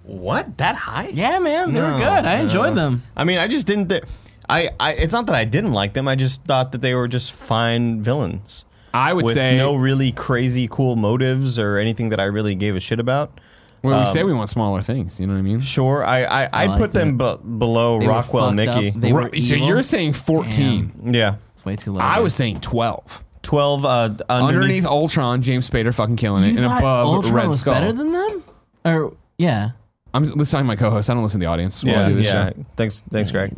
[SPEAKER 6] What? That high?
[SPEAKER 5] Yeah, man. They were good. I enjoyed them.
[SPEAKER 6] I mean, I just didn't. Th- I, I. It's not that I didn't like them. I just thought that they were just fine villains.
[SPEAKER 2] I would
[SPEAKER 6] with
[SPEAKER 2] say
[SPEAKER 6] no really crazy cool motives or anything that I really gave a shit about.
[SPEAKER 2] Well, we
[SPEAKER 6] um,
[SPEAKER 2] say we want smaller things. You know what I mean?
[SPEAKER 6] Sure, I, I, I'd
[SPEAKER 5] liked
[SPEAKER 6] put them b- below
[SPEAKER 5] They were
[SPEAKER 6] Rockwell,
[SPEAKER 5] fucked up.
[SPEAKER 6] Mickey.
[SPEAKER 5] They were
[SPEAKER 2] Right, so
[SPEAKER 5] evil.
[SPEAKER 2] you're saying 14.
[SPEAKER 5] Damn.
[SPEAKER 6] Yeah,
[SPEAKER 5] It's way too low.
[SPEAKER 2] I
[SPEAKER 5] dude.
[SPEAKER 2] was saying 12.
[SPEAKER 6] twelve uh, d- underneath.
[SPEAKER 2] Underneath, Ultron, James Spader fucking killing it,
[SPEAKER 5] You
[SPEAKER 2] and
[SPEAKER 5] thought
[SPEAKER 2] above
[SPEAKER 5] Ultron
[SPEAKER 2] Red
[SPEAKER 5] was
[SPEAKER 2] Skull.
[SPEAKER 5] better than them? Or yeah.
[SPEAKER 2] I'm just talking to my co-host. I don't listen to the audience. while I
[SPEAKER 6] yeah,
[SPEAKER 2] do this
[SPEAKER 6] yeah.
[SPEAKER 2] show.
[SPEAKER 6] Thanks, thanks, Greg.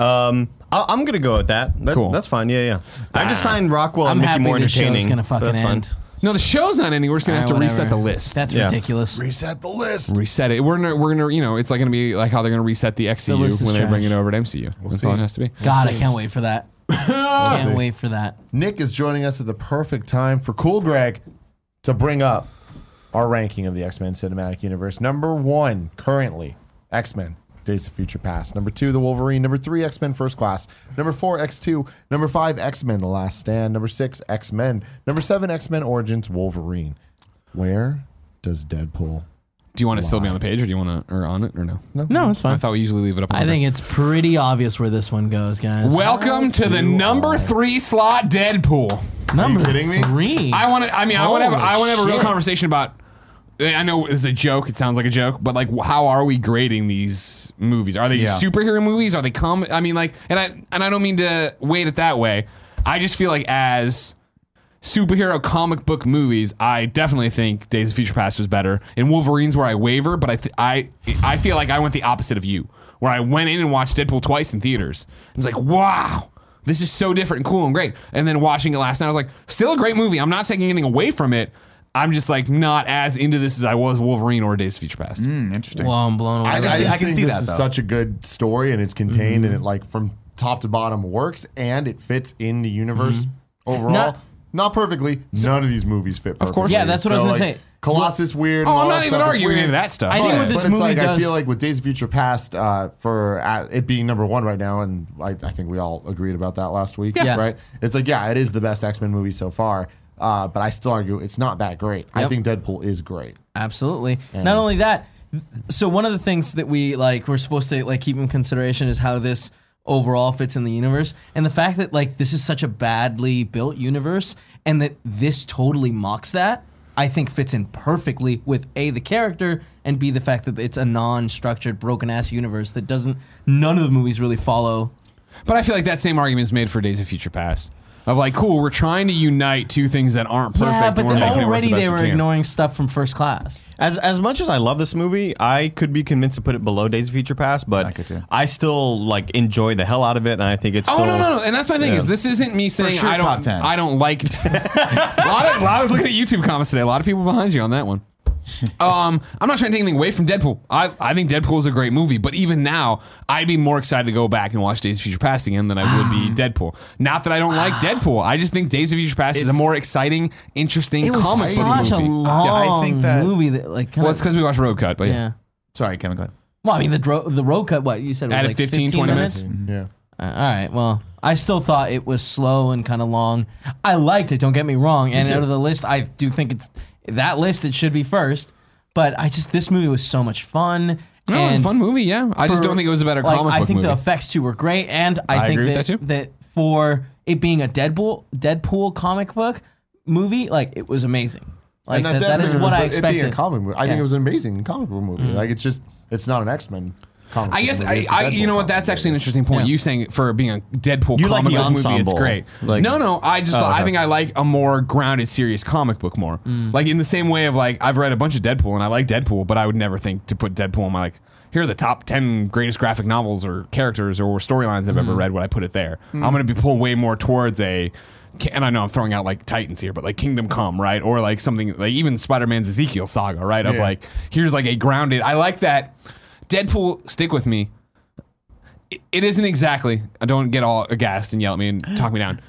[SPEAKER 6] Um, I, I'm gonna go with that. that
[SPEAKER 2] Cool.
[SPEAKER 6] That's fine. Yeah, yeah. I just find Rockwell
[SPEAKER 5] Ah. I'm
[SPEAKER 6] and Mickey
[SPEAKER 5] happy
[SPEAKER 6] more
[SPEAKER 5] this show's
[SPEAKER 6] entertaining.
[SPEAKER 5] gonna fucking
[SPEAKER 6] that's fine.
[SPEAKER 5] end.
[SPEAKER 2] No, the show's not ending. We're just gonna have to
[SPEAKER 5] Alright,
[SPEAKER 2] reset the
[SPEAKER 5] whatever.
[SPEAKER 2] list.
[SPEAKER 5] That's
[SPEAKER 6] Yeah.
[SPEAKER 5] ridiculous.
[SPEAKER 1] Reset the list.
[SPEAKER 2] reset it. We're gonna, we're gonna, you know, it's like gonna be like how they're gonna reset the XCU
[SPEAKER 5] list is
[SPEAKER 2] when they bring
[SPEAKER 5] trash.
[SPEAKER 2] it over to MCU. That's all it
[SPEAKER 1] see.
[SPEAKER 2] has to be.
[SPEAKER 5] God, I can't wait for that. can't wait for that.
[SPEAKER 1] Nick is joining us at the perfect time for Cool Greg to bring up our ranking of the X Men Cinematic Universe. Number one, currently, X Men Days of Future Past. Number two, The Wolverine. Number three, X Men First Class. Number four, X2. Number five, X Men The Last Stand. Number six, X Men. Number seven, X Men Origins Wolverine. Where does Deadpool?
[SPEAKER 2] Do you want to still be on the page, or do you want to, or on it, or no?
[SPEAKER 5] No, it's
[SPEAKER 2] I
[SPEAKER 5] fine.
[SPEAKER 2] thought we usually leave it up. on
[SPEAKER 5] I
[SPEAKER 2] the-
[SPEAKER 5] think it's pretty obvious where this one goes, guys.
[SPEAKER 2] Welcome to the number three slot, Deadpool.
[SPEAKER 5] number
[SPEAKER 1] kidding me?
[SPEAKER 5] three.
[SPEAKER 2] I want to. I mean, I want to have. I want to have a real
[SPEAKER 5] shit.
[SPEAKER 2] conversation about. eh, I know it's a joke. It sounds like a joke, but like, how are we grading these movies? Are they
[SPEAKER 3] Yeah.
[SPEAKER 2] superhero movies? Are they com? I mean, like, and I and I don't mean to weight it that way. I just feel like as superhero comic book movies, I definitely think Days of Future Past was better. And Wolverine's where I waver, but I th- I I feel like I went the opposite of you, where I went in and watched Deadpool twice in theaters. I was like, wow. This is so different and cool and great. And then watching it last night, I was like, still a great movie. I'm not taking anything away from it. I'm just like not as into this as I was Wolverine or Days of Future Past.
[SPEAKER 5] Mm,
[SPEAKER 3] Hmm, interesting.
[SPEAKER 5] Well, I'm blown away.
[SPEAKER 3] I can
[SPEAKER 1] just
[SPEAKER 3] see- I can
[SPEAKER 1] think
[SPEAKER 3] see
[SPEAKER 1] this
[SPEAKER 3] that,
[SPEAKER 1] is
[SPEAKER 3] though.
[SPEAKER 1] such a good story, and it's contained, and it like from top to bottom works, and it fits in the universe overall.
[SPEAKER 5] Not-
[SPEAKER 1] Not, perfectly. None of these movies fit. Perfectly.
[SPEAKER 2] course.
[SPEAKER 5] Yeah, that's what I was gonna
[SPEAKER 1] like,
[SPEAKER 5] say.
[SPEAKER 1] Colossus weird. and
[SPEAKER 2] Oh, I'm
[SPEAKER 1] all
[SPEAKER 2] not
[SPEAKER 1] that stuff
[SPEAKER 2] even
[SPEAKER 1] is
[SPEAKER 2] arguing
[SPEAKER 1] weird.
[SPEAKER 2] into that stuff.
[SPEAKER 5] I think
[SPEAKER 1] But,
[SPEAKER 5] what this
[SPEAKER 1] but it's
[SPEAKER 5] movie
[SPEAKER 1] like I
[SPEAKER 5] does-
[SPEAKER 1] feel like with Days of Future Past, uh, for uh, it being number one right now, and I, I think we all agreed about that last week,
[SPEAKER 5] Yeah.
[SPEAKER 1] right? It's like yeah, it is the best X Men movie so far, uh, but I still argue it's not that great. I
[SPEAKER 5] Yep.
[SPEAKER 1] think Deadpool is great.
[SPEAKER 5] Absolutely. Not only that, th- so one of the things that we like we're supposed to like keep in consideration is how this overall fits in the universe and the fact that like this is such a badly built universe and that this totally mocks that I think fits in perfectly with A the character and B the fact that it's a non-structured broken ass universe that doesn't none of the movies really follow
[SPEAKER 2] But I feel like that same argument is made for Days of Future Past. Of like, cool, we're trying to unite two things that aren't perfect.
[SPEAKER 5] yeah, but
[SPEAKER 2] and we're
[SPEAKER 5] then
[SPEAKER 2] making it work
[SPEAKER 5] already
[SPEAKER 2] the best
[SPEAKER 5] they
[SPEAKER 2] we
[SPEAKER 5] were
[SPEAKER 2] can.
[SPEAKER 5] ignoring stuff from first class.
[SPEAKER 6] As as much as I love this movie, I could be convinced to put it below Days of Future Past, but I,
[SPEAKER 3] could too.
[SPEAKER 6] still like enjoy the hell out of it, and I think it's.
[SPEAKER 2] Oh
[SPEAKER 6] still,
[SPEAKER 2] no no no! And that's my thing is
[SPEAKER 6] Yeah.
[SPEAKER 2] this isn't me saying
[SPEAKER 3] sure,
[SPEAKER 2] I don't
[SPEAKER 3] top 10.
[SPEAKER 2] I don't like. a lot of, a lot- I was looking at YouTube comments today. A lot of people behind you on that <laughs> one. Um, I'm not trying to take anything away from Deadpool. I, I think Deadpool is a great movie, but even now, I'd be more excited to go back and watch Days of Future Past again than I would <sighs> be Deadpool. Not that I don't like Deadpool. I just think Days of Future Past is a more exciting, interesting
[SPEAKER 5] It was
[SPEAKER 2] comic book
[SPEAKER 5] such a
[SPEAKER 2] movie.
[SPEAKER 5] long
[SPEAKER 3] Yeah, I think that-
[SPEAKER 5] movie that like kind
[SPEAKER 2] well, it's because we watched Road Cut, but yeah.
[SPEAKER 5] yeah.
[SPEAKER 3] Sorry, Kevin. Go ahead.
[SPEAKER 5] Well, I mean, the dro- the road cut, what you said it was
[SPEAKER 2] Added
[SPEAKER 5] like
[SPEAKER 2] 15,
[SPEAKER 5] 15,
[SPEAKER 2] 20
[SPEAKER 5] minutes.
[SPEAKER 1] Yeah.
[SPEAKER 5] Uh, all right. Well, I still thought it was slow and kind of long. I liked it. Don't get me wrong. and out of the list, I do think it's that list. It should be first. But I just this movie was so much fun.
[SPEAKER 2] No, it was a
[SPEAKER 5] and
[SPEAKER 2] fun movie, yeah. I just
[SPEAKER 5] for-
[SPEAKER 2] don't think it was a better
[SPEAKER 5] like,
[SPEAKER 2] comic
[SPEAKER 5] I
[SPEAKER 2] book
[SPEAKER 5] think the
[SPEAKER 2] movie.
[SPEAKER 5] effects too were great, and I,
[SPEAKER 2] I
[SPEAKER 5] think
[SPEAKER 2] agree with
[SPEAKER 5] that,
[SPEAKER 2] that too.
[SPEAKER 5] for it being a Deadpool Deadpool comic book movie, like it was amazing. Like
[SPEAKER 1] and I Mm-hmm.
[SPEAKER 5] that, that
[SPEAKER 1] definitely
[SPEAKER 5] is
[SPEAKER 1] was
[SPEAKER 5] what
[SPEAKER 1] a-
[SPEAKER 5] I
[SPEAKER 1] it being
[SPEAKER 5] expected.
[SPEAKER 1] a comic movie. I think
[SPEAKER 5] Yeah.
[SPEAKER 1] it was an amazing comic book movie. Like it's just it's not an X Men. comic
[SPEAKER 2] I
[SPEAKER 1] book
[SPEAKER 2] guess
[SPEAKER 1] movie,
[SPEAKER 2] I,
[SPEAKER 1] it's a
[SPEAKER 2] I you
[SPEAKER 1] Deadpool
[SPEAKER 2] know what?
[SPEAKER 1] comic
[SPEAKER 2] That's
[SPEAKER 1] book
[SPEAKER 2] actually an interesting point.
[SPEAKER 5] Yeah.
[SPEAKER 2] You saying it for being a Deadpool
[SPEAKER 6] You like
[SPEAKER 2] comic
[SPEAKER 6] the
[SPEAKER 2] book movie, it's
[SPEAKER 6] ensemble.
[SPEAKER 2] great.
[SPEAKER 6] Like-
[SPEAKER 2] no, no, I just I think I like a more grounded, serious comic book more. Like in the same way of like I've read a bunch of Deadpool and I like Deadpool, but I would never think to put Deadpool in my like here are the top ten greatest graphic novels or characters or storylines I've ever read. Would I put it there? I'm going to be pulled way more towards a. And I know I'm throwing out like Titans here, but like Kingdom Come, right? Or like something like even Spider Man's Ezekiel saga, right? Of
[SPEAKER 1] Yeah.
[SPEAKER 2] like, here's like a grounded. I like that. Deadpool, stick with me it isn't exactly. I don't get all aghast and yell at me and talk me down.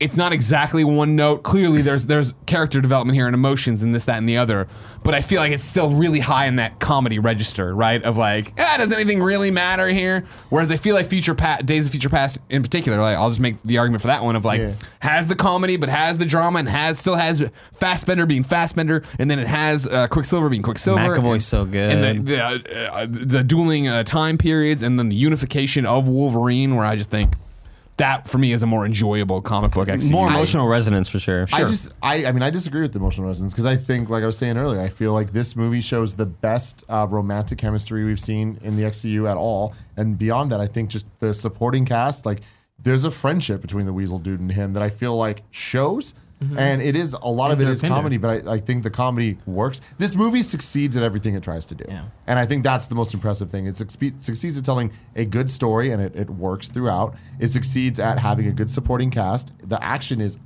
[SPEAKER 2] It's not exactly one note. Clearly, there's there's character development here and emotions and this, that, and the other. But I feel like it's still really high in that comedy register, right? Of like, ah, does anything really matter here? Whereas I feel like Future pa- Days of Future Past, in particular, like I'll just make the argument for that one of like
[SPEAKER 1] Yeah.
[SPEAKER 2] has the comedy, but has the drama and has still has Fastbender being Fastbender, and then it has uh, Quicksilver being Quicksilver.
[SPEAKER 6] McAvoy's
[SPEAKER 2] and-
[SPEAKER 6] so good.
[SPEAKER 2] and the, the, uh, uh, the dueling uh, time periods and then the unification of Wolverine, where I just think that for me is a more enjoyable comic book. XCU.
[SPEAKER 6] More
[SPEAKER 2] I-
[SPEAKER 6] emotional resonance for sure.
[SPEAKER 1] I just I, I mean I disagree with the emotional resonance because I think like I was saying earlier I feel like this movie shows the best uh, romantic chemistry we've seen in the XCU at all and beyond that I think just the supporting cast like there's a friendship between the Weasel Dude and him that I feel like shows and it is a lot of it is comedy but I, I think the comedy works this movie succeeds at everything it tries to do
[SPEAKER 5] Yeah.
[SPEAKER 1] and I think that's the most impressive thing. It succeeds, succeeds at telling a good story and it, it works throughout. It succeeds at having a good supporting cast. The action is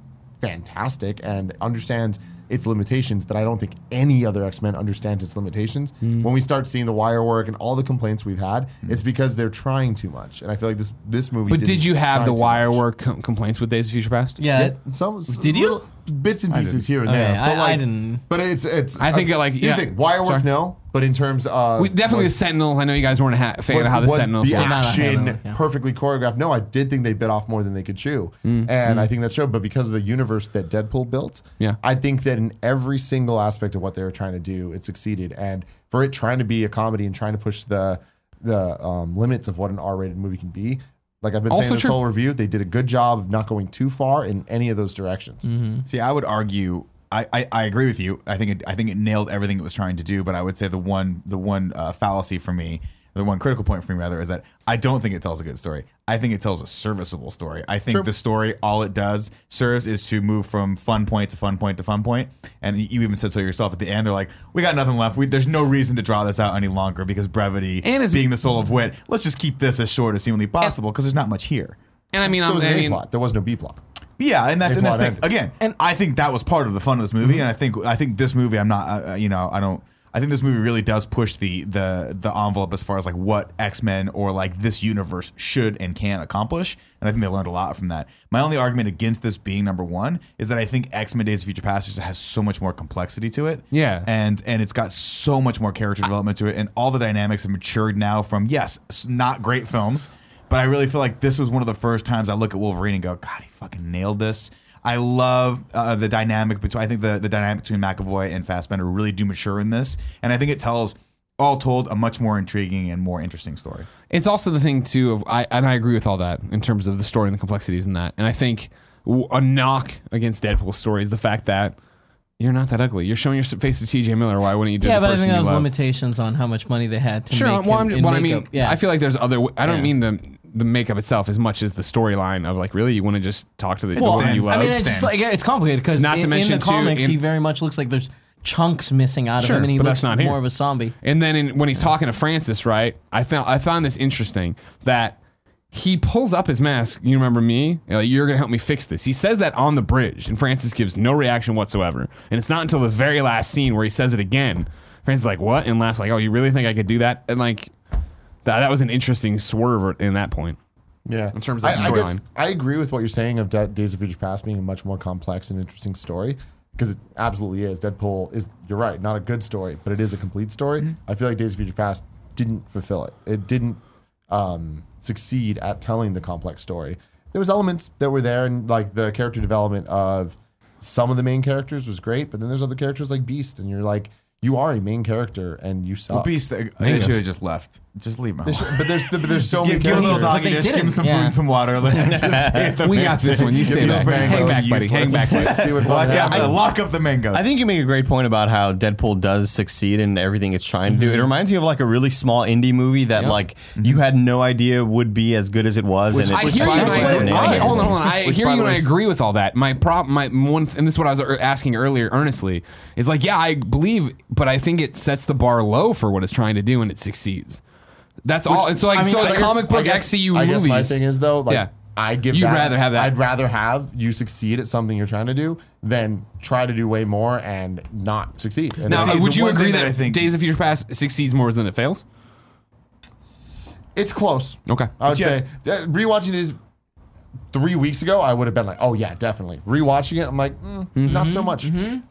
[SPEAKER 1] fantastic and understands its limitations that I don't think any other X Men understands its limitations.
[SPEAKER 2] Hmm.
[SPEAKER 1] When we start seeing the wire work and all the complaints we've had, it's because they're trying too much. And I feel like this this movie.
[SPEAKER 2] But did
[SPEAKER 1] didn't
[SPEAKER 2] you have
[SPEAKER 1] try
[SPEAKER 2] the
[SPEAKER 1] too
[SPEAKER 2] wire
[SPEAKER 1] much.
[SPEAKER 2] work com- complaints with Days of Future Past?
[SPEAKER 5] yeah,
[SPEAKER 1] Some,
[SPEAKER 5] Uh, Did you?
[SPEAKER 1] little bits and pieces here and
[SPEAKER 5] Okay,
[SPEAKER 1] there?
[SPEAKER 5] I-
[SPEAKER 1] but
[SPEAKER 5] I
[SPEAKER 1] like-
[SPEAKER 5] didn't.
[SPEAKER 1] But it's it's. uh,
[SPEAKER 2] I think, like,
[SPEAKER 1] here's the
[SPEAKER 2] yeah.
[SPEAKER 1] thing, wire work
[SPEAKER 2] Sorry.
[SPEAKER 1] no, but in terms of
[SPEAKER 2] We, definitely
[SPEAKER 1] was-
[SPEAKER 2] the Sentinels. I know you guys weren't a ha- fan of how the
[SPEAKER 1] was
[SPEAKER 2] Sentinels.
[SPEAKER 1] the
[SPEAKER 2] looked.
[SPEAKER 5] not a
[SPEAKER 1] action
[SPEAKER 5] hammer, yeah.
[SPEAKER 1] perfectly choreographed. No, I did think they bit off more than they could chew,
[SPEAKER 2] Mm.
[SPEAKER 1] and I think that showed. But because of the universe that Deadpool built,
[SPEAKER 2] Yeah.
[SPEAKER 1] I think that in every single aspect of what they were trying to do, it succeeded. And for it trying to be a comedy and trying to push the the um, limits of what an R-rated movie can be, like I've been
[SPEAKER 2] Also
[SPEAKER 1] saying this
[SPEAKER 2] true.
[SPEAKER 1] whole review, they did a good job of not going too far in any of those directions.
[SPEAKER 3] See, I would argue. I, I, I agree with you. I think it, I think it nailed everything it was trying to do. But I would say the one the one uh, fallacy for me, the one critical point for me rather, is that I don't think it tells a good story. I think it tells a serviceable story. I think the story all it does serves is to move from fun point to fun point to fun point. And you even said so yourself at the end. They're like, we got nothing left. We, there's no reason to draw this out any longer because brevity
[SPEAKER 2] And it's-
[SPEAKER 3] being the soul of wit. Let's just keep this as short as humanly possible because there's not much here.
[SPEAKER 2] And I mean,
[SPEAKER 1] There
[SPEAKER 2] I'm,
[SPEAKER 1] was
[SPEAKER 2] I
[SPEAKER 1] an A
[SPEAKER 2] mean,
[SPEAKER 1] plot. There was no B plot.
[SPEAKER 3] Yeah, and that's
[SPEAKER 1] They
[SPEAKER 3] and that's
[SPEAKER 1] plot
[SPEAKER 3] the thing
[SPEAKER 1] ended.
[SPEAKER 3] again. And I think that was part of the fun of this movie. And I think I think this movie, I'm not, uh, you know, I don't. I think this movie really does push the the the envelope as far as like what X Men or like this universe should and can accomplish. And I think they learned a lot from that. My only argument against this being number one is that I think X Men Days of Future Past just has so much more complexity to it.
[SPEAKER 2] Yeah.
[SPEAKER 3] and and it's got so much more character development to it, and all the dynamics have matured now from yes, s- not great films. But I really feel like this was one of the first times I look at Wolverine and go, God, he fucking nailed this. I love uh, the dynamic between. I think the, the dynamic between McAvoy and Fassbender really do mature in this, and I think it tells, all told, a much more intriguing and more interesting story.
[SPEAKER 2] it's also the thing too of I and I agree with all that in terms of the story and the complexities in that. And I think w- a knock against Deadpool's story is the fact that you're not that ugly. You're showing your s- face to T.J. Miller. Why wouldn't you do?
[SPEAKER 5] yeah,
[SPEAKER 2] the
[SPEAKER 5] but I
[SPEAKER 2] person
[SPEAKER 5] think that
[SPEAKER 2] you
[SPEAKER 5] was
[SPEAKER 2] love?
[SPEAKER 5] limitations on how much money they had to
[SPEAKER 2] Sure.
[SPEAKER 5] make.
[SPEAKER 2] well, I'm,
[SPEAKER 5] in- in
[SPEAKER 2] what I mean,
[SPEAKER 5] makeup. yeah,
[SPEAKER 2] I feel like there's other. I don't
[SPEAKER 5] Yeah.
[SPEAKER 2] mean the the makeup itself as much as the storyline of like really you want to just talk to the
[SPEAKER 3] Well,
[SPEAKER 2] woman
[SPEAKER 3] thin.
[SPEAKER 2] you love.
[SPEAKER 5] I mean,
[SPEAKER 3] it's
[SPEAKER 5] it's just
[SPEAKER 3] thin.
[SPEAKER 5] like it's complicated because
[SPEAKER 2] Not
[SPEAKER 5] not
[SPEAKER 2] to
[SPEAKER 5] in,
[SPEAKER 2] mention,
[SPEAKER 5] in
[SPEAKER 2] too,
[SPEAKER 5] the comics,
[SPEAKER 2] in-
[SPEAKER 5] he very much looks like there's chunks missing out
[SPEAKER 2] Sure,
[SPEAKER 5] of him, and he
[SPEAKER 2] but
[SPEAKER 5] looks
[SPEAKER 2] that's not here.
[SPEAKER 5] more of
[SPEAKER 2] <laughs>
[SPEAKER 5] a zombie.
[SPEAKER 2] And then in, when he's talking to Francis, right? I found I found this interesting that he pulls up his mask. You remember me? And, like, You're gonna help me fix this. He says that on the bridge, and Francis gives no reaction whatsoever. And it's not until the very last scene where he says it again. Francis is like, "What?" and laughs like, "Oh, you really think I could do that?" And like, that that was an interesting swerve in that point.
[SPEAKER 1] Yeah, in
[SPEAKER 2] terms of
[SPEAKER 1] I, I
[SPEAKER 2] storyline.
[SPEAKER 1] guess I agree with what you're saying of De- Days of Future Past being a much more complex and interesting story because it absolutely is. Deadpool is you're right, not a good story, but it is a complete story.
[SPEAKER 3] Mm-hmm.
[SPEAKER 1] I feel like Days of Future Past didn't fulfill it. It didn't um, succeed at telling the complex story. There was elements that were there, and like the character development of some of the main characters was great, but then there's other characters like Beast, and you're like, you are a main character and you suck.
[SPEAKER 2] Uh,
[SPEAKER 3] Well, Beast, they, they should have just left. Just leave my.
[SPEAKER 1] They should- but there's but there's so
[SPEAKER 3] Give,
[SPEAKER 1] many
[SPEAKER 3] give him a little
[SPEAKER 1] characters.
[SPEAKER 3] doggy
[SPEAKER 5] But they
[SPEAKER 3] dish. Give him
[SPEAKER 5] didn't.
[SPEAKER 3] some food
[SPEAKER 5] Yeah.
[SPEAKER 3] and some water. Let
[SPEAKER 2] <laughs>
[SPEAKER 3] him just stay <laughs> the
[SPEAKER 2] We
[SPEAKER 3] man.
[SPEAKER 2] got this one. You stay
[SPEAKER 3] Give
[SPEAKER 2] back.
[SPEAKER 3] those
[SPEAKER 2] Hang back,
[SPEAKER 3] mangoes
[SPEAKER 2] buddy. Hang back,
[SPEAKER 3] useless.
[SPEAKER 2] buddy.
[SPEAKER 1] See what
[SPEAKER 3] <laughs> Watch
[SPEAKER 1] fucking
[SPEAKER 3] out!
[SPEAKER 1] happens.
[SPEAKER 3] Lock up the mangoes.
[SPEAKER 6] I think you make a great point about how Deadpool does succeed in everything it's trying to do. It
[SPEAKER 2] Mm-hmm.
[SPEAKER 6] reminds me of like a really small indie movie that like you had no idea would be as good as it was. and it
[SPEAKER 2] I
[SPEAKER 6] was
[SPEAKER 2] hear you.
[SPEAKER 6] fine.
[SPEAKER 2] and
[SPEAKER 1] by the way-
[SPEAKER 2] I, I, hold on, hold on. I
[SPEAKER 1] Which,
[SPEAKER 2] hear
[SPEAKER 1] by
[SPEAKER 2] you,
[SPEAKER 1] the
[SPEAKER 2] and I
[SPEAKER 1] way, is-
[SPEAKER 2] agree with all that. My problem, my one, and this is what I was er- asking earlier, earnestly, is like, yeah, I believe, but I think it sets the bar low for what it's trying to do, and it succeeds. That's all. Oh, And so, like,
[SPEAKER 1] I mean,
[SPEAKER 2] so
[SPEAKER 1] I
[SPEAKER 2] it's
[SPEAKER 1] guess-
[SPEAKER 2] comic book
[SPEAKER 1] I guess-
[SPEAKER 2] XCU
[SPEAKER 1] I
[SPEAKER 2] movies.
[SPEAKER 1] guess my thing is though, like,
[SPEAKER 2] Yeah.
[SPEAKER 1] I give.
[SPEAKER 2] You'd
[SPEAKER 1] that-
[SPEAKER 2] rather have that.
[SPEAKER 1] I'd rather have you succeed at something you're trying to do than try to do way more and not succeed. And <laughs>
[SPEAKER 2] now,
[SPEAKER 1] it's,
[SPEAKER 3] See,
[SPEAKER 2] would
[SPEAKER 3] the
[SPEAKER 2] you
[SPEAKER 3] one
[SPEAKER 2] agree
[SPEAKER 3] thing
[SPEAKER 2] that,
[SPEAKER 3] that I think-
[SPEAKER 2] Days of Future Past succeeds more than it fails?
[SPEAKER 1] it's close.
[SPEAKER 2] Okay.
[SPEAKER 1] I would
[SPEAKER 3] Yeah.
[SPEAKER 1] say uh, rewatching these three weeks ago, I would have been like, oh yeah, definitely. Rewatching it, I'm like, mm, not
[SPEAKER 2] Mm-hmm.
[SPEAKER 1] so much.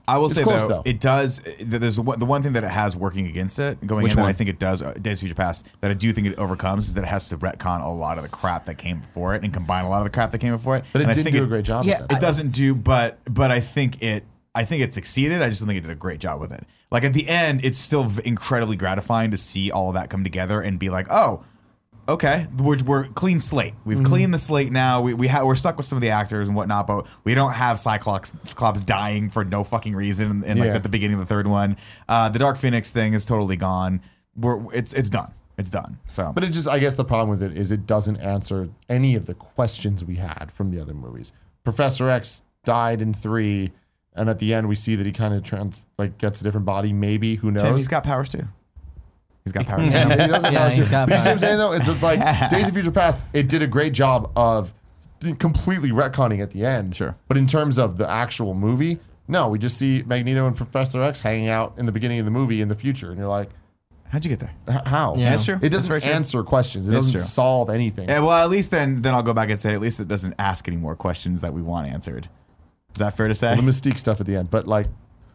[SPEAKER 3] I will
[SPEAKER 1] It's
[SPEAKER 3] say
[SPEAKER 1] close,
[SPEAKER 3] though,
[SPEAKER 1] though.
[SPEAKER 3] it does. th- There's the one, the one thing that it has working against it going
[SPEAKER 2] Which
[SPEAKER 3] in. That I
[SPEAKER 2] one?
[SPEAKER 3] think it does. Uh, Days of Future Past. That I do think it overcomes is that it has to retcon a lot of the crap that came before it and combine a lot of the crap that came before it.
[SPEAKER 1] But it
[SPEAKER 3] And I
[SPEAKER 1] did
[SPEAKER 3] think
[SPEAKER 1] do a great job.
[SPEAKER 5] yeah,
[SPEAKER 1] at that.
[SPEAKER 3] It doesn't do, but but I think it. I think it succeeded. I just don't think it did a great job with it. Like at the end, it's still v- incredibly gratifying to see all of that come together and be like, oh. Okay, we're, we're clean slate. We've cleaned the slate now. We, we ha- we're stuck with some of the actors and whatnot, but we don't have Cyclops, Cyclops dying for no fucking reason. And, and
[SPEAKER 1] Yeah.
[SPEAKER 3] like at the beginning of the third one, uh, the Dark Phoenix thing is totally gone. We're it's it's done. It's done. So,
[SPEAKER 1] But it just, I guess the problem with it is it doesn't answer any of the questions we had from the other movies. Professor X died in three, and at the end we see that he kind of trans, like gets a different body. Maybe who knows?
[SPEAKER 3] Tim, he's got powers too. He's <laughs> got powers. too.
[SPEAKER 1] I mean, he doesn't
[SPEAKER 5] Yeah,
[SPEAKER 1] know.
[SPEAKER 5] he's
[SPEAKER 2] <laughs>
[SPEAKER 5] got
[SPEAKER 1] But you see what
[SPEAKER 5] that.
[SPEAKER 1] I'm saying though? It's, it's
[SPEAKER 3] <laughs>
[SPEAKER 1] like Days of Future Past. It did a great job of completely retconning at the end.
[SPEAKER 3] Sure.
[SPEAKER 1] But in terms of the actual movie, no, we just see Magneto and Professor X hanging out in the beginning of the movie in the future, and you're like,
[SPEAKER 3] How'd you get there?
[SPEAKER 1] h- how?
[SPEAKER 5] Yeah. That's
[SPEAKER 3] true.
[SPEAKER 1] It
[SPEAKER 3] That's
[SPEAKER 1] doesn't
[SPEAKER 3] very true.
[SPEAKER 1] answer questions. It
[SPEAKER 3] That's
[SPEAKER 1] doesn't
[SPEAKER 3] true.
[SPEAKER 1] solve anything.
[SPEAKER 3] Yeah, well, at least then, then I'll go back and say at least it doesn't ask any more questions that we want answered. Is that fair to say?
[SPEAKER 1] the mystique stuff at the end. But like,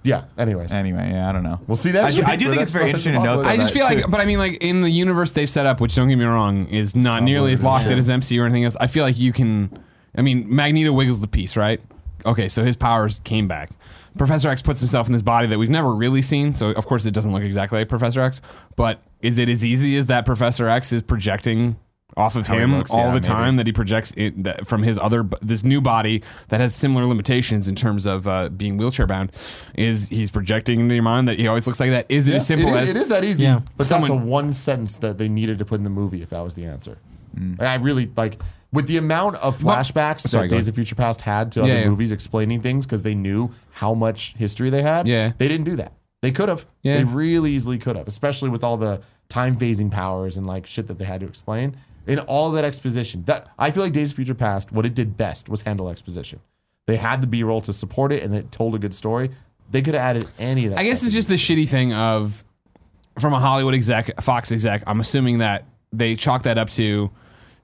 [SPEAKER 1] yeah. Anyways,
[SPEAKER 3] Anyway, yeah, I don't know.
[SPEAKER 1] We'll see next
[SPEAKER 3] I do,
[SPEAKER 1] week
[SPEAKER 3] I do
[SPEAKER 1] where
[SPEAKER 3] think
[SPEAKER 1] that's
[SPEAKER 3] it's very
[SPEAKER 1] fucking
[SPEAKER 3] interesting to note.
[SPEAKER 1] possible.
[SPEAKER 3] That,
[SPEAKER 2] I just feel like,
[SPEAKER 3] too.
[SPEAKER 2] but I mean, like in the universe they've set up, which don't get me wrong, is not nearly as locked in as MCU or anything else. I feel like you can, I mean, Magneto wiggles the piece, right? Okay, so his powers came back. Professor X puts himself in this body that we've never really seen, so of course it doesn't look exactly like Professor X. But is it as easy as that Professor X is projecting off of
[SPEAKER 3] he
[SPEAKER 2] him
[SPEAKER 3] looks,
[SPEAKER 2] all
[SPEAKER 3] yeah,
[SPEAKER 2] the
[SPEAKER 3] maybe.
[SPEAKER 2] time? time that he projects it that from his other b- this new body that has similar limitations in terms of uh, being wheelchair bound is he's projecting into your mind that he always looks like that is it as simple
[SPEAKER 1] it, is,
[SPEAKER 2] as
[SPEAKER 1] it is that easy.
[SPEAKER 5] Yeah.
[SPEAKER 1] But
[SPEAKER 2] Someone-
[SPEAKER 1] that's a one sentence that they needed to put in the movie if that was the answer. Like, I really like with the amount of flashbacks
[SPEAKER 2] Mm. sorry,
[SPEAKER 1] that
[SPEAKER 2] go
[SPEAKER 1] Days
[SPEAKER 2] ahead.
[SPEAKER 1] of Future Past had to
[SPEAKER 2] Yeah,
[SPEAKER 1] other
[SPEAKER 2] yeah.
[SPEAKER 1] movies explaining things because they knew how much history they had.
[SPEAKER 2] Yeah.
[SPEAKER 1] They didn't do that. They could have.
[SPEAKER 2] Yeah.
[SPEAKER 1] They really easily could have, especially with all the time phasing powers and like shit that they had to explain. In all that exposition, that I feel like Days of Future Past, what it did best was handle exposition. They had the B roll to support it, and it told a good story. They could have added any of that.
[SPEAKER 2] I guess
[SPEAKER 1] stuff.
[SPEAKER 2] it's just the shitty thing of from a Hollywood exec, Fox exec. I'm assuming that they chalk that up to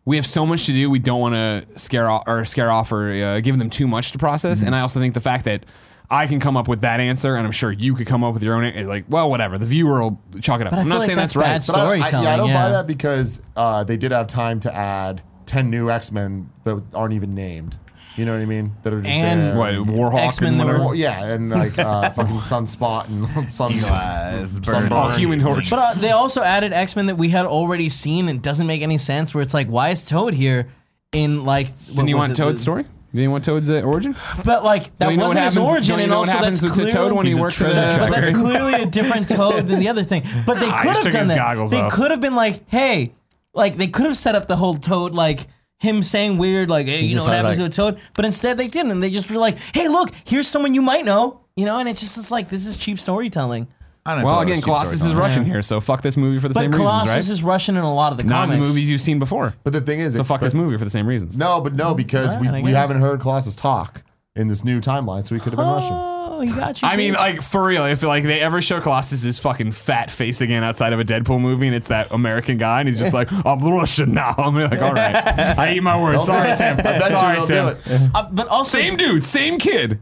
[SPEAKER 2] we have so much to do. We don't want to scare off or scare off or uh, give them too much to process.
[SPEAKER 5] Mm-hmm.
[SPEAKER 2] And I also think the fact that I can come up with that answer, and I'm sure you could come up with your own. a- Like, well, whatever. The viewer will chalk it up.
[SPEAKER 5] But I
[SPEAKER 2] I'm
[SPEAKER 5] feel
[SPEAKER 2] not
[SPEAKER 5] like
[SPEAKER 2] saying that's,
[SPEAKER 5] that's
[SPEAKER 2] right.
[SPEAKER 5] bad
[SPEAKER 2] but-
[SPEAKER 1] But I don't- I,
[SPEAKER 5] Storytelling,
[SPEAKER 1] yeah, I don't buy
[SPEAKER 5] yeah.
[SPEAKER 1] that because uh, they did have time to add ten new X Men that aren't even named. You know what I mean? That are just
[SPEAKER 5] And-
[SPEAKER 1] there.
[SPEAKER 2] What, Warhawk
[SPEAKER 5] X-Men
[SPEAKER 2] and
[SPEAKER 5] that were-
[SPEAKER 2] whatever?
[SPEAKER 1] Well, yeah, and like
[SPEAKER 2] <laughs>
[SPEAKER 1] uh, fucking Sunspot and <laughs> Sun.
[SPEAKER 3] Eli's burning
[SPEAKER 1] Oh,
[SPEAKER 2] Human Torch.
[SPEAKER 5] But uh, they also added X Men that we had already seen and doesn't make any sense. Where it's like, why is Toad here? In like, what
[SPEAKER 2] Didn't you
[SPEAKER 5] was
[SPEAKER 2] want
[SPEAKER 5] it?
[SPEAKER 2] Toad's story? Didn't you want Toad's uh, origin?
[SPEAKER 5] But like, that
[SPEAKER 2] Don't you know what
[SPEAKER 5] wasn't his
[SPEAKER 2] happens-
[SPEAKER 5] origin,
[SPEAKER 2] don't you
[SPEAKER 5] and
[SPEAKER 2] know what
[SPEAKER 5] also
[SPEAKER 2] happens
[SPEAKER 5] that's
[SPEAKER 2] to Toad
[SPEAKER 5] clearly-
[SPEAKER 2] when he
[SPEAKER 6] He's a
[SPEAKER 2] works at
[SPEAKER 6] treasure
[SPEAKER 2] uh,
[SPEAKER 5] But
[SPEAKER 6] Tracker.
[SPEAKER 5] that's clearly
[SPEAKER 2] <laughs>
[SPEAKER 5] a different toad than the other thing. But they could have
[SPEAKER 2] Ah, took
[SPEAKER 5] done
[SPEAKER 2] his
[SPEAKER 5] that.
[SPEAKER 2] goggles
[SPEAKER 5] They
[SPEAKER 2] off.
[SPEAKER 5] could have been like, hey, like they could have set up the whole toad like him saying weird like, hey, you know
[SPEAKER 6] just
[SPEAKER 5] what
[SPEAKER 6] had,
[SPEAKER 5] happens
[SPEAKER 6] like-
[SPEAKER 5] to a toad. But instead they didn't. And they just were like, hey, look, here's someone you might know. You know, and it's just it's like this is cheap storytelling.
[SPEAKER 3] I don't know if
[SPEAKER 2] Well,
[SPEAKER 3] I
[SPEAKER 2] again,
[SPEAKER 3] was cheap
[SPEAKER 2] Colossus is
[SPEAKER 3] storytelling.
[SPEAKER 2] Russian here, so fuck this movie for the
[SPEAKER 5] But
[SPEAKER 2] same
[SPEAKER 5] Colossus
[SPEAKER 2] reasons, right?
[SPEAKER 5] is Russian in a lot of the
[SPEAKER 2] Not in
[SPEAKER 5] comics.
[SPEAKER 2] the movies you've seen before.
[SPEAKER 1] But the thing is,
[SPEAKER 2] So
[SPEAKER 1] it-
[SPEAKER 2] fuck this
[SPEAKER 1] but-
[SPEAKER 2] movie for the same reasons.
[SPEAKER 1] No, but no, because
[SPEAKER 5] Alright, I
[SPEAKER 1] we, we
[SPEAKER 5] guess.
[SPEAKER 1] haven't heard Colossus talk in this new timeline, so he could have been Russian.
[SPEAKER 5] Oh, he got you.
[SPEAKER 2] I mean,
[SPEAKER 5] bitch.
[SPEAKER 2] like for real, if like they ever show Colossus's fucking fat face again outside of a Deadpool movie, and it's that American guy, and he's just like, "I'm Russian now." <laughs> I'm like,
[SPEAKER 1] <laughs>
[SPEAKER 2] "All right, I eat my words." Sorry, Tim.
[SPEAKER 1] I bet
[SPEAKER 2] Sorry,
[SPEAKER 1] you they'll
[SPEAKER 2] Tim.
[SPEAKER 1] do it.
[SPEAKER 5] Uh, but also
[SPEAKER 2] <laughs> Same dude, same kid.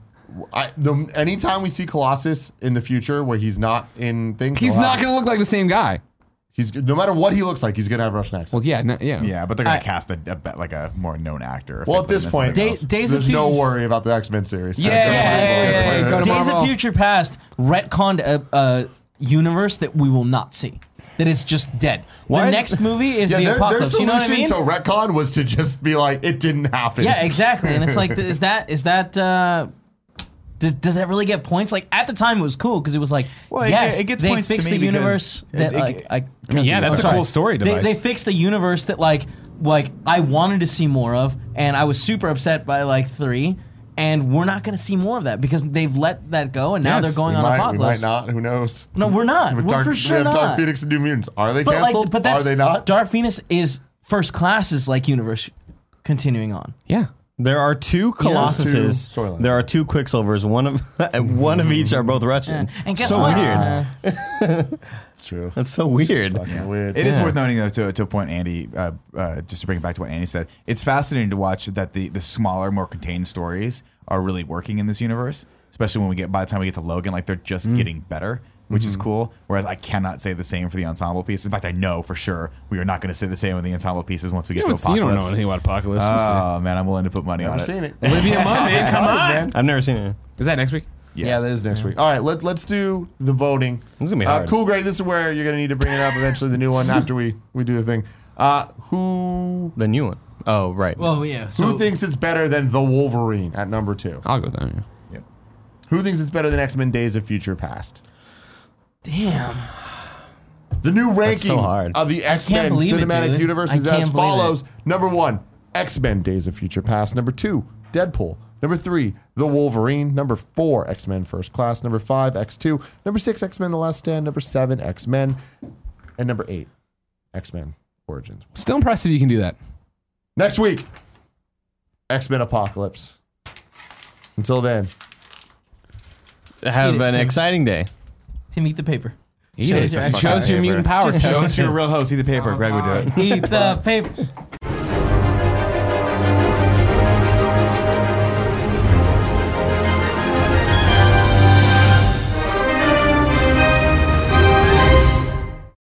[SPEAKER 1] I, the, anytime we see Colossus in the future where he's not in things,
[SPEAKER 2] He's
[SPEAKER 1] we'll
[SPEAKER 2] not
[SPEAKER 1] have-
[SPEAKER 2] gonna look like the same guy.
[SPEAKER 1] He's no matter what he looks like, he's gonna have a Russian accent.
[SPEAKER 2] Well, yeah, no, yeah,
[SPEAKER 3] Yeah, but they're gonna
[SPEAKER 5] I-
[SPEAKER 3] cast a, a bet- like a more known actor. if
[SPEAKER 1] Well,
[SPEAKER 3] they
[SPEAKER 1] at
[SPEAKER 3] put him
[SPEAKER 1] this
[SPEAKER 3] in
[SPEAKER 1] point-
[SPEAKER 3] something
[SPEAKER 5] Day-
[SPEAKER 3] else.
[SPEAKER 5] Days of
[SPEAKER 1] There's no
[SPEAKER 5] Future.
[SPEAKER 1] worry about the X Men series.
[SPEAKER 2] Yeah,
[SPEAKER 1] That's gonna be-
[SPEAKER 2] yeah, yeah, yeah, yeah. Go to
[SPEAKER 5] Days of
[SPEAKER 2] Marvel.
[SPEAKER 5] Future Past retconned a, a universe that we will not see. That it's just dead.
[SPEAKER 1] Why-
[SPEAKER 5] the next movie is the
[SPEAKER 1] their, their
[SPEAKER 5] apocalypse.
[SPEAKER 1] solution
[SPEAKER 5] you know what I
[SPEAKER 1] to
[SPEAKER 5] mean?
[SPEAKER 1] retcon was to just be like, it didn't happen.
[SPEAKER 5] Yeah, exactly. And it's like, is that is that uh, does does that really get points? Like at the time, it was cool because it was like,
[SPEAKER 3] Well, it-
[SPEAKER 5] yes,
[SPEAKER 3] it gets
[SPEAKER 5] they
[SPEAKER 3] points to
[SPEAKER 5] fixed
[SPEAKER 3] me
[SPEAKER 5] the
[SPEAKER 3] because
[SPEAKER 5] universe
[SPEAKER 3] it-
[SPEAKER 5] that
[SPEAKER 3] it-
[SPEAKER 5] like I.
[SPEAKER 2] I mean, yeah, that's a
[SPEAKER 5] Sorry.
[SPEAKER 2] cool story
[SPEAKER 5] They-
[SPEAKER 2] device.
[SPEAKER 5] They, fixed the universe that like like I wanted to see more of, and I was super upset by like three. And we're not going to see more of that because they've let that go, and now
[SPEAKER 2] Yes,
[SPEAKER 5] they're going
[SPEAKER 1] We
[SPEAKER 5] on
[SPEAKER 1] might, we might
[SPEAKER 5] apocalypse.
[SPEAKER 1] not. Who knows?
[SPEAKER 5] No, we're not.
[SPEAKER 1] With
[SPEAKER 5] We're
[SPEAKER 1] Dark,
[SPEAKER 5] for
[SPEAKER 1] we
[SPEAKER 5] sure
[SPEAKER 1] have
[SPEAKER 5] not.
[SPEAKER 1] Dark Phoenix and New Mutants. Are they
[SPEAKER 5] But
[SPEAKER 1] canceled?
[SPEAKER 5] like, but
[SPEAKER 1] Are
[SPEAKER 5] that's
[SPEAKER 1] they not?
[SPEAKER 5] Dark Phoenix is first classes like universe continuing on.
[SPEAKER 2] yeah.
[SPEAKER 6] There are two Colossuses.
[SPEAKER 1] Two storylines.
[SPEAKER 6] there are two Quicksilvers. One of <laughs> one of each are both Russian.
[SPEAKER 5] And guess
[SPEAKER 6] so
[SPEAKER 5] what?
[SPEAKER 6] weird.
[SPEAKER 5] Uh,
[SPEAKER 1] That's true.
[SPEAKER 6] That's so weird.
[SPEAKER 1] Fucking weird.
[SPEAKER 3] It is worth noting, though, to, to a point Andy, uh, uh, just to bring it back to what Andy said, it's fascinating to watch that the, the smaller, more contained stories are really working in this universe, especially when we get by the time we get to Logan, like they're just
[SPEAKER 2] Mm.
[SPEAKER 3] getting better, which
[SPEAKER 2] Mm-hmm.
[SPEAKER 3] is cool. Whereas I cannot say the same for the ensemble piece. In fact, I know for sure we are not going to say the same on the ensemble pieces once we
[SPEAKER 2] You
[SPEAKER 3] get to
[SPEAKER 2] don't, see- you don't know
[SPEAKER 3] Apocalypse.
[SPEAKER 2] anything about apocalypse. We'll
[SPEAKER 1] Uh,
[SPEAKER 2] see.
[SPEAKER 3] Oh, man, I'm willing to put money on
[SPEAKER 1] I've
[SPEAKER 3] it.
[SPEAKER 1] seen it.
[SPEAKER 2] Olivia Munn,
[SPEAKER 1] <laughs>
[SPEAKER 2] eh? come on.
[SPEAKER 6] I've never seen it.
[SPEAKER 2] Is that next week?
[SPEAKER 1] Yeah, that is next week. All right, let, let's do the voting.
[SPEAKER 6] This is gonna be
[SPEAKER 1] Uh,
[SPEAKER 6] hard.
[SPEAKER 1] cool, great. This is where you're going to need to bring it up eventually, the new one, after we, we do the thing. Uh, who
[SPEAKER 6] The new one. Oh right.
[SPEAKER 5] well, yeah. So
[SPEAKER 1] who thinks it's better than The Wolverine at number two?
[SPEAKER 2] I'll go with that. yeah.
[SPEAKER 1] Who thinks it's better than X Men Days of Future Past?
[SPEAKER 5] damn.
[SPEAKER 1] The new ranking
[SPEAKER 6] so hard.
[SPEAKER 1] of the X Men
[SPEAKER 5] believe it,
[SPEAKER 1] cinematic
[SPEAKER 5] dude.
[SPEAKER 1] universe
[SPEAKER 5] I
[SPEAKER 1] is as
[SPEAKER 5] can't believe
[SPEAKER 1] follows: number one, X Men Days of Future Past; number two, Deadpool; number three, The Wolverine; number four, X Men First Class; number five, X Two; number six, X Men The Last Stand; number seven, X Men; and number eight, X Men Origins.
[SPEAKER 2] Still impressive you can do that.
[SPEAKER 1] Next week, X Men Apocalypse. Until then,
[SPEAKER 6] Have
[SPEAKER 5] Eat it,
[SPEAKER 6] an
[SPEAKER 5] Tim.
[SPEAKER 6] exciting day.
[SPEAKER 5] Tim, eat the paper.
[SPEAKER 2] Eat
[SPEAKER 5] Shows
[SPEAKER 2] it.
[SPEAKER 5] your <laughs>
[SPEAKER 2] It Shows your mutant powers.
[SPEAKER 3] Show us your real host. See the paper. Greg would do it.
[SPEAKER 5] Eat the paper.